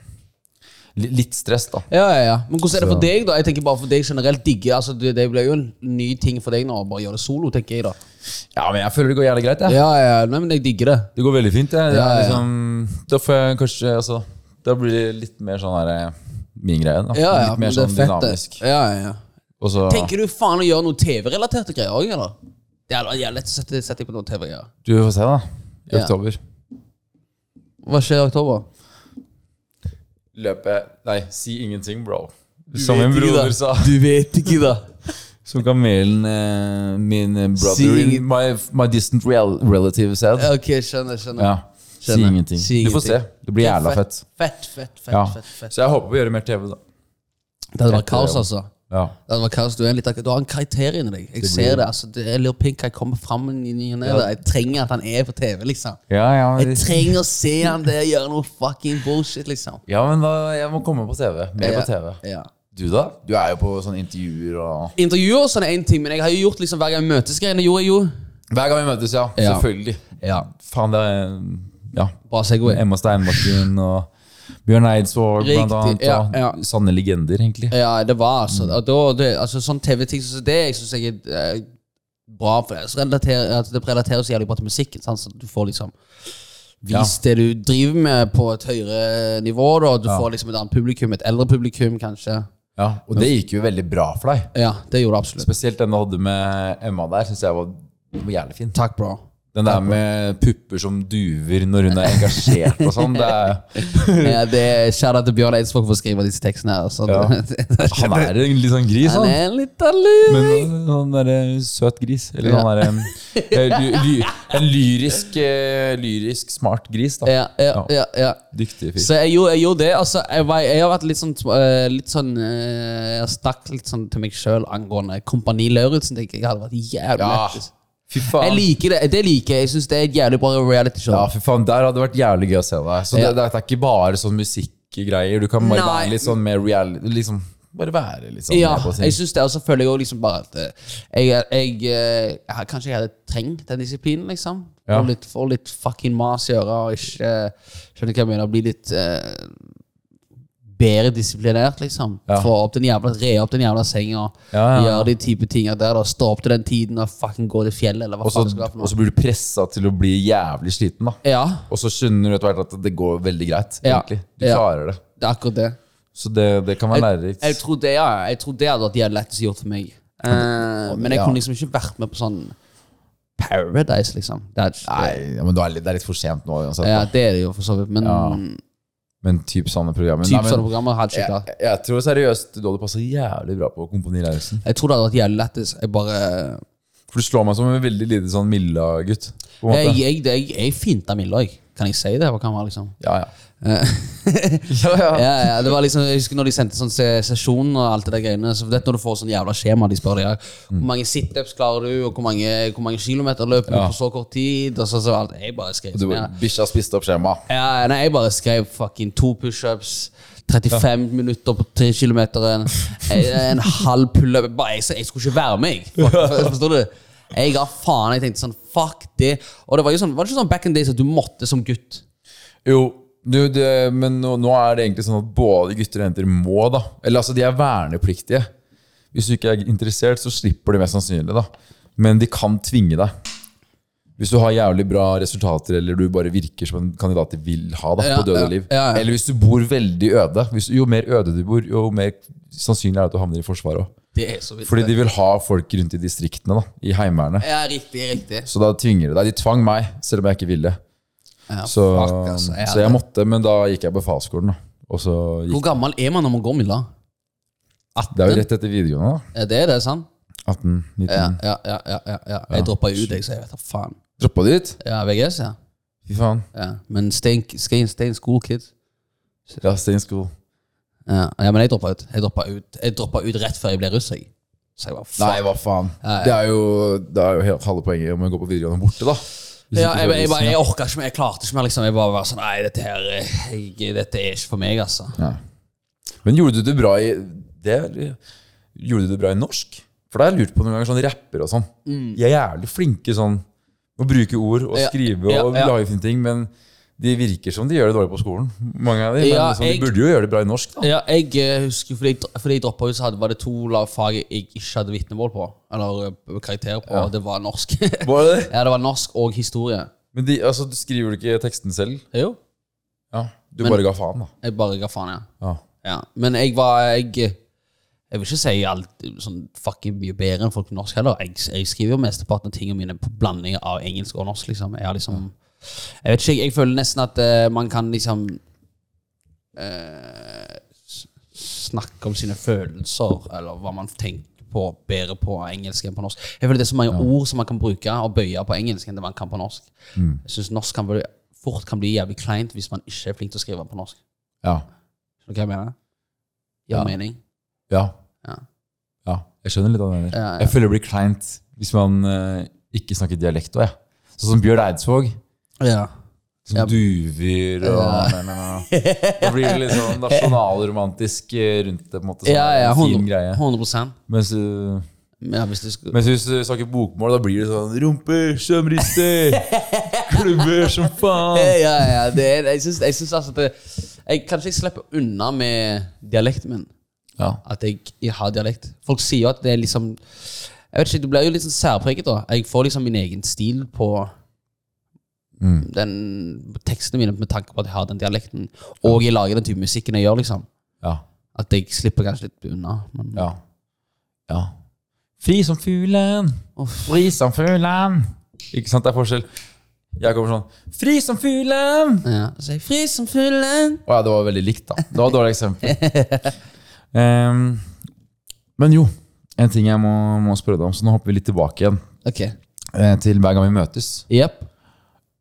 [SPEAKER 2] li- Litt stress, da.
[SPEAKER 1] Ja, ja, ja. Men hvordan er det for
[SPEAKER 2] Så-
[SPEAKER 1] deg, da? Jeg tenker bare for deg generelt digge. Altså, det, det blir jo en ny ting for deg nå å bare gjøre det solo, tenker jeg, da.
[SPEAKER 2] Ja, men jeg føler det går jævlig greit. Jeg.
[SPEAKER 1] Ja, ja, nei, men jeg digger det.
[SPEAKER 2] Det går veldig fint. Jeg. Det
[SPEAKER 1] Ja,
[SPEAKER 2] er
[SPEAKER 1] ja.
[SPEAKER 2] liksom, da får jeg kanskje altså, Da blir det litt mer sånn her eh, min greie. Da.
[SPEAKER 1] Ja, ja,
[SPEAKER 2] litt
[SPEAKER 1] men
[SPEAKER 2] mer
[SPEAKER 1] det
[SPEAKER 2] sånn
[SPEAKER 1] er fett,
[SPEAKER 2] dynamisk.
[SPEAKER 1] det. Ja, ja, ja.
[SPEAKER 2] Og så,
[SPEAKER 1] Tenker du faen å gjøre noen TV-relaterte greier òg, eller? Det er jævlig lett å sette, sette på noen TV-greier.
[SPEAKER 2] du får se, da. I
[SPEAKER 1] Ja.
[SPEAKER 2] oktober.
[SPEAKER 1] Hva skjer i oktober?
[SPEAKER 2] Løpe Nei, si ingenting, bro.
[SPEAKER 1] Du
[SPEAKER 2] Som min
[SPEAKER 1] vet ikke, da.
[SPEAKER 2] broder sa.
[SPEAKER 1] Du vet ikke, da.
[SPEAKER 2] Som kamelen eh, min eh, brother
[SPEAKER 1] Si ingen-
[SPEAKER 2] in my, my distant real, relative said.
[SPEAKER 1] Ok, skjønner, skjønner.
[SPEAKER 2] Ja. Si
[SPEAKER 1] Skjønner.
[SPEAKER 2] ingenting.
[SPEAKER 1] Si
[SPEAKER 2] Du får se.
[SPEAKER 1] ingenting.
[SPEAKER 2] Det blir jævla fett.
[SPEAKER 1] Fett, fett, fett.
[SPEAKER 2] Ja.
[SPEAKER 1] fett, fett.
[SPEAKER 2] Så jeg håper vi gjør mer TV, da.
[SPEAKER 1] Det hadde vært kaos,
[SPEAKER 2] Etter-
[SPEAKER 1] altså.
[SPEAKER 2] Ja.
[SPEAKER 1] Det hadde vært kaos. Du, er en litt, ak- du har en karakter inni deg. Jeg ser det. altså. Det- Jeg lurer på hva jeg kommer fram i ny og ne. da. Jeg trenger at han er på TV, liksom.
[SPEAKER 2] Ja, ja,
[SPEAKER 1] Jeg trenger å se han der gjøre noe fucking bullshit, liksom.
[SPEAKER 2] ja, men da, jeg må komme på TV. Mer på TV.
[SPEAKER 1] Ja.
[SPEAKER 2] Du, da? Du er jo på sånne intervjuer og
[SPEAKER 1] Intervjuer og sånn er én ting, men jeg har jo gjort liksom hver gang vi møtes greiene. Gjorde jeg jo.
[SPEAKER 2] Hver gang vi møtes, ja.
[SPEAKER 1] Ja.
[SPEAKER 2] Selvfølgelig.
[SPEAKER 1] Ja. Mm.
[SPEAKER 2] Faen, det er Ja.
[SPEAKER 1] Bra segway.
[SPEAKER 2] Emma Steinbakken og Bjørn Eidsvåg, blant
[SPEAKER 1] Riktig,
[SPEAKER 2] annet.
[SPEAKER 1] ja,
[SPEAKER 2] og
[SPEAKER 1] ja.
[SPEAKER 2] Sanne legender, egentlig.
[SPEAKER 1] Ja, det var altså og da, det, altså Sånn TV-ting som det jeg synes jeg er eh, bra for det. Så relaterer, at det relaterer så jævlig bra til musikken. Sant? Så du får liksom vist det du driver med, på et høyere nivå. Da. Du får liksom et annet publikum, et eldre publikum, kanskje.
[SPEAKER 2] Ja, og det gikk jo veldig bra for deg.
[SPEAKER 1] Ja, det gjorde det absolutt.
[SPEAKER 2] Spesielt den du hadde med Emma der, syns jeg var, den var jævlig fin.
[SPEAKER 1] Takk, bro.
[SPEAKER 2] Den der med pupper som duver når hun er engasjert og sånn. det er-
[SPEAKER 1] Ja, det er Kjære til Bjørn Eidsvåg for å skrive disse tekstene her. Så
[SPEAKER 2] Ja.
[SPEAKER 1] det,
[SPEAKER 2] Han er en litt sånn gris,
[SPEAKER 1] han
[SPEAKER 2] han.
[SPEAKER 1] er litt av luring.
[SPEAKER 2] Men han er en eh, søt gris. Eller
[SPEAKER 1] Ja.
[SPEAKER 2] han er en, eh, ly, ly, en lyrisk, eh, lyrisk smart gris, da.
[SPEAKER 1] Ja, ja, ja, ja.
[SPEAKER 2] Dyktig fyr.
[SPEAKER 1] Så jeg gjorde, jeg gjorde det. Altså, jeg, var, jeg har vært litt sånn, eh, litt sånn eh, Jeg har snakket litt sånn til meg sjøl angående Kompani Lauritzen. tenker Jeg Jeg hadde vært jævlig
[SPEAKER 2] Ja,
[SPEAKER 1] lættis.
[SPEAKER 2] fy
[SPEAKER 1] Jeg
[SPEAKER 2] faen.
[SPEAKER 1] liker det. Det liker jeg. Jeg syns det er et jævlig bra reality-show.
[SPEAKER 2] Ja, fy faen, Der hadde det vært jævlig gøy å se deg. Så
[SPEAKER 1] Ja.
[SPEAKER 2] det, det er ikke bare sånn musikkgreier. Du kan bare
[SPEAKER 1] Nei.
[SPEAKER 2] være litt sånn mer reality liksom, Bare være litt sånn
[SPEAKER 1] Ja,
[SPEAKER 2] med på ting.
[SPEAKER 1] jeg synes det, og så føler jeg jo liksom bare at eh, jeg, jeg, eh, jeg Kanskje jeg hadde trengt den disiplinen, liksom.
[SPEAKER 2] Ja.
[SPEAKER 1] Og litt, få litt fucking mas i øret og ikke eh, Skjønner du hva jeg mener? Bli litt eh, bedre disiplinert, liksom.
[SPEAKER 2] Ja.
[SPEAKER 1] Få opp den jævla, Re opp den jævla senga,
[SPEAKER 2] Ja, ja, ja.
[SPEAKER 1] gjøre de type tinga der, da. stå opp til den tiden og fucking gå til fjellet, eller hva
[SPEAKER 2] Og så-
[SPEAKER 1] faen det skal være
[SPEAKER 2] og
[SPEAKER 1] for noe.
[SPEAKER 2] så blir du pressa til å bli jævlig sliten, da.
[SPEAKER 1] Ja,
[SPEAKER 2] Og så skjønner du etter hvert at det går veldig greit.
[SPEAKER 1] Ja.
[SPEAKER 2] egentlig. Du
[SPEAKER 1] Ja.
[SPEAKER 2] klarer det.
[SPEAKER 1] det er akkurat det.
[SPEAKER 2] Så det, det kan være
[SPEAKER 1] Jeg
[SPEAKER 2] lærerikt.
[SPEAKER 1] tror det, ja, jeg tror det hadde vært jævlig lettest gjort for meg. Eh, men jeg
[SPEAKER 2] Ja.
[SPEAKER 1] kunne liksom ikke vært med på sånn Paradise, liksom. Det er,
[SPEAKER 2] Nei, ja, men da er litt, det er litt for sent nå uansett.
[SPEAKER 1] Ja,
[SPEAKER 2] da.
[SPEAKER 1] det er det jo for så vidt, men
[SPEAKER 2] Ja. Men typ sånne programmer.
[SPEAKER 1] typ
[SPEAKER 2] Nei, men,
[SPEAKER 1] sånne programmer hadde ikke klart.
[SPEAKER 2] jeg, jeg tror seriøst du hadde passa jævlig bra på Kompani Lauritzen.
[SPEAKER 1] Jeg tror det hadde vært jævlig lettest. Jeg bare
[SPEAKER 2] For du slår meg som en veldig lite sånn Milla-gutt. på en
[SPEAKER 1] Jeg,
[SPEAKER 2] måte.
[SPEAKER 1] jeg, jeg, jeg finta Milla, jeg. Kan jeg si det på kamera, liksom?
[SPEAKER 2] Ja, ja.
[SPEAKER 1] Eh,
[SPEAKER 2] ja, ja.
[SPEAKER 1] ja, ja, det var liksom, Jeg husker når de sendte sånn se- sesjon og alt det der greiene. Så du vet når du får sånn jævla skjema, de spør deg ja,
[SPEAKER 2] Mm.
[SPEAKER 1] hvor mange situps klarer du, og hvor mange, hvor mange kilometer løper
[SPEAKER 2] Ja.
[SPEAKER 1] du på så kort tid, og så, så alt. Jeg bare skrev
[SPEAKER 2] Du,
[SPEAKER 1] sånn, ja.
[SPEAKER 2] bikkja spiste opp skjemaet.
[SPEAKER 1] Ja, nei, jeg bare skrev fucking to pushups. 35 minutter på 3 km. En, en halv pullup. Bare Jeg, jeg skulle ikke være med, jeg. For- Forstår du? Jeg ga faen. Jeg tenkte sånn, fuck det. Og det var jo sånn, var det ikke sånn back in days at du måtte som gutt?
[SPEAKER 2] Jo, Du, det, men nå, nå er det egentlig sånn at både gutter og jenter må, da. Eller altså, de er vernepliktige. Hvis du ikke er interessert, så slipper du mest sannsynlig, da. Men de kan tvinge deg. Hvis du har jævlig bra resultater, eller du bare virker som en kandidat de vil ha da,
[SPEAKER 1] Ja,
[SPEAKER 2] på døde
[SPEAKER 1] ja,
[SPEAKER 2] liv.
[SPEAKER 1] ja, ja.
[SPEAKER 2] Eller hvis du bor veldig øde. Hvis, jo mer øde du bor, jo mer sannsynlig er det at du havner i Forsvaret òg.
[SPEAKER 1] Det er så vidt.
[SPEAKER 2] Fordi de vil ha folk rundt i distriktene, da. I Heimevernet.
[SPEAKER 1] Ja, riktig, riktig.
[SPEAKER 2] Så da tvinger de deg. De tvang meg, selv om jeg ikke ville.
[SPEAKER 1] Ja,
[SPEAKER 2] Så,
[SPEAKER 1] fuck, altså, jeg
[SPEAKER 2] så jeg
[SPEAKER 1] hadde-
[SPEAKER 2] måtte, men da gikk jeg befalsskolen, da. Og så
[SPEAKER 1] Hvor
[SPEAKER 2] gikk
[SPEAKER 1] gammel er man når man går midla?
[SPEAKER 2] Det Mm. er jo rett etter videregående,
[SPEAKER 1] Er det det, sant?
[SPEAKER 2] da. 18-19.
[SPEAKER 1] Ja, ja, ja, ja, ja, ja. Jeg droppa jo ut, jeg, så jeg vet da faen.
[SPEAKER 2] Droppa du ut?
[SPEAKER 1] Ja, VGS, ja.
[SPEAKER 2] Fy faen.
[SPEAKER 1] ja. Men stay in, stay, in, stay in school, kids.
[SPEAKER 2] Ja, stay in school.
[SPEAKER 1] Ja, ja men jeg droppa ut. Jeg droppa ut. Jeg droppa ut rett før jeg ble russ, jeg. Så jeg var faen.
[SPEAKER 2] Nei, hva faen. Det er jo, det er jo helt halve poenget om å gå på videregående borte, da. Hvis
[SPEAKER 1] Ja, jeg,
[SPEAKER 2] ikke så er
[SPEAKER 1] jeg,
[SPEAKER 2] det
[SPEAKER 1] jeg, bare-
[SPEAKER 2] liksom-
[SPEAKER 1] jeg orka ikke mer. Jeg klarte ikke mer. liksom Jeg bare var sånn Nei, dette her eh, jeg, Dette er ikke for meg, altså.
[SPEAKER 2] Men gjorde du det bra i det, er veldig- Gjorde du det bra i norsk? For det har jeg lurt på noen ganger, sånn rapper og sånn. De er jævlig flinke sånn å bruke ord og
[SPEAKER 1] Mm. Ja,
[SPEAKER 2] skrive
[SPEAKER 1] ja,
[SPEAKER 2] og
[SPEAKER 1] ja.
[SPEAKER 2] lage fine ting, men de virker som de gjør det dårlig på skolen. Mange av de, men
[SPEAKER 1] Ja,
[SPEAKER 2] liksom,
[SPEAKER 1] jeg-
[SPEAKER 2] de burde jo gjøre det bra i norsk, da.
[SPEAKER 1] Ja, jeg eh, husker Fordi jeg, fordi jeg droppa ut, så hadde, var det to la- fag jeg ikke hadde vitnemål på. Eller eh, karakter på. Det var norsk.
[SPEAKER 2] Var det det?
[SPEAKER 1] ja, det var norsk og historie.
[SPEAKER 2] Men de, altså, du skriver du ikke teksten selv?
[SPEAKER 1] Jo.
[SPEAKER 2] Ja. Du bare ga faen, da.
[SPEAKER 1] Jeg bare ga faen, ja.
[SPEAKER 2] Ja.
[SPEAKER 1] ja. Men jeg var Jeg, jeg vil ikke si alt sånn fucking mye bedre enn folk på norsk heller. Jeg, jeg skriver jo mesteparten av tingene mine på blanding av engelsk og norsk, liksom. Jeg har liksom Jeg vet ikke, jeg, jeg føler nesten at eh, man kan liksom eh, s- Snakke om sine følelser, eller hva man tenker på, bedre på engelsk enn på norsk. Jeg føler Det er så mange ord som man kan bruke og bøye på engelsk enn det man kan på norsk. Jeg synes norsk kan bli, fort kan bli jævlig kleint hvis man ikke er flink til å skrive på norsk.
[SPEAKER 2] Ja.
[SPEAKER 1] Skjønner du hva jeg mener? Gir
[SPEAKER 2] Ja.
[SPEAKER 1] mening?
[SPEAKER 2] ja.
[SPEAKER 1] Ja.
[SPEAKER 2] Ja. Jeg skjønner litt av det. der.
[SPEAKER 1] Ja, ja.
[SPEAKER 2] Jeg føler det blir kleint hvis man eh, ikke snakker dialekt òg, jeg. Sånn som Bjørn Eidsvåg.
[SPEAKER 1] Ja.
[SPEAKER 2] Som
[SPEAKER 1] Ja.
[SPEAKER 2] duver og
[SPEAKER 1] Ja.
[SPEAKER 2] nei, nei, nei. Da blir det litt sånn nasjonalromantisk eh, rundt det, på en måte. Sånn,
[SPEAKER 1] Ja, ja,
[SPEAKER 2] en fin
[SPEAKER 1] 100,
[SPEAKER 2] greie.
[SPEAKER 1] 100%.
[SPEAKER 2] Mens, eh,
[SPEAKER 1] Ja, hvis det skulle
[SPEAKER 2] mens hvis du snakker bokmål, da blir det sånn rumper som rister, klubber som faen.
[SPEAKER 1] Ja, ja, det er, jeg syns, jeg syns altså at det, jeg, Kanskje jeg slipper unna med dialekten min.
[SPEAKER 2] Ja.
[SPEAKER 1] At jeg, jeg har dialekt. Folk sier jo at det er liksom Jeg vet ikke, Du blir jo litt sånn særpreget, da. Jeg får liksom min egen stil på
[SPEAKER 2] Mm.
[SPEAKER 1] den, tekstene mine med tanke på at jeg har den dialekten. Og jeg lager den type musikken jeg gjør, liksom.
[SPEAKER 2] ja.
[SPEAKER 1] At jeg slipper kanskje litt unna. Men,
[SPEAKER 2] Ja. ja. Fri som fuglen, fri som fuglen. Ikke sant, det er forskjell. Jeg kommer sånn Fri som fuglen!
[SPEAKER 1] ja. Så jeg er fri som fuglen.
[SPEAKER 2] Å ja, det var veldig likt, da. Det var et dårlig eksempel. Ehm, men jo, en ting jeg må, må spørre deg om, så nå hopper vi litt tilbake igjen.
[SPEAKER 1] Ok.
[SPEAKER 2] eh, Til hver gang vi møtes.
[SPEAKER 1] Jepp.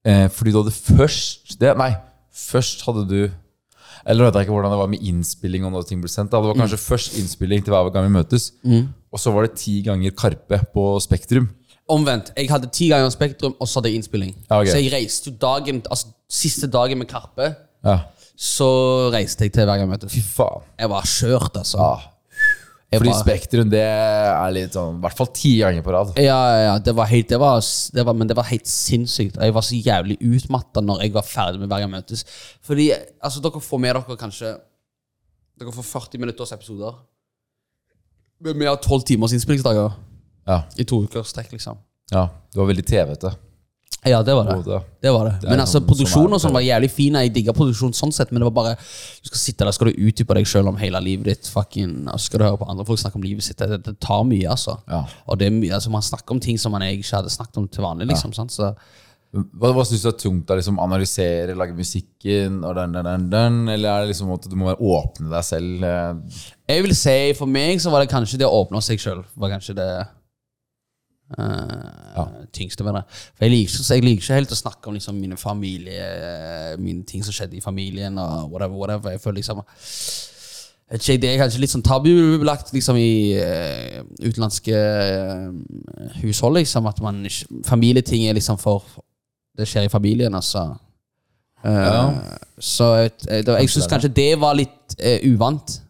[SPEAKER 2] Eh, fordi du hadde først det, Nei, først hadde du Eller vet jeg ikke hvordan det var med innspilling og når ting ble sendt. da. Det var kanskje først innspilling til hver gang vi møtes. Og så var det ti ganger Karpe på Spektrum.
[SPEAKER 1] Omvendt. Jeg hadde ti ganger Spektrum, og så hadde jeg innspilling.
[SPEAKER 2] Ja, ok.
[SPEAKER 1] Så jeg reiste jo dagen Altså siste dagen med Karpe,
[SPEAKER 2] Ja,
[SPEAKER 1] så reiste jeg til hver gang vi møtes.
[SPEAKER 2] fy faen.
[SPEAKER 1] Jeg var kjørt, altså. Jeg
[SPEAKER 2] Fordi
[SPEAKER 1] var-
[SPEAKER 2] Spektrum, det er litt sånn I hvert fall ti ganger på rad.
[SPEAKER 1] Ja, ja, ja. Det var helt, det var, det var, men det var helt sinnssykt. Og Jeg var så jævlig utmatta når jeg var ferdig med Hver gang vi møtes. Fordi altså, dere får med dere kanskje Dere får 40 minutters episoder. Men vi har 12 timers innspillingsdager
[SPEAKER 2] Ja,
[SPEAKER 1] i to uker strekk, liksom.
[SPEAKER 2] ja. Du var veldig TV-ete.
[SPEAKER 1] Ja, det var det.
[SPEAKER 2] Både.
[SPEAKER 1] Det var det.
[SPEAKER 2] er
[SPEAKER 1] Men altså,
[SPEAKER 2] sånn- sånn er
[SPEAKER 1] produksjonen
[SPEAKER 2] det.
[SPEAKER 1] og sånn var jævlig fin. Jeg digga produksjon sånn sett, men det var bare Du skal sitte der, skal du utdype deg sjøl om hele livet ditt. Fucking, og så skal du høre på andre folk snakke om livet sitt. Det, det tar mye, altså.
[SPEAKER 2] Ja.
[SPEAKER 1] Og det er mye, altså, man snakker om ting som man ikke hadde snakket om til vanlig, liksom. Sant? Så
[SPEAKER 2] Hva, hva syns du er tungt? Er det liksom analysere, lage musikken, og den, den, den, den, eller er det liksom at du må være åpne deg selv? eh?
[SPEAKER 1] jeg vil si, for meg så var det kanskje det å åpne seg sjøl var kanskje det eh, tyngste med det. For jeg liker, ikke- jeg liker ikke helt å snakke om liksom, mine familie Mine ting som skjedde i familien, og whatever, whatever. Jeg føler liksom Jeg vet ikke, Det er kanskje litt sånn tabubelagt liksom, i eh, utenlandske eh, hushold. Liksom, at man ikke, familieting er liksom for Det skjer i familien, altså. Eh,
[SPEAKER 2] Ja.
[SPEAKER 1] Så jeg, jeg, jeg syns kanskje det var litt eh, uvant.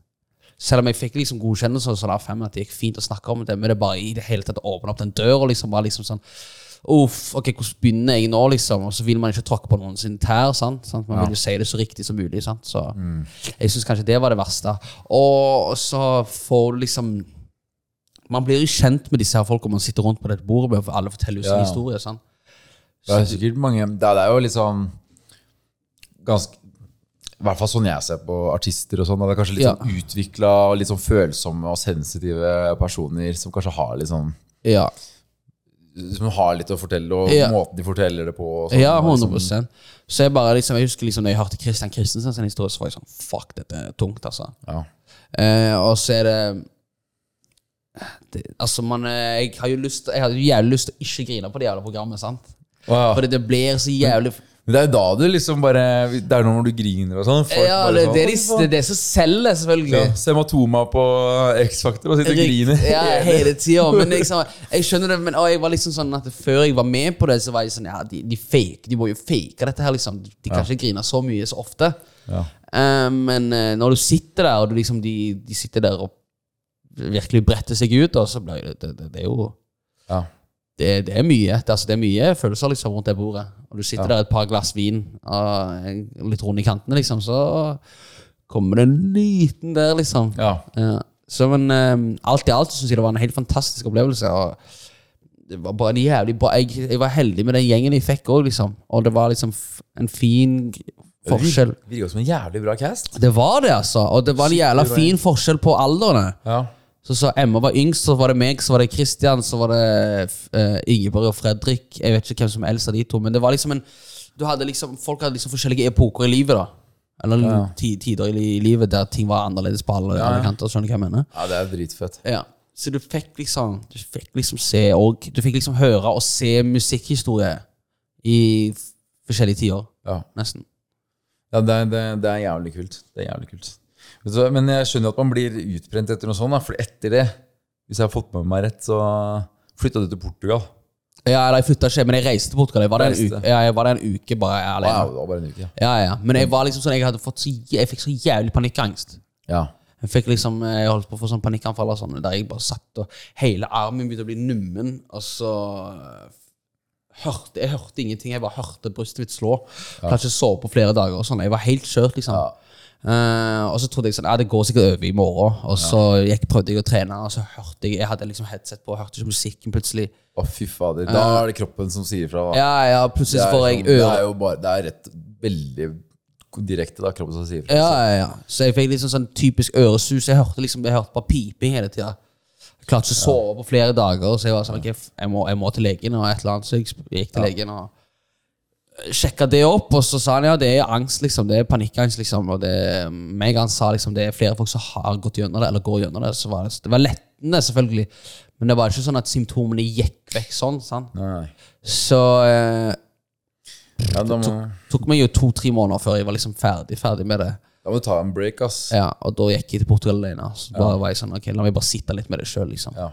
[SPEAKER 1] Selv om jeg fikk liksom godkjennelse, og sånn av fem, at det gikk fint å snakke om det, men det bare i det hele tatt åpne opp den døra liksom, var liksom sånn Uff, ok, hvordan begynner jeg nå, liksom? Og så vil man ikke tråkke på noen sin tær. sant? sant? Man vil jo si det så riktig som mulig. sant? Så jeg syns kanskje det var det verste. Og så får du liksom Man blir jo kjent med disse her folkene man sitter rundt på dette bordet med, for alle forteller jo sin
[SPEAKER 2] Ja.
[SPEAKER 1] historie. sant?
[SPEAKER 2] Det er sikkert mange Det er, det er jo litt sånn Ganske I hvert fall sånn jeg ser på artister og sånn. at Det er kanskje litt
[SPEAKER 1] Ja.
[SPEAKER 2] sånn utvikla og litt sånn følsomme og sensitive personer som kanskje har litt sånn
[SPEAKER 1] Ja.
[SPEAKER 2] Som har litt å fortelle, og
[SPEAKER 1] Ja.
[SPEAKER 2] måten de forteller det på. Og sånn,
[SPEAKER 1] Ja,
[SPEAKER 2] og liksom-
[SPEAKER 1] 100 Så jeg bare liksom, jeg husker liksom når jeg hørte Christian Christensen sin historie, så var jeg sånn Fuck, dette er tungt, altså.
[SPEAKER 2] Ja.
[SPEAKER 1] Eh, og så er det, det Altså, man eh, Jeg har jo lyst Jeg hadde jo jævlig lyst til å ikke grine på det jævla programmet, sant?
[SPEAKER 2] Wow.
[SPEAKER 1] Fordi det blir så jævlig
[SPEAKER 2] Men det er jo da du liksom bare Det er jo når du griner og sånn. folk
[SPEAKER 1] Ja,
[SPEAKER 2] bare
[SPEAKER 1] det,
[SPEAKER 2] sånn,
[SPEAKER 1] det, er de,
[SPEAKER 2] «Å,
[SPEAKER 1] det er det som selger, selvfølgelig.
[SPEAKER 2] Ja, Sematoma på X-Factor og sitter og
[SPEAKER 1] Rikt-
[SPEAKER 2] griner.
[SPEAKER 1] Ja, hele tida. Men liksom, jeg skjønner det, men og jeg var liksom sånn at før jeg var med på det, så var jeg sånn Ja, de, de fake, de må jo fake dette her, liksom. De kan ikke grine så mye så ofte.
[SPEAKER 2] Ja.
[SPEAKER 1] Eh, men eh, når du sitter der, og du liksom, de, de sitter der og virkelig bretter seg ut, og så blir det, det, det, det er jo
[SPEAKER 2] Ja.
[SPEAKER 1] det, det er mye det, altså, det er mye følelser liksom rundt det bordet. Og du sitter der et par glass vin og en- litt rund i kantene, liksom, så kommer det en liten der, liksom.
[SPEAKER 2] ja.
[SPEAKER 1] Ja. Så men eh, alt i alt syns jeg det var en helt fantastisk opplevelse. Og det var bare en jævlig bra jeg, jeg var heldig med den gjengen jeg fikk òg, liksom. Og det var liksom f en fin g- forskjell.
[SPEAKER 2] Det virker som en jævlig bra cast.
[SPEAKER 1] Det var det, altså. Og det var en jævla fin forskjell på aldrene.
[SPEAKER 2] Ja.
[SPEAKER 1] Så, så Emma var yngst, så var det meg, så var det Christian, så var det eh, Ingeborg og Fredrik. Jeg vet ikke hvem som er eldst av de to, men det var liksom en du hadde liksom, Folk hadde liksom forskjellige epoker i livet, da. Eller ti- tider i li- livet der ting var annerledes på alle, alle kanter. Skjønner du hva jeg mener?
[SPEAKER 2] ja, det er dritfett.
[SPEAKER 1] Ja. Så du fikk liksom Du fikk liksom se og Du fikk liksom høre og se musikkhistorie i f- forskjellige tider,
[SPEAKER 2] Ja.
[SPEAKER 1] nesten.
[SPEAKER 2] Ja, det er, det, det er jævlig kult. Det er jævlig kult. Vet du, hva, men jeg skjønner at man blir utbrent etter noe sånt. Da, for etter det, hvis jeg har fått med meg rett, så flytta du til Portugal.
[SPEAKER 1] Ja, eller jeg flytta ikke, men jeg reiste til Portugal. Jeg var der en
[SPEAKER 2] Reiste.
[SPEAKER 1] uke, ja, jeg var der en uke bare alene.
[SPEAKER 2] Wow, det var bare en uke.
[SPEAKER 1] Ja, ja. Men jeg var liksom sånn Jeg, hadde fått så, jæ- jeg fikk så jævlig panikkangst.
[SPEAKER 2] Ja.
[SPEAKER 1] Jeg fikk liksom Jeg holdt på å få sånn panikkanfall og sånn, der jeg bare satt og Hele armen begynte å bli nummen, og så eh, hørte, Jeg hørte ingenting. Jeg bare hørte brystet mitt slå. Klarte ikke å sove på flere dager. og sånn Jeg var helt kjørt, liksom. Eh, og så trodde jeg sånn Ja, det går sikkert over i morgen. Og så gikk, prøvde jeg å trene, og så hørte jeg Jeg hadde liksom headset på, hørte ikke musikken plutselig.
[SPEAKER 2] Å, fy fader. Da er det kroppen som sier fra. Da.
[SPEAKER 1] Ja, ja, plutselig så får jeg
[SPEAKER 2] det
[SPEAKER 1] øre
[SPEAKER 2] er jo bare Det er rett veldig direkte, da. Kroppen som sier fra.
[SPEAKER 1] Ja, ja, ja. Så jeg fikk liksom sånn typisk øresus. Jeg hørte liksom, jeg hørte bare piping hele tida. Jeg klarte ikke å sove på flere dager, så jeg var sånn, ok, f- jeg må, jeg må til legen. og et eller annet, Så jeg sp- gikk til legen og sjekka det opp, og så sa han ja, det er angst, liksom. Det er panikkangst, liksom. Og det, meg han sa liksom, det er flere folk som har gått gjennom det, eller går gjennom det. Så var det, det var lettende, selvfølgelig. Men det var ikke sånn at symptomene gikk vekk sånn. sant?
[SPEAKER 2] Nei.
[SPEAKER 1] Så eh,
[SPEAKER 2] Ja, da, må,
[SPEAKER 1] tok meg jo to-tre måneder før jeg var liksom ferdig, ferdig med det.
[SPEAKER 2] da må du ta en break, ass.
[SPEAKER 1] Ja, og da gikk jeg til Portugal alene. Så bare var jeg sånn, ok, la meg bare sitte litt med det sjøl, liksom.
[SPEAKER 2] Ja.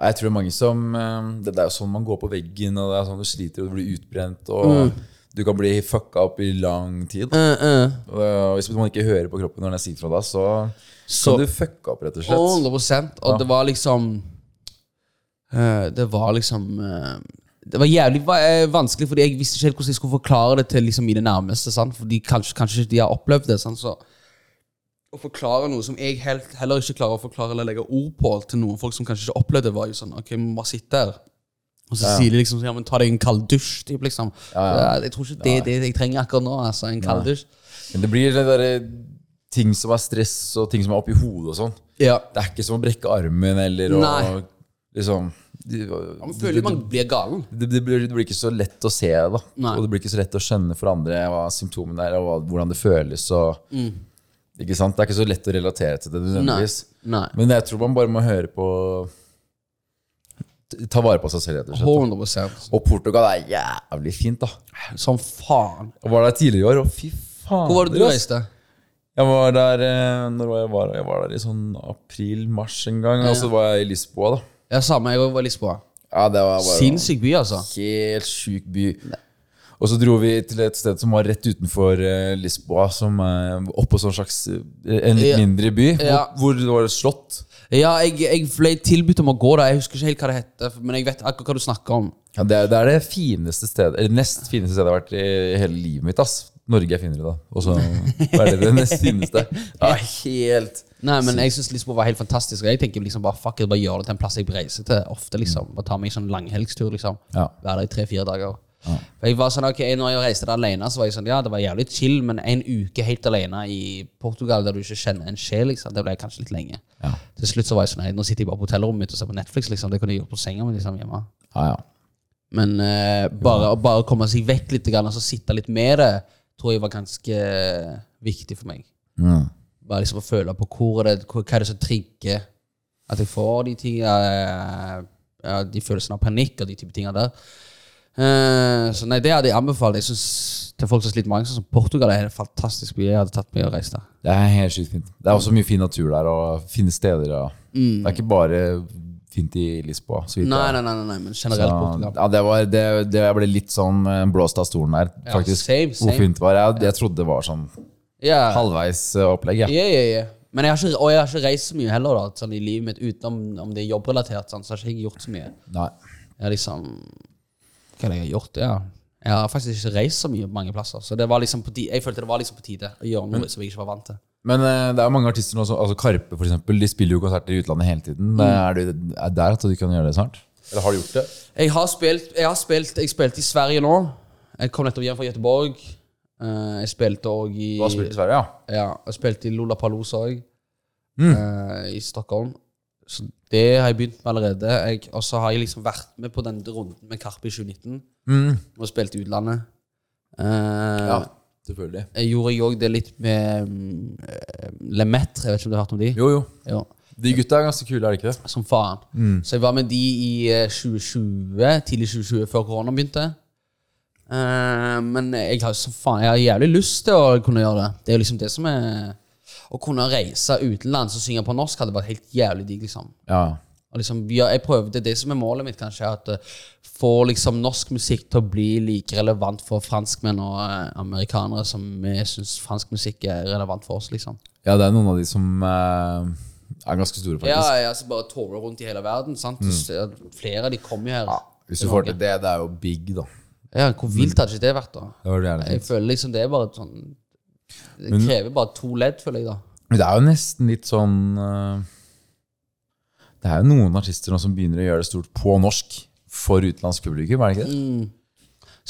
[SPEAKER 2] Nei, Jeg tror det er mange som eh, Det det er jo sånn man går på veggen, og det er sånn du sliter og du blir utbrent, og
[SPEAKER 1] Mm.
[SPEAKER 2] du kan bli fucka opp i lang tid.
[SPEAKER 1] Eh,
[SPEAKER 2] Og det- og hvis man ikke hører på kroppen når den sier fra deg, så
[SPEAKER 1] Så-
[SPEAKER 2] kan du fucke opp, rett og slett.
[SPEAKER 1] 100 Og det var liksom eh, Det var liksom eh, Det var jævlig va- eh, vanskelig, Fordi jeg visste ikke helt hvordan jeg skulle forklare det til liksom mine nærmeste. Sant? Fordi kanskje, kanskje ikke de har opplevd det. Sant? Så å forklare noe som jeg helt, heller ikke klarer å forklare eller legge ord på til noen folk som kanskje ikke opplevde det, var jo sånn Ok, vi må bare sitte her. Og så sier de liksom ja, men ta deg en kald dusj. Typ, liksom. Eh, Jeg tror ikke det er det jeg trenger akkurat nå. Altså, en kald dusj.
[SPEAKER 2] Men det blir det derre ting som er stress, og ting som er oppi hodet og sånn.
[SPEAKER 1] Ja.
[SPEAKER 2] Det er ikke som å brekke armen eller å
[SPEAKER 1] Nei.
[SPEAKER 2] liksom det,
[SPEAKER 1] Man føler man blir galen.
[SPEAKER 2] det, det, blir, det blir ikke så lett å se, da.
[SPEAKER 1] Nei.
[SPEAKER 2] Og det blir ikke så lett å skjønne for andre hva symptomene er, og hva, hvordan det føles. Og,
[SPEAKER 1] Mm.
[SPEAKER 2] Ikke sant? Det er ikke så lett å relatere til det nødvendigvis.
[SPEAKER 1] Nei.
[SPEAKER 2] Men jeg tror man bare må høre på t- Ta vare på seg selv, rett og slett.
[SPEAKER 1] 100
[SPEAKER 2] Og Portugal er jævlig fint, da.
[SPEAKER 1] Som faen.
[SPEAKER 2] Jeg var der tidligere i år, og fy faen.
[SPEAKER 1] Hvor var det du reiste?
[SPEAKER 2] Jeg var der eh, når var jeg, var, jeg var der i sånn april-mars en gang, og så var jeg i Lisboa, da.
[SPEAKER 1] Ja, samme. Jeg var i Lisboa.
[SPEAKER 2] Ja, det var bare
[SPEAKER 1] Sinnssyk by, altså.
[SPEAKER 2] helt sjuk by. Og så dro vi til et sted som var rett utenfor eh, Lisboa, som eh, oppå sånn slags eh, En litt
[SPEAKER 1] Ja.
[SPEAKER 2] mindre by, hvor,
[SPEAKER 1] Ja.
[SPEAKER 2] hvor det var et slott.
[SPEAKER 1] Ja, jeg, jeg ble tilbudt om å gå der. Jeg husker ikke helt hva det heter, men jeg vet akkurat hva du snakker om.
[SPEAKER 2] Ja, det, er, det er det fineste stedet Eller nest fineste stedet jeg har vært i hele livet mitt. ass Norge er finere, da. Og så er det det nest fineste. Ja, helt
[SPEAKER 1] Nei, men jeg syns Lisboa var helt fantastisk. Og jeg tenker liksom bare fuck it, bare gjør det til en plass jeg reiser til ofte. liksom Bare ta meg en sånn langhelgstur, liksom.
[SPEAKER 2] Ja.
[SPEAKER 1] Være der i tre-fire dager. For Jeg var sånn, ok, Når jeg reiste der alene, så var jeg sånn Ja, det var jævlig chill, men en uke helt alene i Portugal der du ikke kjenner en sjel, liksom, det ble kanskje litt lenge.
[SPEAKER 2] Ja.
[SPEAKER 1] Til slutt så var jeg sånn Nei, nå sitter jeg bare på hotellrommet mitt og ser på Netflix, liksom. Det kunne jeg gjort på senga mi liksom, hjemme.
[SPEAKER 2] Ja, ja.
[SPEAKER 1] Men eh, bare, å bare komme seg vekk litt grann, og så sitte litt med det, tror jeg var ganske eh, viktig for meg.
[SPEAKER 2] Mm.
[SPEAKER 1] Bare liksom å føle på hvor er det, hvor, hva er det som trigger at jeg får de tingene, ja, de følelsene av panikk og de type tingene der. Eh, så nei, det hadde jeg anbefalt. Jeg synes, til folk som sliter med angst, sånn som Portugal er en fantastisk by. Jeg hadde tatt meg og reist der.
[SPEAKER 2] Det er helt sykt fint. Det er også mye fin natur der, og fine steder. Og Det er ikke bare fint i Lisboa. Så vidt
[SPEAKER 1] Nei,
[SPEAKER 2] jeg-
[SPEAKER 1] nei, nei, nei, nei men generelt Portugal.
[SPEAKER 2] ja, det var, det, det, jeg ble litt sånn eh, blåst av stolen der,
[SPEAKER 1] Ja,
[SPEAKER 2] faktisk.
[SPEAKER 1] same, same.
[SPEAKER 2] Hvor fint det var. Jeg, jeg trodde det var sånn
[SPEAKER 1] Ja.
[SPEAKER 2] halvveis eh, opplegg. Ja.
[SPEAKER 1] Ja, ja, ja. Men jeg har ikke, og jeg har ikke reist så mye heller da, sånn i livet mitt, utenom om det er jobbrelatert. Sånn, så har ikke jeg gjort så mye.
[SPEAKER 2] Nei.
[SPEAKER 1] Jeg har liksom Hva er det jeg har gjort? Ja. Jeg har faktisk ikke reist så mye mange plasser. Så det var liksom på ti- jeg følte det var liksom på tide å gjøre noe som jeg ikke var vant til.
[SPEAKER 2] Men eh, det er jo mange artister nå, som- altså Karpe for eksempel, de spiller jo konserter i utlandet hele tiden. Er du er der at du kan gjøre det snart? Mm. Eller har du gjort det?
[SPEAKER 1] Jeg har spilt Jeg har spilt Jeg spilte i Sverige nå. Jeg kom nettopp hjem fra Göteborg. Eh, jeg spilte òg i
[SPEAKER 2] Du har spilt i Sverige, ja.
[SPEAKER 1] Ja, jeg spilte i Lollapalooza òg.
[SPEAKER 2] Mm.
[SPEAKER 1] eh, I Stockholm. Så det har jeg begynt med allerede. Jeg- Og så har jeg liksom vært med på den runden med Karpe i 2019. Og spilt i utlandet. Eh,
[SPEAKER 2] Mm. Ja, selvfølgelig.
[SPEAKER 1] Jeg gjorde jeg òg det litt med um, Lemaitre, jeg vet ikke om du har hørt om de?
[SPEAKER 2] Jo, jo.
[SPEAKER 1] Ja.
[SPEAKER 2] De gutta er ganske kule, er det ikke det?
[SPEAKER 1] Som faen. Så jeg var med de i eh, 2020, tidlig 2020, før korona begynte. Eh, men jeg har, som faen, jeg har jævlig lyst til å kunne gjøre det. Det er jo liksom det som er Å kunne reise utenlands og synge på norsk hadde vært helt jævlig digg, liksom.
[SPEAKER 2] Ja.
[SPEAKER 1] Og liksom, ja, jeg prøvde, Det er det som er målet mitt, kanskje. At uh, Få liksom norsk musikk til å bli like relevant for franskmenn og eh, amerikanere som vi syns fransk musikk er relevant for oss. liksom.
[SPEAKER 2] ja, det er noen av de som eh, er ganske store, faktisk.
[SPEAKER 1] Ja, ja, så Bare tourer rundt i hele verden. sant? Flere av de kommer jo her.
[SPEAKER 2] Hvis du får til det, det er jo big, da.
[SPEAKER 1] Ja, Hvor vilt hadde ikke det vært, da?
[SPEAKER 2] Det, var det, gjerne
[SPEAKER 1] Jeg
[SPEAKER 2] fint.
[SPEAKER 1] føler liksom det er bare sånn Det krever bare to ledd, føler jeg, da.
[SPEAKER 2] Men det er jo nesten litt sånn eh, Det er jo noen artister nå som begynner å gjøre det stort på norsk for utenlandsk publikum, er det
[SPEAKER 1] Mm.
[SPEAKER 2] ikke det?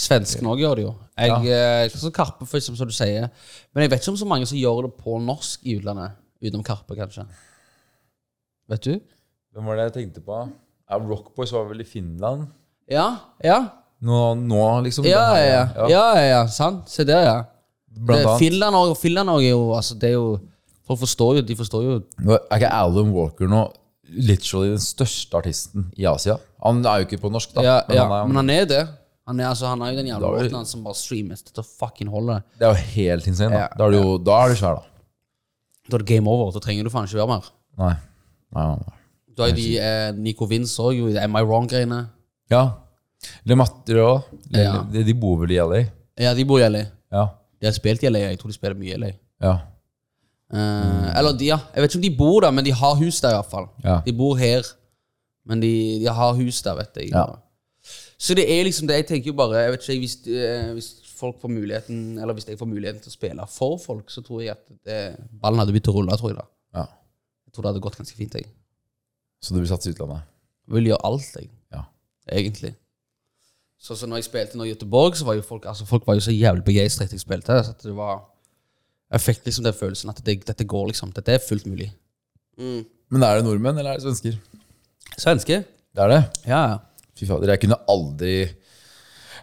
[SPEAKER 1] Svensken òg gjør det jo. Jeg, eh, så Karpe, for eksempel, som du sier. Men jeg vet ikke om så mange som gjør det på norsk i utlandet. Utenom Karpe, kanskje. Vet du?
[SPEAKER 2] Hvem var det jeg tenkte på? Ja, Rockboys var vel i Finland?
[SPEAKER 1] Ja, ja.
[SPEAKER 2] Nå, nå liksom?
[SPEAKER 1] Ja, ja,
[SPEAKER 2] Det her,
[SPEAKER 1] ja. ja, ja, ja. Sant. Se der, ja.
[SPEAKER 2] Blant
[SPEAKER 1] Det-
[SPEAKER 2] annet.
[SPEAKER 1] Finland òg. Finland også er jo altså, det er jo Folk forstår jo De forstår jo
[SPEAKER 2] Nå er ikke Alan Walker nå literally den største artisten i Asia? Han er jo ikke på norsk, da.
[SPEAKER 1] ja,
[SPEAKER 2] men
[SPEAKER 1] ja.
[SPEAKER 2] han er,
[SPEAKER 1] Men han er det. Han er, altså, han er jo den jævla
[SPEAKER 2] Da er det-
[SPEAKER 1] båten som bare streamer til fucking holde.
[SPEAKER 2] Det er jo helt insane. Da,
[SPEAKER 1] Ja,
[SPEAKER 2] da er du jo da er du svær, da.
[SPEAKER 1] Da er det game over. Da trenger du faen ikke være mer.
[SPEAKER 2] Nei. Nei, nei, nei.
[SPEAKER 1] Da er de eh, Nico Vince òg, jo. i Am I wrong-greiene.
[SPEAKER 2] Ja. Le Matre òg.
[SPEAKER 1] Ja.
[SPEAKER 2] De, de bor vel i LA?
[SPEAKER 1] Ja, de bor i LA.
[SPEAKER 2] Ja.
[SPEAKER 1] De har spilt i LA. Jeg tror de spiller mye i LA.
[SPEAKER 2] ja.
[SPEAKER 1] Eh, Eller de, ja. Jeg vet ikke om de bor der, men de har hus der iallfall.
[SPEAKER 2] Mm. Ja.
[SPEAKER 1] De bor her, men de, de har hus der, vet jeg.
[SPEAKER 2] Ja.
[SPEAKER 1] Så det er liksom det. Jeg tenker jo bare jeg vet ikke, hvis, eh, hvis folk får muligheten Eller hvis jeg får muligheten til å spille for folk, så tror jeg at det, ballen hadde begynt å rulle. tror Jeg da
[SPEAKER 2] ja.
[SPEAKER 1] Jeg tror det hadde gått ganske fint. Jeg
[SPEAKER 2] Så du vil satse i utlandet?
[SPEAKER 1] Jeg vil gjøre alt, jeg.
[SPEAKER 2] Ja.
[SPEAKER 1] Egentlig. Så, så når jeg spilte nå i Göteborg, så var jo folk altså folk var jo så jævlig begeistret jeg spilte. Så at det var Jeg fikk liksom den følelsen at det, dette går, liksom. Dette er fullt mulig.
[SPEAKER 2] Men er det nordmenn, eller er det svensker?
[SPEAKER 1] Svenske?
[SPEAKER 2] Det er det.
[SPEAKER 1] Ja, ja.
[SPEAKER 2] Fy fader, jeg kunne aldri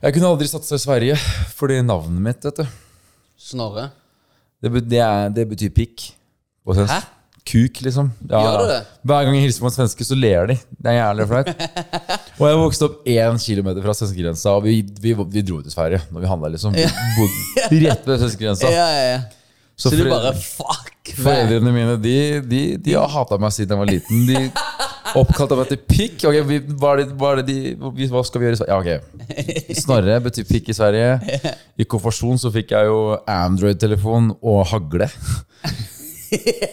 [SPEAKER 2] Jeg kunne aldri satsa i Sverige, fordi navnet mitt, vet du
[SPEAKER 1] Snorre.
[SPEAKER 2] Det, be- det, er, det betyr pikk. på svensk.
[SPEAKER 1] Hæ?
[SPEAKER 2] Kuk, liksom. Ja,
[SPEAKER 1] Gjør det
[SPEAKER 2] ja.
[SPEAKER 1] det?
[SPEAKER 2] Hver gang jeg hilser på en svenske, så ler de. Det er jævlig flaut. og jeg vokste opp én kilometer fra svenskegrensa, og vi, vi, vi dro til Sverige når vi handla, liksom. Vi bodde rett ved svenskegrensa.
[SPEAKER 1] Ja, ja, ja. Så, du
[SPEAKER 2] foreldre-
[SPEAKER 1] bare fuck! man.
[SPEAKER 2] Foreldrene mine de, de, de har hata meg siden jeg var liten. De Oppkalt av etter pikk? Ok, vi, hva, er det, hva, er det de, vi- hva skal vi gjøre i Sverige? Ja, ok. Snorre betyr pikk i Sverige. I konfirmasjon så fikk jeg jo Android-telefon og hagle.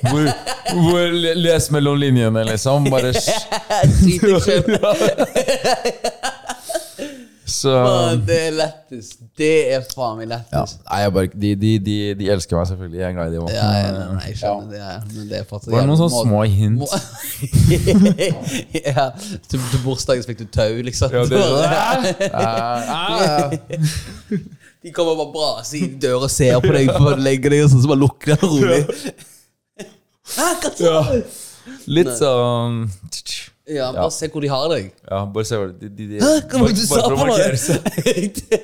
[SPEAKER 2] Hvor, hvor le- Les mellom linjene, liksom. Bare s-
[SPEAKER 1] Skyt deg selv.
[SPEAKER 2] Så
[SPEAKER 1] Faen, Det er lettest. Det er faen meg
[SPEAKER 2] ja.
[SPEAKER 1] lettest.
[SPEAKER 2] Nei, jeg bare, de, de, de, de elsker meg selvfølgelig. Jeg er glad i
[SPEAKER 1] Ja,
[SPEAKER 2] dem også.
[SPEAKER 1] ja, nei, nei, jeg skjønner det, ja. men det er fortsatt
[SPEAKER 2] Var det
[SPEAKER 1] jævlig
[SPEAKER 2] noen sånne små hint?
[SPEAKER 1] må- ja, til, til bursdagen så fikk du tau, liksom.
[SPEAKER 2] Ja, det
[SPEAKER 1] Bare- De kommer bare brasende inn døra og ser på deg før du legger deg, og sånn, så bare lukker den rolig. Hæ, hva sa
[SPEAKER 2] Ja.
[SPEAKER 1] du?
[SPEAKER 2] Litt sånn
[SPEAKER 1] Ja, bare se hvor de har deg.
[SPEAKER 2] Ja, bare se hva de, de, de
[SPEAKER 1] Hæ, hva var det du
[SPEAKER 2] bare-
[SPEAKER 1] sa
[SPEAKER 2] bare for å
[SPEAKER 1] for
[SPEAKER 2] markere seg.
[SPEAKER 1] noe?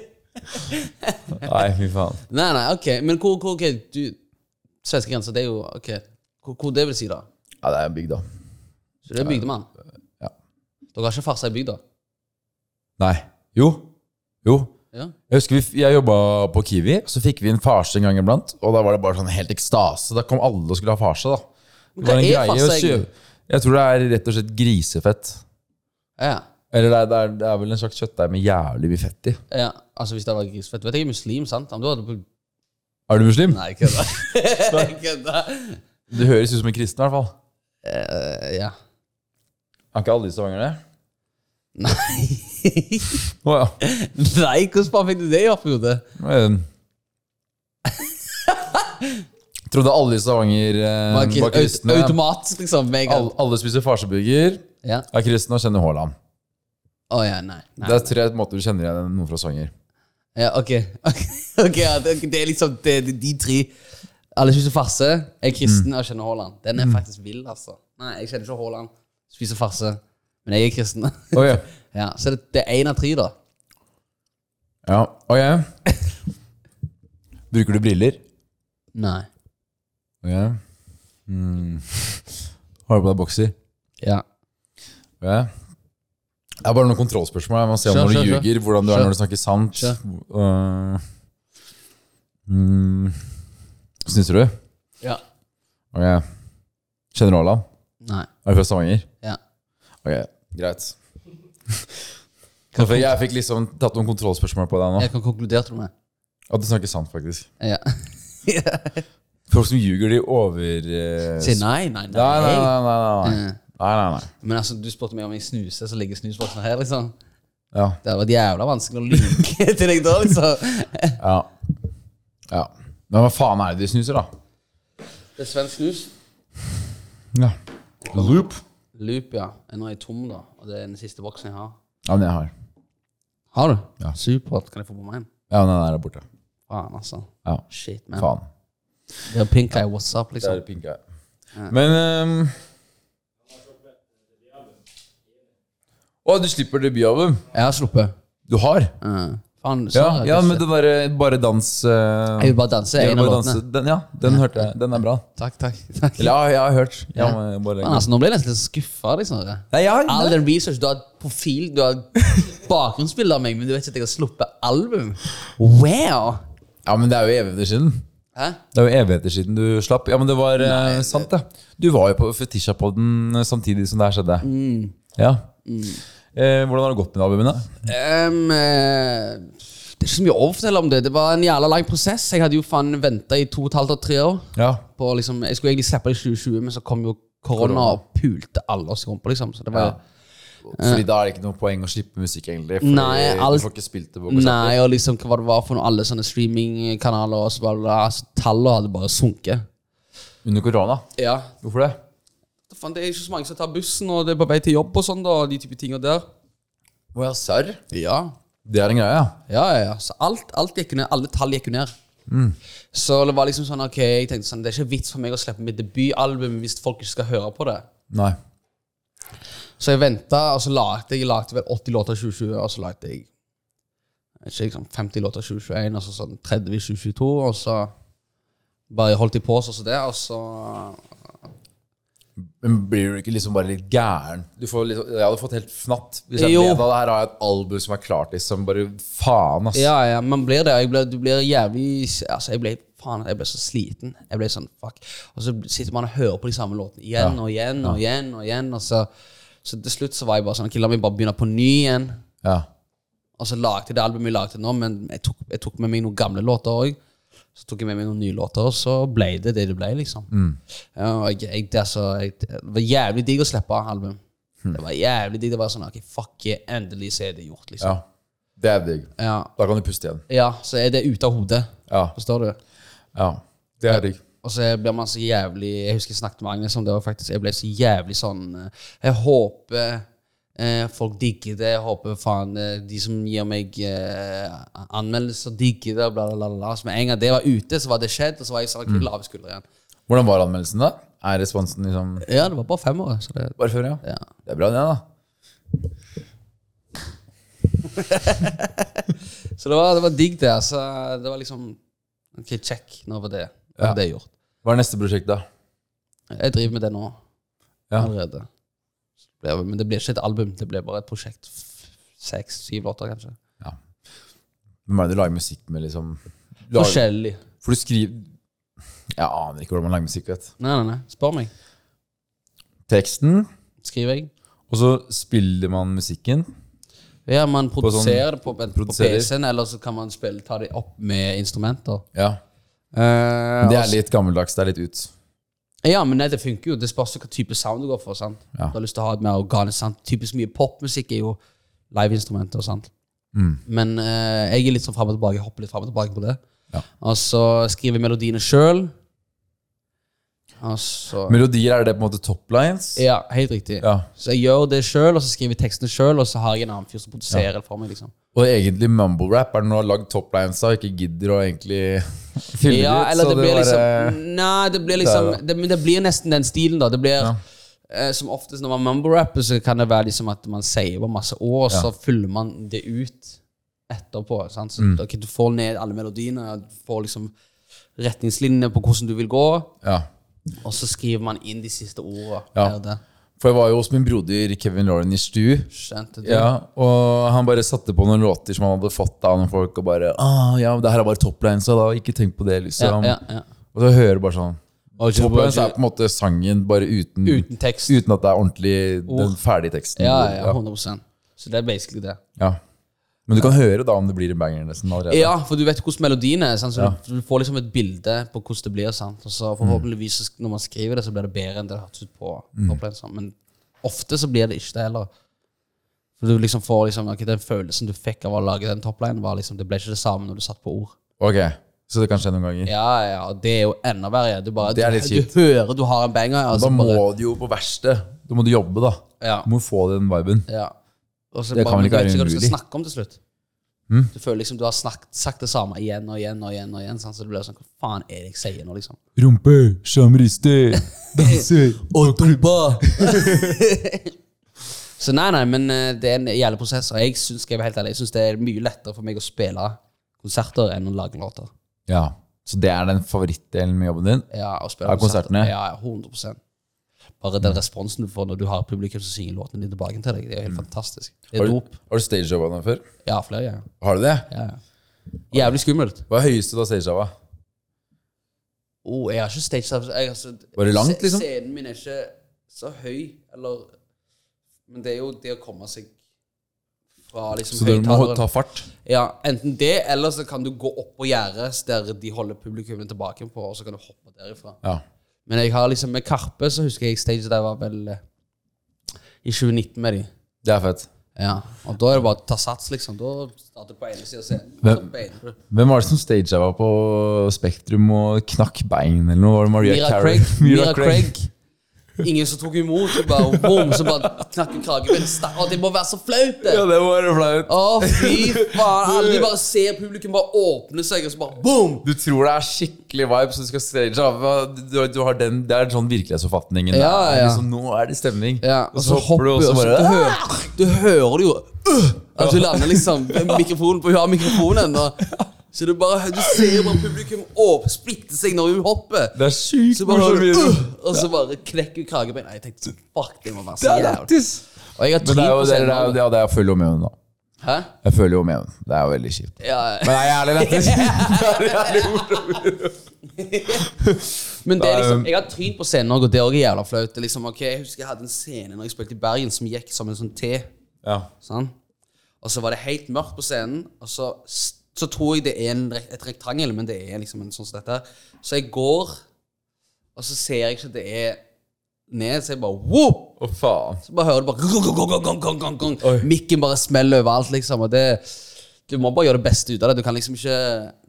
[SPEAKER 2] Nei, fy faen.
[SPEAKER 1] Nei, nei, ok. Men hvor, hvor ok, du Svenske grenser, det er jo ok. Hvor, hvor det vil si, da?
[SPEAKER 2] Ja, det er en bygd, da.
[SPEAKER 1] Så det er bygdemann?
[SPEAKER 2] Ja.
[SPEAKER 1] Dere har ikke farsa i bygda?
[SPEAKER 2] Nei. Jo. Jo.
[SPEAKER 1] Ja.
[SPEAKER 2] Jeg husker vi, jeg jobba på Kiwi, så fikk vi en farse en gang iblant. Og da var det bare sånn helt ekstase. Da kom alle og skulle ha farse, da. Det
[SPEAKER 1] hva
[SPEAKER 2] var en
[SPEAKER 1] er
[SPEAKER 2] greie å
[SPEAKER 1] farse,
[SPEAKER 2] kjøpe- Jeg tror det er rett og slett grisefett.
[SPEAKER 1] Ja,
[SPEAKER 2] Eller det er, det er, det er vel en slags kjøttdeig med jævlig mye fett i.
[SPEAKER 1] ja. Altså, hvis det var grisfett Vet jeg er muslim, sant? Om du hadde
[SPEAKER 2] Er du muslim?
[SPEAKER 1] Nei, kødda. Jeg kødda.
[SPEAKER 2] Du høres ut som en kristen, i hvert fall.
[SPEAKER 1] Eh, ja.
[SPEAKER 2] Er ikke alle i Stavanger det?
[SPEAKER 1] Nei.
[SPEAKER 2] Å ja.
[SPEAKER 1] Nei, hvordan faen fikk du det i opp i hodet?
[SPEAKER 2] Men- Trodde alle i Stavanger eh,
[SPEAKER 1] Var
[SPEAKER 2] var
[SPEAKER 1] ikke-
[SPEAKER 2] kristne.
[SPEAKER 1] aut- Automatisk, liksom? Med en gang.
[SPEAKER 2] Alle, alle spiser farseburger,
[SPEAKER 1] Ja.
[SPEAKER 2] er kristne og kjenner Haaland.
[SPEAKER 1] Å ja, nei. nei.
[SPEAKER 2] Det er tre måter du kjenner igjen noen fra Stavanger.
[SPEAKER 1] Ja, ok. Ok, ok, ja, det, ok, det er liksom det, det, de tre. Alle spiser farse, er kristen og kjenner Haaland. Den er faktisk vill, altså. Nei, jeg kjenner ikke Haaland. Spiser farse, men jeg er kristen.
[SPEAKER 2] Ok,
[SPEAKER 1] ja, Så det, det er én av tre, da.
[SPEAKER 2] ja, ok Bruker du briller?
[SPEAKER 1] Nei.
[SPEAKER 2] Ok mm. Har du på deg bokser?
[SPEAKER 1] Ja.
[SPEAKER 2] Ok Det er bare noen kontrollspørsmål. Jeg må se om
[SPEAKER 1] Kjør,
[SPEAKER 2] når du
[SPEAKER 1] kjør, kjør.
[SPEAKER 2] ljuger, hvordan du
[SPEAKER 1] Kjør.
[SPEAKER 2] er når du snakker sant.
[SPEAKER 1] Kjør.
[SPEAKER 2] Uh, mm. Snusser du?
[SPEAKER 1] Ja.
[SPEAKER 2] Ok Kjenner du Haaland?
[SPEAKER 1] Nei.
[SPEAKER 2] Er du fra Stavanger?
[SPEAKER 1] Ja.
[SPEAKER 2] Ok, greit. Jeg fikk, jeg fikk liksom tatt noen kontrollspørsmål på deg nå.
[SPEAKER 1] Jeg kan konkludere til med.
[SPEAKER 2] At du snakker sant, faktisk.
[SPEAKER 1] Ja.
[SPEAKER 2] Folk som ljuger, de over... eh,
[SPEAKER 1] Si nei, nei, nei.
[SPEAKER 2] Nei, nei, nei, nei, nei.
[SPEAKER 1] Eh,
[SPEAKER 2] nei, nei, nei.
[SPEAKER 1] Men altså, du spurte meg om jeg snuser, så ligger snusboksen her, liksom.
[SPEAKER 2] Ja,
[SPEAKER 1] Det hadde vært jævla vanskelig å lyve til deg da, liksom.
[SPEAKER 2] ja. ja. Men hva faen er det de snuser, da?
[SPEAKER 1] Det er svensk snus.
[SPEAKER 2] Ja. Loop.
[SPEAKER 1] Loop, ja. Nå er jeg tom, da. Og det er den siste boksen jeg har.
[SPEAKER 2] Ja, men jeg har.
[SPEAKER 1] Har du?
[SPEAKER 2] Ja.
[SPEAKER 1] Supert. Kan jeg få på meg en?
[SPEAKER 2] Ja, men den der er borte.
[SPEAKER 1] Faen, altså.
[SPEAKER 2] Ja,
[SPEAKER 1] Shit, man.
[SPEAKER 2] faen.
[SPEAKER 1] Det er pink eye, what's up,
[SPEAKER 2] Det er
[SPEAKER 1] liksom.
[SPEAKER 2] pinka. Men... ehm, Å, du slipper debutalbum?
[SPEAKER 1] Jeg har sluppet.
[SPEAKER 2] Du har?
[SPEAKER 1] Uh, faen, sa
[SPEAKER 2] Ja,
[SPEAKER 1] jeg
[SPEAKER 2] ja
[SPEAKER 1] ikke.
[SPEAKER 2] men det der Bare dans... eh,
[SPEAKER 1] Jeg vil bare danse.
[SPEAKER 2] Jeg
[SPEAKER 1] En
[SPEAKER 2] vil
[SPEAKER 1] av
[SPEAKER 2] bare
[SPEAKER 1] låtene.
[SPEAKER 2] danse. Den, ja, den hørte jeg. Den er bra.
[SPEAKER 1] Takk, takk. takk.
[SPEAKER 2] Eller ja, jeg har hørt. Jeg må bare...
[SPEAKER 1] Faen, altså, nå ble jeg nesten litt skuffa. Liksom.
[SPEAKER 2] Nei, jeg har
[SPEAKER 1] All
[SPEAKER 2] ikke det.
[SPEAKER 1] den research, du har profil, du har bakgrunnsbilde av meg, men du vet ikke at jeg har sluppet album? Wow!
[SPEAKER 2] Ja, men det er jo evigheter siden.
[SPEAKER 1] Hæ?
[SPEAKER 2] Det er jo evigheter siden du slapp. Ja, men det var eh, sant, det. Du var jo på Fetisha-podden eh, samtidig som det her skjedde. Ja. Eh, hvordan har det gått med albumene?
[SPEAKER 1] Ehm, eh, det er ikke så mye å fortelle om det. Det var en jævla lang prosess. Jeg hadde jo faen venta i to og et halvt og tre år.
[SPEAKER 2] Ja.
[SPEAKER 1] på liksom, Jeg skulle egentlig slippe det i 2020, men så kom jo korona og pulte alle oss i rumpa, liksom. Så det var
[SPEAKER 2] Ja. Fordi da er det ikke noe poeng å slippe musikk, egentlig. Fordi
[SPEAKER 1] Eh. Nei, alt-
[SPEAKER 2] du får ikke spilt det på
[SPEAKER 1] Nei, og liksom hva det var for noe, alle sånne streamingkanaler og så bla, bla, bla. Altså, tallene hadde bare sunket.
[SPEAKER 2] Under korona.
[SPEAKER 1] Ja.
[SPEAKER 2] Hvorfor det?
[SPEAKER 1] Faen, det er ikke så mange som tar bussen, og det er på vei til jobb og sånn, da, og de type tinga der.
[SPEAKER 2] Å ja, serr?
[SPEAKER 1] Ja.
[SPEAKER 2] Det er en greie, ja.
[SPEAKER 1] Ja, ja, ja. Så alt, alt gikk jo ned. Alle tall gikk jo ned. Så det var liksom sånn, ok, jeg tenkte sånn, det er ikke vits for meg å slippe mitt debutalbum hvis folk ikke skal høre på det.
[SPEAKER 2] Nei.
[SPEAKER 1] Så jeg venta, og så lagde jeg, jeg lagde vel 80 låter i 2020, og så lagde jeg ikke liksom 50 låter i 2021, og så sånn 30 i 2022, og så bare holdt jeg på sånn som det, og så
[SPEAKER 2] Men blir du ikke liksom bare litt gæren? Du får liksom, jeg hadde fått helt fnatt. Hvis jeg
[SPEAKER 1] Jo.
[SPEAKER 2] vet at her har jeg et album som er klart, liksom. Bare faen, ass.
[SPEAKER 1] Ja, ja, man blir det. og Jeg ble, du blir jævlig Altså, jeg ble faen, jeg ble så sliten. Jeg ble sånn, fuck. Og så sitter man og hører på de samme låtene igjen og igjen og igjen, og igjen, og så Så til slutt så var jeg bare sånn Ok, la meg bare begynne på ny igjen.
[SPEAKER 2] Ja.
[SPEAKER 1] Og så lagde jeg det albumet jeg lagde nå, men jeg tok, jeg tok med meg noen gamle låter òg. Så tok jeg med meg noen nye låter, og så ble det det det ble, liksom. Ja, og jeg, jeg, det, er så, jeg, det var jævlig digg å slippe album. Det var jævlig digg. Det var sånn Ok, fuck yeah, endelig så er det gjort, liksom.
[SPEAKER 2] ja. Det er digg.
[SPEAKER 1] Ja.
[SPEAKER 2] Da kan du puste igjen.
[SPEAKER 1] ja, så er det ute av hodet.
[SPEAKER 2] Ja.
[SPEAKER 1] Forstår du?
[SPEAKER 2] ja. Det er digg.
[SPEAKER 1] Og så blir man så jævlig Jeg husker jeg snakket med Agnes om det, og faktisk jeg ble så jævlig sånn eh, Jeg håper eh, folk digger det. Jeg håper faen eh, de som gir meg eh, anmeldelser, digger det. og Bla, bla, bla, bla. Så med en gang det var ute, så var det skjedd, og så var jeg sånn okay, lave skuldre igjen.
[SPEAKER 2] Hvordan var anmeldelsen, da? Er responsen liksom
[SPEAKER 1] Ja, det var bare fem år. Så det,
[SPEAKER 2] Bare før, ja?
[SPEAKER 1] ja.
[SPEAKER 2] Det er bra, det, da.
[SPEAKER 1] så det, var, det var digg, det. Altså, det var liksom Ok, check. Nå var det, nå var
[SPEAKER 2] Ja.
[SPEAKER 1] det gjort.
[SPEAKER 2] Hva er neste prosjekt, da?
[SPEAKER 1] Jeg driver med det nå
[SPEAKER 2] Ja.
[SPEAKER 1] allerede. Så det blir- Men det blir ikke et album, det blir bare et prosjekt. F- Seks-syv låter, kanskje.
[SPEAKER 2] Hvem er det du lager musikk med, liksom? Lager,
[SPEAKER 1] Forskjellig.
[SPEAKER 2] for du skriver Jeg aner ikke hvordan man lager musikk, vet du.
[SPEAKER 1] Nei, nei, nei. Spør meg.
[SPEAKER 2] Teksten,
[SPEAKER 1] Skriver jeg.
[SPEAKER 2] og så spiller man musikken.
[SPEAKER 1] Ja, man
[SPEAKER 2] sånn-
[SPEAKER 1] produserer det på, på
[SPEAKER 2] Produserer.
[SPEAKER 1] PC-en, eller så kan man spille, ta det opp med instrumenter.
[SPEAKER 2] Ja. Eh, Det er litt gammeldags. Det er litt ut.
[SPEAKER 1] Ja, men nei, det funker jo. Det spørs jo hva type sound du går for. sant?
[SPEAKER 2] Ja.
[SPEAKER 1] Du har lyst til å ha et mer organisk sound. Typisk mye popmusikk er jo liveinstrumenter. sant?
[SPEAKER 2] Mm.
[SPEAKER 1] Men eh, jeg er litt sånn fram og tilbake. Jeg hopper litt fram og tilbake på det.
[SPEAKER 2] Ja.
[SPEAKER 1] Og så skriver jeg melodiene sjøl. Og så
[SPEAKER 2] Melodier, er det på en måte top lines?
[SPEAKER 1] Ja, helt riktig.
[SPEAKER 2] Ja.
[SPEAKER 1] Så jeg gjør det sjøl, og så skriver jeg tekstene sjøl, og så har jeg en annen fyr som produserer det for meg. liksom.
[SPEAKER 2] Og egentlig mumble rap er det når du har lagd top lines og ikke gidder å egentlig fylle
[SPEAKER 1] Ja,
[SPEAKER 2] ut.
[SPEAKER 1] eller
[SPEAKER 2] så eh,
[SPEAKER 1] det blir
[SPEAKER 2] bare-
[SPEAKER 1] liksom Nei, det blir liksom
[SPEAKER 2] Der,
[SPEAKER 1] det, Men det blir nesten den stilen, da. Det blir eh, Som oftest når man mumble-rapper, så kan det være liksom at man sier bare masse år, og så fyller man det ut etterpå. Sant? Så ok, Du får ned alle melodiene, og du får liksom retningslinjene på hvordan du vil gå,
[SPEAKER 2] Ja.
[SPEAKER 1] og så skriver man inn de siste ordene.
[SPEAKER 2] Ja.
[SPEAKER 1] Er det.
[SPEAKER 2] For jeg var jo hos min broder Kevin Lauren i Stu.
[SPEAKER 1] Skjønte du?
[SPEAKER 2] Ja, og han bare satte på noen låter som han hadde fått av noen folk, og bare ah, ja, det her er bare top lines, så da ikke tenk på det,
[SPEAKER 1] ja,
[SPEAKER 2] liksom.
[SPEAKER 1] ja, ja.
[SPEAKER 2] Og så hører du bare sånn
[SPEAKER 1] Og
[SPEAKER 2] Top lines er på en måte sangen bare uten,
[SPEAKER 1] Uten tekst. Oh.
[SPEAKER 2] uten at det er ordentlig den ferdige teksten.
[SPEAKER 1] ja, ja, 100 Så det er basically det.
[SPEAKER 2] Ja. Men du kan høre da om det blir en banger nesten allerede.
[SPEAKER 1] Ja, for du vet hvordan melodien er. Sant? Så du, du får liksom et bilde på hvordan det blir. Sant? Og så forhåpentligvis så sk- når man skriver det, så blir det bedre enn det hørtes ut på.
[SPEAKER 2] Mm.
[SPEAKER 1] på sånn. Men ofte så blir det ikke det heller. For du liksom får liksom, ok, Den følelsen du fikk av å lage den toplinen, var liksom, det ble ikke det samme når du satt på ord.
[SPEAKER 2] Ok, så det kan skje noen ganger.
[SPEAKER 1] Ja, ja, og Det er jo enda verre. Du bare,
[SPEAKER 2] Det er litt
[SPEAKER 1] du,
[SPEAKER 2] kjipt.
[SPEAKER 1] du hører du har en banger. og
[SPEAKER 2] Da
[SPEAKER 1] så
[SPEAKER 2] må
[SPEAKER 1] bare,
[SPEAKER 2] du jo på verste. Da må du jobbe, da.
[SPEAKER 1] ja,
[SPEAKER 2] Du må få den viben.
[SPEAKER 1] ja. Og så
[SPEAKER 2] Det
[SPEAKER 1] bare,
[SPEAKER 2] kan vel
[SPEAKER 1] men du
[SPEAKER 2] ikke
[SPEAKER 1] vet
[SPEAKER 2] være
[SPEAKER 1] ikke hva du skal
[SPEAKER 2] umulig. Mm.
[SPEAKER 1] snakke om til slutt. Du føler liksom du har snakket, sagt det samme igjen og igjen. og igjen og igjen sant? Så det blir sånn, hva faen er det jeg sier nå, liksom?
[SPEAKER 3] Rumpe som rister, danser og klubber.
[SPEAKER 1] Så nei, nei, men eh, det er en jævlig prosess, og jeg synes, skal jeg være helt ærlig, jeg synes det er mye lettere for meg å spille konserter enn å lage låter.
[SPEAKER 2] Ja. Så det er den favorittdelen med jobben din?
[SPEAKER 1] Ja, å spille
[SPEAKER 2] Ja, konsertene. Mm.
[SPEAKER 1] Ja, ja, 100 Bare den responsen du får når du har publikum som synger låtene dine tilbake til deg, det er jo helt fantastisk. Det
[SPEAKER 2] Mm. Har
[SPEAKER 1] er
[SPEAKER 2] du,
[SPEAKER 1] dop.
[SPEAKER 2] har du stagejobba nå før?
[SPEAKER 1] Ja, flere ganger.
[SPEAKER 2] Har du det?
[SPEAKER 1] Ja, ja. Jævlig skummelt.
[SPEAKER 2] Hva er høyeste du har stagejobba?
[SPEAKER 1] Oh, jeg har ikke stage dive- jeg har så-
[SPEAKER 2] Var det langt,
[SPEAKER 1] se-
[SPEAKER 2] liksom?
[SPEAKER 1] Scenen min er ikke så høy, eller Men det er jo det å komme seg fra liksom
[SPEAKER 2] Så du må
[SPEAKER 1] høyttaleren.
[SPEAKER 2] ta fart?
[SPEAKER 1] Ja, enten det, eller så kan du gå opp på gjerdet der de holder publikummet tilbake på, og så kan du hoppe derifra.
[SPEAKER 2] Ja.
[SPEAKER 1] Men jeg har liksom med Karpe, så husker jeg stage der var vel eh, i 2019 med de.
[SPEAKER 2] Det er fett.
[SPEAKER 1] Ja, og da er det bare å ta sats, liksom. Da starter du på ene sida og ser.
[SPEAKER 2] Hvem- Hvem var det som stagejobba på Spektrum og knakk bein eller noe? Var det Maria
[SPEAKER 1] Mira
[SPEAKER 2] Carey?
[SPEAKER 1] Craig. Mira Craig. Ingen som tok imot. Og bare boom, så bare knakker kragen. Å, det må være så flaut, det!
[SPEAKER 2] Ja, det var flaut.
[SPEAKER 1] Å, fy faen. Alle bare ser publikum bare åpne seg, og så bare boom!
[SPEAKER 2] Du tror det er skikkelig vibe, så du skal stagejobbe. Du, du har den, det er sånn virkelighetsoppfatningen. der.
[SPEAKER 1] Ja, ja.
[SPEAKER 2] Liksom, nå er det stemning.
[SPEAKER 1] Ja,
[SPEAKER 2] og så, hopper du, og så bare
[SPEAKER 1] du, hører, "Ah!" du hører det jo øh, At du lander liksom med mikrofonen på Hun har mikrofonen og, Så du bare Du ser bare publikum opp Splitte seg når hun hopper
[SPEAKER 2] Det er sånn. sykt
[SPEAKER 1] Så bare hører du
[SPEAKER 2] video.
[SPEAKER 1] øh, Og så bare knekker hun kragebein Nei, jeg tenkte Fuck, det må være så jævlig
[SPEAKER 2] lættis.
[SPEAKER 1] Og jeg har
[SPEAKER 2] Men det er jo
[SPEAKER 1] 3%
[SPEAKER 2] det, det, er,
[SPEAKER 1] av
[SPEAKER 2] jo-
[SPEAKER 1] det
[SPEAKER 2] ja, det er jeg følger jo med henne, da.
[SPEAKER 1] Hæ?
[SPEAKER 2] Jeg føler jo med henne. Det er jo veldig kjipt.
[SPEAKER 1] Ja,
[SPEAKER 2] Men det er jævlig lættis.
[SPEAKER 1] men det er liksom, jeg har trynt på scenen også, og det er også jævla flaut. Det er Liksom, ok, jeg husker jeg hadde en scene når jeg spilte i Bergen som gikk som en sånn T.
[SPEAKER 2] Ja.
[SPEAKER 1] Sånn. Og så var det helt mørkt på scenen, og så, så tror jeg det er en, rek- et rektangel, men det er liksom en sånn som dette. Så jeg går, og så ser jeg ikke at det er ned, så jeg bare whoop!
[SPEAKER 2] Å, faen.
[SPEAKER 1] Så bare hører du bare gong, gong, gong, gong, gong, gong, gong.
[SPEAKER 2] Oi.
[SPEAKER 1] Mikken bare smeller overalt, liksom. Og det, du må bare gjøre det beste ut av det. Du kan liksom ikke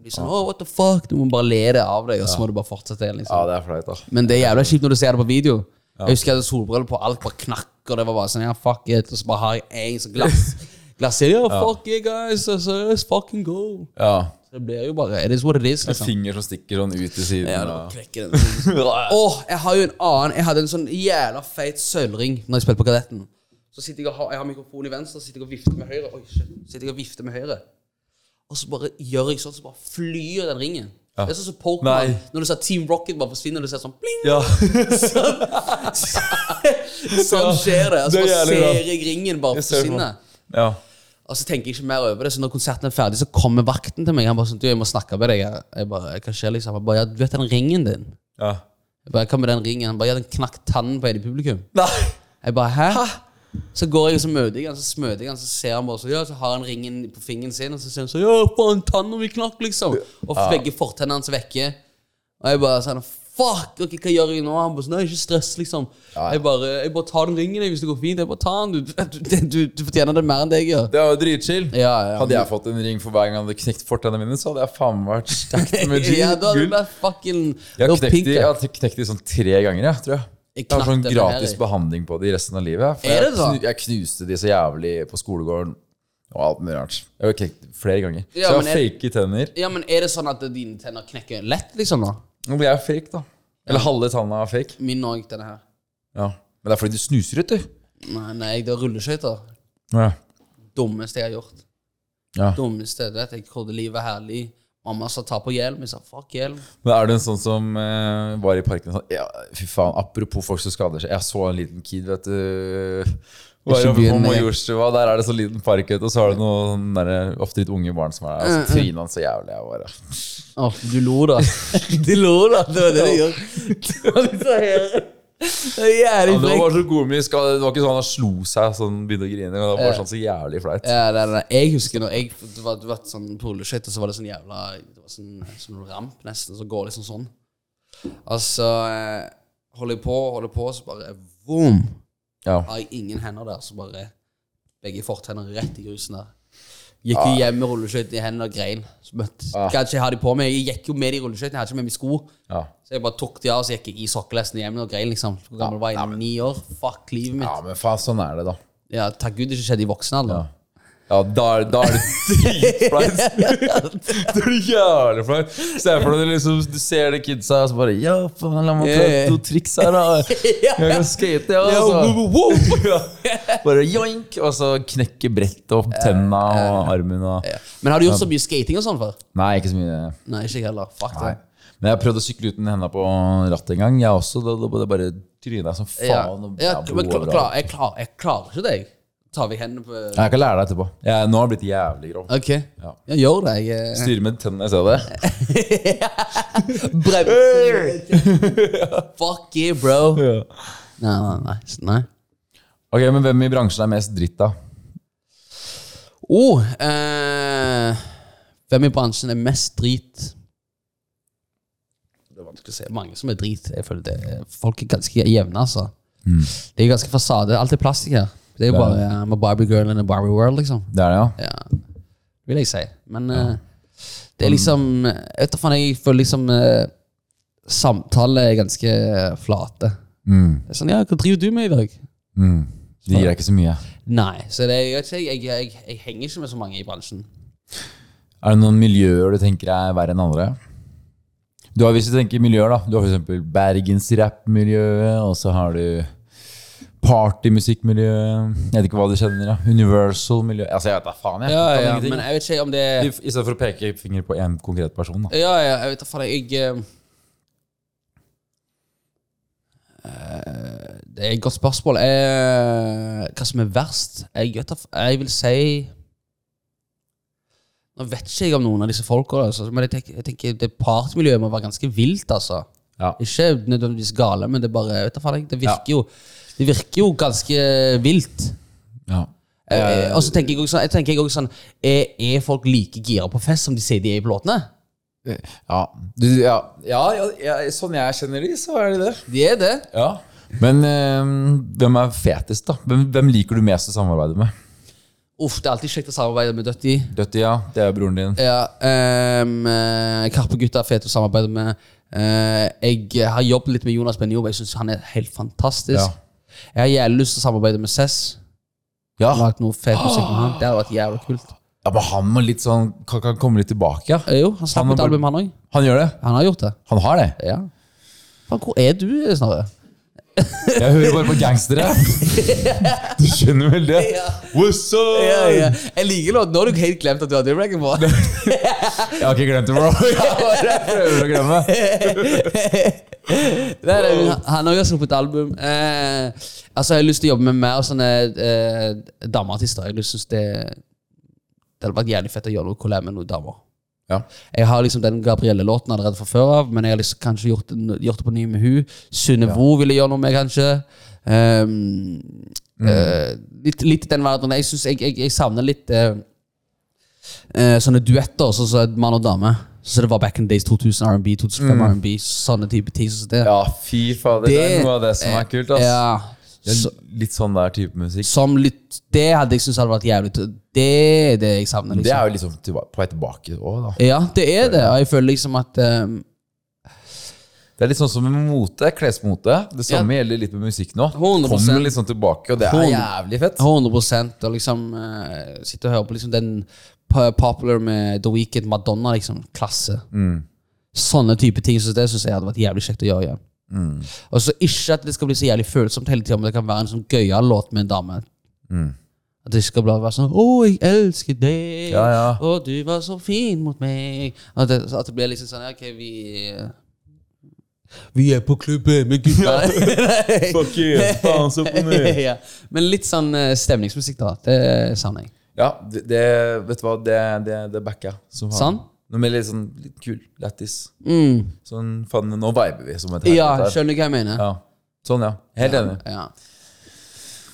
[SPEAKER 1] bli sånn oh, what the fuck? Du må bare le det av deg, og så må du bare fortsette.
[SPEAKER 2] Ja,
[SPEAKER 1] liksom
[SPEAKER 2] det er flaut, da.
[SPEAKER 1] Men det er jævla kjipt når du ser det på video. Jeg husker jeg hadde solbriller på, alt bare knakk, og det var bare sånn ja, fuck it. Og så bare har jeg en sånn glass. glass ja, fuck it, guys. Altså, let's fucking go.
[SPEAKER 2] Ja.
[SPEAKER 1] Så det blir jo bare It is what it is,
[SPEAKER 2] En
[SPEAKER 1] liksom.
[SPEAKER 2] finger som stikker sånn ut til siden.
[SPEAKER 1] Ja, det var
[SPEAKER 2] og-
[SPEAKER 1] krekken. Åh, jeg har jo en annen Jeg hadde en sånn jævla feit sølvring Når jeg spilte på kadetten Så sitter jeg og har, jeg har mikrofonen i venstre Så sitter jeg og vifter med høyre Oi, shit Sitter jeg og vifter med høyre Og så bare gjør jeg sånn Så bare flyr den ringen
[SPEAKER 2] Ja.
[SPEAKER 1] Det er sånn som Pokémon
[SPEAKER 2] Nei.
[SPEAKER 1] Når du ser Team Rocket bare forsvinner Og du ser sånn bling
[SPEAKER 2] Ja.
[SPEAKER 1] Sånn, sånn skjer det Og så
[SPEAKER 2] Det er
[SPEAKER 1] bare
[SPEAKER 2] jævlig bra.
[SPEAKER 1] ser jeg ringen bare
[SPEAKER 2] Jeg ser det nå.
[SPEAKER 1] forsvinne
[SPEAKER 2] ja.
[SPEAKER 1] og så tenker jeg ikke mer over det, så når konserten er ferdig, så kommer vakten til meg. Han bare sånn, du, jeg må snakke med deg. her.» Jeg bare, hva skjer liksom? Han bare, ja, du vet den ringen din?
[SPEAKER 2] ja.
[SPEAKER 1] Jeg bare, hva med den ringen? Han bare, ja, den knakk tannen på en i publikum.
[SPEAKER 2] Nei!
[SPEAKER 1] Jeg bare, hæ? Så går jeg og så møter jeg han, så smøter jeg han, så ser han bare så, ja, så har han ringen på fingeren sin, og så sier han så, ja, faen, tannen min knakk, liksom. Og begge fortennene hans er vekke. Og jeg bare sånn, fuck, ok, hva gjør jeg nå? Han bare sånn, nei, ikke stress, liksom. Jeg bare, jeg bare tar den ringen, jeg, hvis det går fint, jeg bare tar den, du, du, du, du fortjener det mer enn det jeg gjør.
[SPEAKER 2] Det var jo dritchill.
[SPEAKER 1] Ja, ja.
[SPEAKER 2] Hadde jeg fått en ring for hver gang jeg hadde knekt fortennene mine, så hadde jeg faen meg vært stacked med
[SPEAKER 1] ja, da hadde du
[SPEAKER 2] gull.
[SPEAKER 1] vært fucking
[SPEAKER 2] Jeg
[SPEAKER 1] det
[SPEAKER 2] har
[SPEAKER 1] var
[SPEAKER 2] knekt
[SPEAKER 1] pink,
[SPEAKER 2] de, jeg
[SPEAKER 1] det.
[SPEAKER 2] har knekt de sånn tre ganger, jeg, tror jeg.
[SPEAKER 1] Jeg
[SPEAKER 2] Jeg har sånn
[SPEAKER 1] knakk den
[SPEAKER 2] gratis
[SPEAKER 1] her, jeg.
[SPEAKER 2] behandling på de resten av livet. For
[SPEAKER 1] Er
[SPEAKER 2] jeg
[SPEAKER 1] det da?
[SPEAKER 2] knu- Jeg knuste de så jævlig på skolegården og alt mulig rart. Jeg har knekt de flere ganger.
[SPEAKER 1] Ja,
[SPEAKER 2] så jeg
[SPEAKER 1] men
[SPEAKER 2] har
[SPEAKER 1] er-
[SPEAKER 2] fake tenner.
[SPEAKER 1] Ja, men er det sånn at dine tenner knekker lett, liksom? da?
[SPEAKER 2] Nå blir jeg fake, da. Eller halve tanna er fake.
[SPEAKER 1] Min òg, denne her.
[SPEAKER 2] Ja. Men det er fordi du snuser ut, du.
[SPEAKER 1] Nei, nei, det er rulleskøyter.
[SPEAKER 2] Ja.
[SPEAKER 1] Dummeste jeg har gjort.
[SPEAKER 2] Ja.
[SPEAKER 1] Dummeste, du vet, Jeg trodde livet var herlig. Mamma sa ta på hjelm. Jeg sa fuck hjelm.
[SPEAKER 2] Men er du en sånn som eh, var i parken og sånn ja, Fy faen, apropos folk som skader seg. Jeg så en liten kid, vet du. Bare
[SPEAKER 1] Ikke
[SPEAKER 2] oppe på
[SPEAKER 1] begynn med-
[SPEAKER 2] Majorstua, Der er det sånn liten park, vet du, og så har du noen der, ofte litt unge barn som er der. Og så tryner han så jævlig. Jeg bare
[SPEAKER 1] Å, du lo, da. du lo, da. Det var det du gjorde. Det var litt så her. Det er jævlig
[SPEAKER 2] ja, Det var
[SPEAKER 1] frekt.
[SPEAKER 2] bare så god mye skade. Det var ikke sånn han slo seg sånn begynte å grine. men Det var bare sånn så jævlig flaut.
[SPEAKER 1] Ja, nei, nei, jeg husker når jeg det var, det var sånn på rulleskøyter, så var det sånn jævla Det var sånn, sånn ramp, nesten, så går det liksom sånn. Altså eh, Holder jeg på, holder på, så bare Vom!
[SPEAKER 2] Ja.
[SPEAKER 1] Har jeg ingen hender der, så bare Begge fortenner rett i grusen der. Gikk jo hjem med rulleskøytene i hendene og grein. Så møtte,
[SPEAKER 2] Ah.
[SPEAKER 1] Skal ikke ha de på meg. Jeg gikk jo med de rulleskøytene, jeg hadde ikke med meg sko.
[SPEAKER 2] Ja.
[SPEAKER 1] Så jeg bare tok de av, så gikk jeg i sokkelesten hjem og grein, liksom. Hvor gammel
[SPEAKER 2] Ah.
[SPEAKER 1] var jeg? Ni år? Fuck livet
[SPEAKER 2] ja,
[SPEAKER 1] mitt.
[SPEAKER 2] men faen, sånn er det, da.
[SPEAKER 1] Ja, takk gud det ikke skjedde i voksen alder.
[SPEAKER 2] Ja, da, er- da er det dritflaut. Det er jævlig flaut. Se for deg det liksom, du ser det kidsa, og så bare Ja, faen, la meg prøve to triks her, da.
[SPEAKER 1] Ja.
[SPEAKER 2] Jeg kan skate, ja.
[SPEAKER 1] wow,
[SPEAKER 2] Og så. Ja. Bare joink, og så knekke brettet opp tenna og armen og
[SPEAKER 1] Ja. Men har du gjort så mye skating og sånn før?
[SPEAKER 2] Nei, ikke så mye.
[SPEAKER 1] Nei, ikke jeg heller. Fuck det.
[SPEAKER 2] Nei. Men jeg prøvde å sykle uten henda på rattet en gang, jeg også. Da, da, da bare tryna jeg som faen.
[SPEAKER 1] Ja.
[SPEAKER 2] og
[SPEAKER 1] Ja,
[SPEAKER 2] jeg
[SPEAKER 1] men
[SPEAKER 2] blod
[SPEAKER 1] klar,
[SPEAKER 2] overalt.
[SPEAKER 1] klar, jeg, klar, jeg klarer ikke deg. Tar vi hendene på
[SPEAKER 2] Nei, Jeg kan lære deg etterpå. Jeg, nå har jeg blitt jævlig grov.
[SPEAKER 1] Ok, ja. gjør det. Jeg eh.
[SPEAKER 2] Styrer med tennene, ser du det?
[SPEAKER 1] bremser. Fuck you, bro. Nei, nei, nei. s- nei.
[SPEAKER 2] Ok, Men hvem i bransjen er mest dritt, da?
[SPEAKER 1] Oh, eh, hvem i bransjen er mest drit? Det er vanskelig å si. Mange som er drit. Jeg føler det. er- Folk er ganske jevne, altså. Det er ganske fasade. Alt er plastikk her. Det er jo
[SPEAKER 2] Det er
[SPEAKER 1] bare I'm a Barbie girl in a Barbie world, liksom.
[SPEAKER 2] Det er det, ja?
[SPEAKER 1] Ja, vil jeg si. Men eh, det er liksom Etter faen, jeg føler liksom eh, Samtaler er ganske eh, flate. Det er sånn, ja, hva driver du med i dag?
[SPEAKER 2] Mm. Det gir deg ikke så mye.
[SPEAKER 1] Nei, så det, jeg, vet ikke, jeg, jeg, jeg, jeg henger ikke med så mange i bransjen.
[SPEAKER 2] Er det noen miljøer du tenker er verre enn andre? Du har, hvis du tenker miljøer, da. Du har f.eks. bergensrappmiljøet, og så har du partymusikkmiljøet Jeg vet ikke hva du kjenner, da. Universal-miljø Altså, jeg vet da faen, jeg.
[SPEAKER 1] Ja,
[SPEAKER 2] Kan
[SPEAKER 1] ja,
[SPEAKER 2] ingenting.
[SPEAKER 1] men jeg vet ikke om det
[SPEAKER 2] I
[SPEAKER 1] er
[SPEAKER 2] i stedet for å peke finger på én konkret person, da.
[SPEAKER 1] Ja, ja, jeg vet da faen, jeg eh, eh, Det er et godt spørsmål. Eh, hva som er verst? Jeg, vet, da f- jeg vil si Nå vet ikke jeg om noen av disse folka, altså, men jeg tenker, jeg tenker det partsmiljøet må være ganske vilt. altså.
[SPEAKER 2] Ja.
[SPEAKER 1] Ikke nødvendigvis gale, men det er bare, vet du, faen, det, virker jo, det virker jo ganske vilt.
[SPEAKER 2] Ja.
[SPEAKER 1] Eh, og så tenker jeg også, sånn- jeg tenker jeg også sånn er, er folk like gira på fest som de sier de er i låtene?
[SPEAKER 2] Ja. Du, ja. Ja, ja, ja, sånn jeg kjenner de, så er de det.
[SPEAKER 1] De er det.
[SPEAKER 2] Ja. Men eh, hvem er fetest, da? Hvem, hvem liker du mest å samarbeide med?
[SPEAKER 1] Uff, det er alltid kjekt å samarbeide med Døtti.
[SPEAKER 2] Døtti, ja. Det er broren din.
[SPEAKER 1] Ja, ehm, eh, Karpe-gutta er fete å samarbeide med. Eh, jeg har jobbet litt med Jonas Benjob. Jeg syns han er helt fantastisk.
[SPEAKER 2] Ja.
[SPEAKER 1] Jeg har jævlig lyst til å samarbeide med Cess.
[SPEAKER 2] Ja.
[SPEAKER 1] Lagt noe fet musikk med han. Det hadde vært jævlig kult.
[SPEAKER 2] ja, men han må litt sånn Kan, kan komme litt tilbake, ja.
[SPEAKER 1] Eh, jo, han slapp
[SPEAKER 2] Han
[SPEAKER 1] ut
[SPEAKER 2] har
[SPEAKER 1] album, han òg.
[SPEAKER 2] Han gjør det.
[SPEAKER 1] Han har gjort det.
[SPEAKER 2] Han har det.
[SPEAKER 1] Ja. Faen, hvor er du, Snorre?
[SPEAKER 2] Jeg hører bare på gangstere. Du skjønner vel det? What's up?
[SPEAKER 1] Jeg liker låten. Nå har du helt glemt at du har Dimragon på.
[SPEAKER 2] Jeg har ikke glemt det, bro. Jeg bare prøver å glemme.
[SPEAKER 1] Det er det. Han har også sluppet album. Eh, altså, jeg har lyst til å jobbe med mer sånne eh, dameartister. Jeg synes det Det hadde vært jævlig fett å gjøre noe collab med noen damer.
[SPEAKER 2] Ja.
[SPEAKER 1] Jeg har liksom den Gabrielle-låten allerede fra før av, men jeg har liksom kanskje gjort, den- gjort det på ny med hun Synnøvo ville gjøre noe med, kanskje. Ehm, eh, litt, litt i den verdenen. Jeg synes jeg, jeg, jeg savner litt eh, eh, sånne duetter, sånn som mann og dame. Så det var back in days 2000 R&B, 2005 R&B, sånne type ting. sånn som det.
[SPEAKER 2] Ja, fy fader. Det, er noe av det som er kult. ass.
[SPEAKER 1] Ja.
[SPEAKER 2] Det er
[SPEAKER 1] Så,
[SPEAKER 2] litt sånn der type musikk.
[SPEAKER 1] som litt Det hadde jeg syntes hadde vært jævlig t- Det er det jeg savner.
[SPEAKER 2] Det
[SPEAKER 1] liksom
[SPEAKER 2] er jo liksom tilba- på vei tilbake òg, da.
[SPEAKER 1] Ja, det er det. Og jeg føler liksom at ehm,
[SPEAKER 2] Det er litt sånn som med mote, klesmote. Det samme gjelder litt med musikk nå.
[SPEAKER 1] 100%.
[SPEAKER 2] Kommer litt sånn tilbake, og det er
[SPEAKER 1] 100.
[SPEAKER 2] jævlig fett.
[SPEAKER 1] 100 og liksom eh, sitte og høre på liksom den po- popular med The Weeknd, Madonna, liksom. Klasse. Sånne type ting som det syns jeg hadde vært jævlig kjekt å gjøre igjen. Og så ikke at det skal bli så jævlig følsomt hele tida, men det kan være en sånn gøyal låt med en dame. Mm. At det ikke skal bli- være sånn 'Å, jeg elsker deg',
[SPEAKER 2] Ja, ja.
[SPEAKER 1] og 'du var så fin mot meg'. At det, at det blir liksom sånn ja, 'Ok, vi eh, Vi er på klubben med gutta'.
[SPEAKER 2] Fuck you, faen så på
[SPEAKER 1] ja. Men litt sånn eh, stemningsmusikk, da. Det savner jeg.
[SPEAKER 2] Ja, det, det, vet du hva, det, det, det backer jeg. som faen.
[SPEAKER 1] Sånn?
[SPEAKER 2] Noe med litt sånn litt kul, lættis.
[SPEAKER 1] Mm.
[SPEAKER 2] Sånn, faen, nå viber vi som et
[SPEAKER 1] Ja,
[SPEAKER 2] helvete her.
[SPEAKER 1] skjønner du hva jeg mener?
[SPEAKER 2] Ja. Sånn, ja. Helt enig.
[SPEAKER 1] Ja.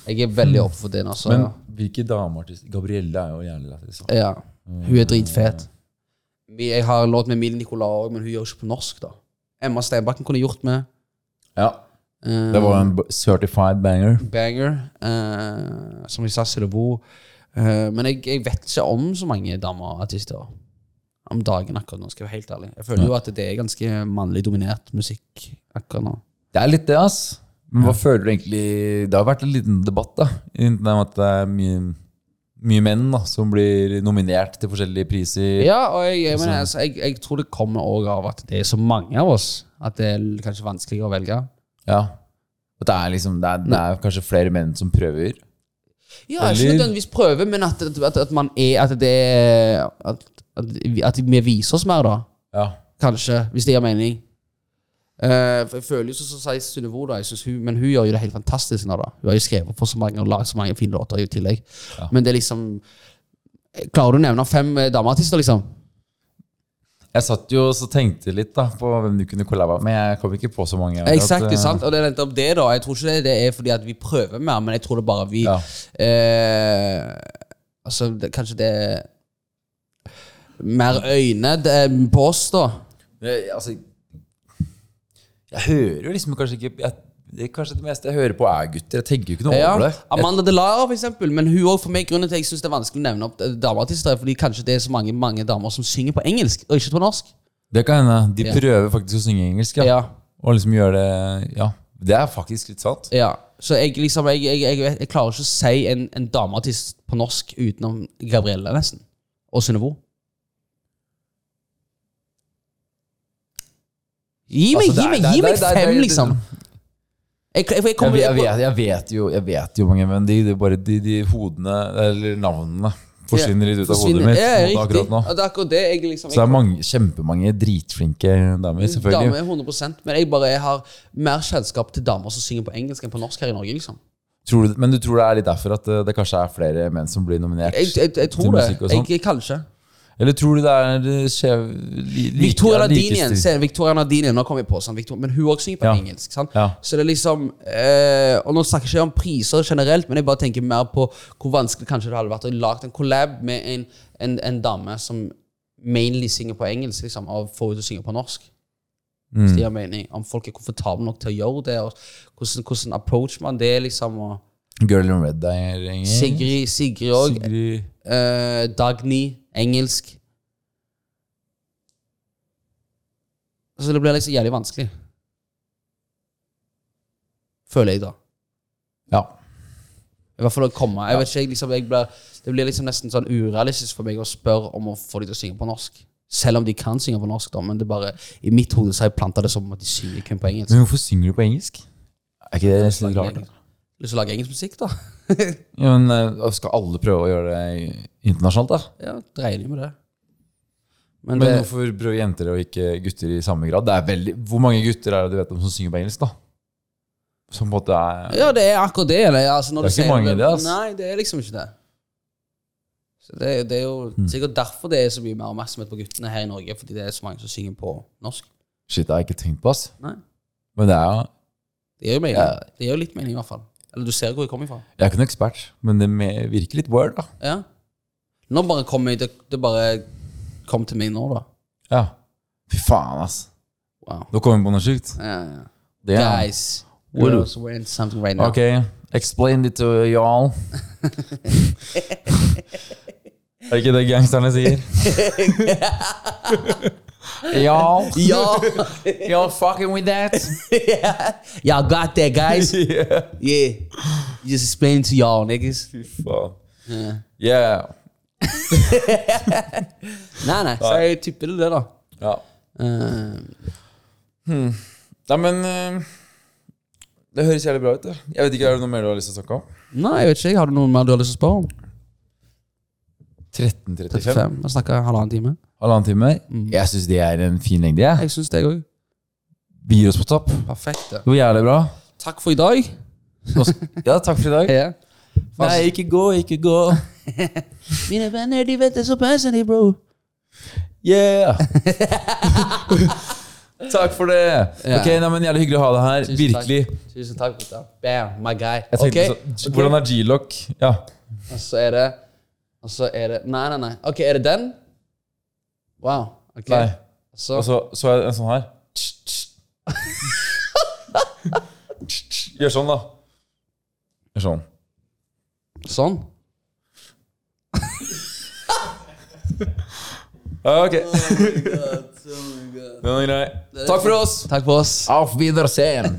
[SPEAKER 1] Jeg er veldig opp for den, altså.
[SPEAKER 2] Hmm. Men hvilke dameartist Gabrielle er jo jævlig lættis. altså. da.
[SPEAKER 1] Ja. Hun er dritfet.
[SPEAKER 2] Hmm.
[SPEAKER 1] Vi- Jeg har en låt med Emilie Nicolas òg, men hun gjør ikke på norsk, da. Emma Steinbakken kunne gjort med.
[SPEAKER 2] Ja.
[SPEAKER 1] eh,
[SPEAKER 2] Det var en b- certified banger.
[SPEAKER 1] Banger. eh, som i Sassy Levo. men jeg, jeg vet ikke om så mange dameartister om dagen akkurat nå, skal jeg være helt ærlig. Jeg føler jo at det er ganske mannlig dominert musikk akkurat nå.
[SPEAKER 2] Det er litt det, ass. Men hva føler du egentlig Det har vært en liten debatt, da. Rundt det med at det er mye, mye menn da, som blir nominert til forskjellige priser.
[SPEAKER 1] Ja, og jeg, jeg, mener, altså, jeg, jeg tror det kommer også av at det er så mange av oss at det er l- kanskje vanskeligere å velge.
[SPEAKER 2] Ja. At det er liksom det er, det er kanskje flere menn som prøver.
[SPEAKER 1] Ja, ikke
[SPEAKER 2] Eller-
[SPEAKER 1] nødvendigvis prøve, men at, at, at man er At det er at, at, vi- at vi viser oss mer, da.
[SPEAKER 2] Ja.
[SPEAKER 1] Kanskje, hvis det gir mening. Eh, for jeg føler jo så- så sier Sunnivo, da. Jeg synes hun, men hun gjør jo det helt fantastisk nå, da. Hun har jo skrevet på så mange og laget så mange fine låter i tillegg. Men det er liksom Klarer du å nevne fem eh, dameartister, liksom?
[SPEAKER 2] Jeg satt jo og tenkte litt da på hvem du kunne kollaba med. Jeg kom ikke på så mange. eh, akkurat.
[SPEAKER 1] Exakt, sant? Og det er eh, nettopp det, da. Jeg tror ikke det, det er fordi at vi prøver mer, men jeg tror det bare vi
[SPEAKER 2] Ja.
[SPEAKER 1] eh, Altså, det, kanskje det er mer øyne det- på oss, da.
[SPEAKER 2] Jeg, altså, jeg hører jo liksom kanskje ikke jeg, det er Kanskje det meste jeg hører på, er gutter. Jeg tenker jo ikke noe
[SPEAKER 1] Ja.
[SPEAKER 2] over det. Jeg,
[SPEAKER 1] Amanda Delara, for eksempel. Men hun også for meg grunnen til at jeg synes det er vanskelig å nevne opp eh, dameartister, er fordi kanskje det er så mange, mange damer som synger på engelsk, og ikke på norsk.
[SPEAKER 2] det kan hende. De
[SPEAKER 1] Ja.
[SPEAKER 2] prøver faktisk å synge engelsk.
[SPEAKER 1] Ja,
[SPEAKER 2] Og liksom gjøre det Ja, det er faktisk litt sant.
[SPEAKER 1] ja. Så jeg liksom Jeg, jeg, jeg, vet- jeg klarer ikke å si en, en dameartist på norsk utenom Gabrielle, nesten. Og Synnøvo. Gi meg,
[SPEAKER 2] Altså, det er-
[SPEAKER 1] gi meg,
[SPEAKER 2] det er-
[SPEAKER 1] gi meg
[SPEAKER 2] det er- det er-
[SPEAKER 1] fem,
[SPEAKER 2] det er-
[SPEAKER 1] liksom! Jeg, jeg, jeg,
[SPEAKER 2] Jeg,
[SPEAKER 1] kommer,
[SPEAKER 2] jeg, vet, jeg vet jo Jeg vet jo mange menn. De, de bare de, de hodene, eller navnene, forsvinner litt ut av hodet
[SPEAKER 1] forsvinner.
[SPEAKER 2] mitt
[SPEAKER 1] Ja,
[SPEAKER 2] sånn
[SPEAKER 1] riktig.
[SPEAKER 2] akkurat nå.
[SPEAKER 1] Ja, Det er akkurat det. Jeg liksom
[SPEAKER 2] Så det er mange, kjempemange dritflinke damer,
[SPEAKER 1] Dame
[SPEAKER 2] selvfølgelig.
[SPEAKER 1] er 100 men jeg bare jeg har mer kjennskap til damer som synger på engelsk enn på norsk her i Norge. liksom.
[SPEAKER 2] Tror du, men du tror det er litt derfor at eh, det kanskje er flere menn som blir nominert?
[SPEAKER 1] Jeg, jeg, jeg
[SPEAKER 2] til
[SPEAKER 1] tror det.
[SPEAKER 2] musikk og
[SPEAKER 1] Jeg,
[SPEAKER 2] sånn?
[SPEAKER 1] jeg, kanskje.
[SPEAKER 2] Eller tror du det er eh, skjev... Li, like-
[SPEAKER 1] Victoria
[SPEAKER 2] ja,
[SPEAKER 1] Nardinien,
[SPEAKER 2] likestilling?
[SPEAKER 1] se, Victoria Nardinien, nå kom jeg på, sant? Victor, men hun også synger på
[SPEAKER 2] Ja.
[SPEAKER 1] engelsk. sant?
[SPEAKER 2] Ja.
[SPEAKER 1] Så det er liksom, eh, og Nå snakker jeg ikke om priser generelt, men jeg bare tenker mer på hvor vanskelig kanskje det hadde vært å lage en collab med en, en, en dame som mainly synger på engelsk, liksom, og få henne til å synge på norsk.
[SPEAKER 2] Mm.
[SPEAKER 1] Hvis det gir mening. Om folk er komfortable nok til å gjøre det, og hvordan, hvordan approach man det, liksom. og
[SPEAKER 2] Girl in Red er engelsk.
[SPEAKER 1] Sigrid Sigrid òg.
[SPEAKER 2] Sigrid.
[SPEAKER 1] Dagny engelsk. Så det blir liksom jævlig vanskelig. Føler jeg, da.
[SPEAKER 2] Ja.
[SPEAKER 1] I hvert fall å komme. Jeg vet ikke, jeg liksom, jeg blir, det blir liksom nesten sånn urealistisk for meg å spørre om å få de til å synge på norsk. Selv om de kan synge på norsk, da, men det er bare, i mitt hode så har jeg planta det som at de synger kun på engelsk.
[SPEAKER 2] Men hvorfor synger du på engelsk? Er ikke det nesten litt rart? da?
[SPEAKER 1] Lyst til å lage engelsk musikk, da?
[SPEAKER 2] Ja, men eh, Skal alle prøve å gjøre det internasjonalt, da?
[SPEAKER 1] ja, dreier de med det. Men,
[SPEAKER 2] Men
[SPEAKER 1] det,
[SPEAKER 2] hvorfor prøver jenter og ikke gutter i samme grad? Det er veldig, hvor mange gutter er det du vet om som synger på engelsk, da? Som på en måte er
[SPEAKER 1] Ja, det er akkurat det. Eller? Altså, når du
[SPEAKER 2] Det er ikke
[SPEAKER 1] sier
[SPEAKER 2] mange det, ass.
[SPEAKER 1] Nei, det er liksom ikke det. Så det, er- det er jo
[SPEAKER 2] Hmm.
[SPEAKER 1] sikkert derfor det er så mye mer oppmerksomhet på guttene her i Norge. Fordi det er så mange som synger på norsk.
[SPEAKER 2] Shit, det har jeg ikke tenkt på, ass.
[SPEAKER 1] Nei.
[SPEAKER 2] Men det er jo
[SPEAKER 1] Det gjør jo mening. Det gjør jo litt mening, i hvert fall. Eller du ser hvor jeg kommer fra.
[SPEAKER 2] Jeg er ikke noen ekspert, men det me- virker litt word, da.
[SPEAKER 1] Ja. Nå bare kom jeg, det, det bare kom til meg nå, da.
[SPEAKER 2] Ja. Fy faen, ass.
[SPEAKER 1] Wow.
[SPEAKER 2] Nå kom vi på noe sjukt.
[SPEAKER 1] Ja, ja.
[SPEAKER 2] Det er-
[SPEAKER 1] Guys, girls, we're in something right now.
[SPEAKER 2] Ok, explain it to y'all. er det ikke det gangsterne sier? y'all,
[SPEAKER 1] Ja!
[SPEAKER 2] y'all fucking with that.
[SPEAKER 1] Y'all got that, guys.
[SPEAKER 2] yeah.
[SPEAKER 1] Yeah. Just explain to y'all, niggas.
[SPEAKER 2] Fy faen. Yeah.
[SPEAKER 1] Nei, nei. Så jeg tipper det, da.
[SPEAKER 2] Ja.
[SPEAKER 1] Eh,
[SPEAKER 2] Nei, men eh, Det høres jævlig bra ut. Det. Jeg vet ikke, Er det noe mer du har lyst til å snakke om?
[SPEAKER 1] Nei, jeg vet ikke. Har du noe mer du har lyst til å spørre om?
[SPEAKER 2] 13.35.
[SPEAKER 1] 35. Jeg snakka halvannen time.
[SPEAKER 2] Halvannen time. Jeg syns det er en fin lengde. jeg.
[SPEAKER 1] Jeg syns det òg.
[SPEAKER 2] Vi gir oss på topp.
[SPEAKER 1] Perfekt.
[SPEAKER 2] Det var jævlig bra.
[SPEAKER 1] Takk for i dag.
[SPEAKER 2] Nå sk- Ja, takk for i dag. Nei, ikke gå, ikke gå.
[SPEAKER 1] Mine venner, de vet det så passende, bro.
[SPEAKER 2] Yeah! takk for det.
[SPEAKER 1] Ja.
[SPEAKER 2] Ok, nei, men Jævlig hyggelig å ha deg her. Virkelig.
[SPEAKER 1] Takk. Tusen takk, gutta. Bam, my guy.
[SPEAKER 2] Jeg
[SPEAKER 1] Ok,
[SPEAKER 2] tenkte så, Hvordan er G-lock? Ja.
[SPEAKER 1] og så er det Og så er det Nei, nei, nei. Ok, er det den? Wow. Ok.
[SPEAKER 2] Nei.
[SPEAKER 1] Så
[SPEAKER 2] Og så så jeg en sånn her. Gjør sånn, da. Gjør sånn.
[SPEAKER 1] Sånn.
[SPEAKER 2] Ja, ok. Den er grei. Takk for oss.
[SPEAKER 1] Takk for oss.
[SPEAKER 2] oh Auf Wiedersehen.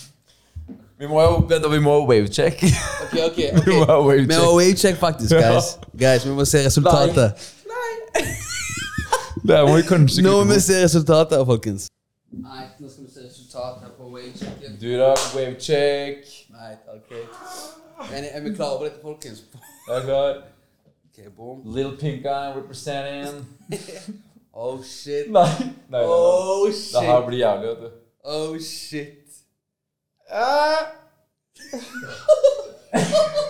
[SPEAKER 2] Vi må jo vent, da, vi må jo wavecheck.
[SPEAKER 1] Ok, ok.
[SPEAKER 2] Vi må
[SPEAKER 1] ok. Vi
[SPEAKER 2] jo
[SPEAKER 1] må
[SPEAKER 2] wavecheck.
[SPEAKER 1] wavecheck, faktisk, guys. Guys, Vi må se resultatet.
[SPEAKER 2] Det her må vi kanskje
[SPEAKER 1] Nå
[SPEAKER 2] kutte
[SPEAKER 1] må vi
[SPEAKER 2] bort.
[SPEAKER 1] se resultatet, folkens. Nei, nå skal vi se resultatet på wavechecken.
[SPEAKER 2] Dura, wavecheck.
[SPEAKER 1] Nei, ok. Men er vi klare over dette, folkens?
[SPEAKER 2] Jeg er klar.
[SPEAKER 1] Ok, boom.
[SPEAKER 2] Little Pink Eye representing.
[SPEAKER 1] Oh shit.
[SPEAKER 2] Nei. nei, nei, nei.
[SPEAKER 1] Oh
[SPEAKER 2] Det her
[SPEAKER 1] shit.
[SPEAKER 2] blir jævlig, vet du.
[SPEAKER 1] Oh shit. Oh,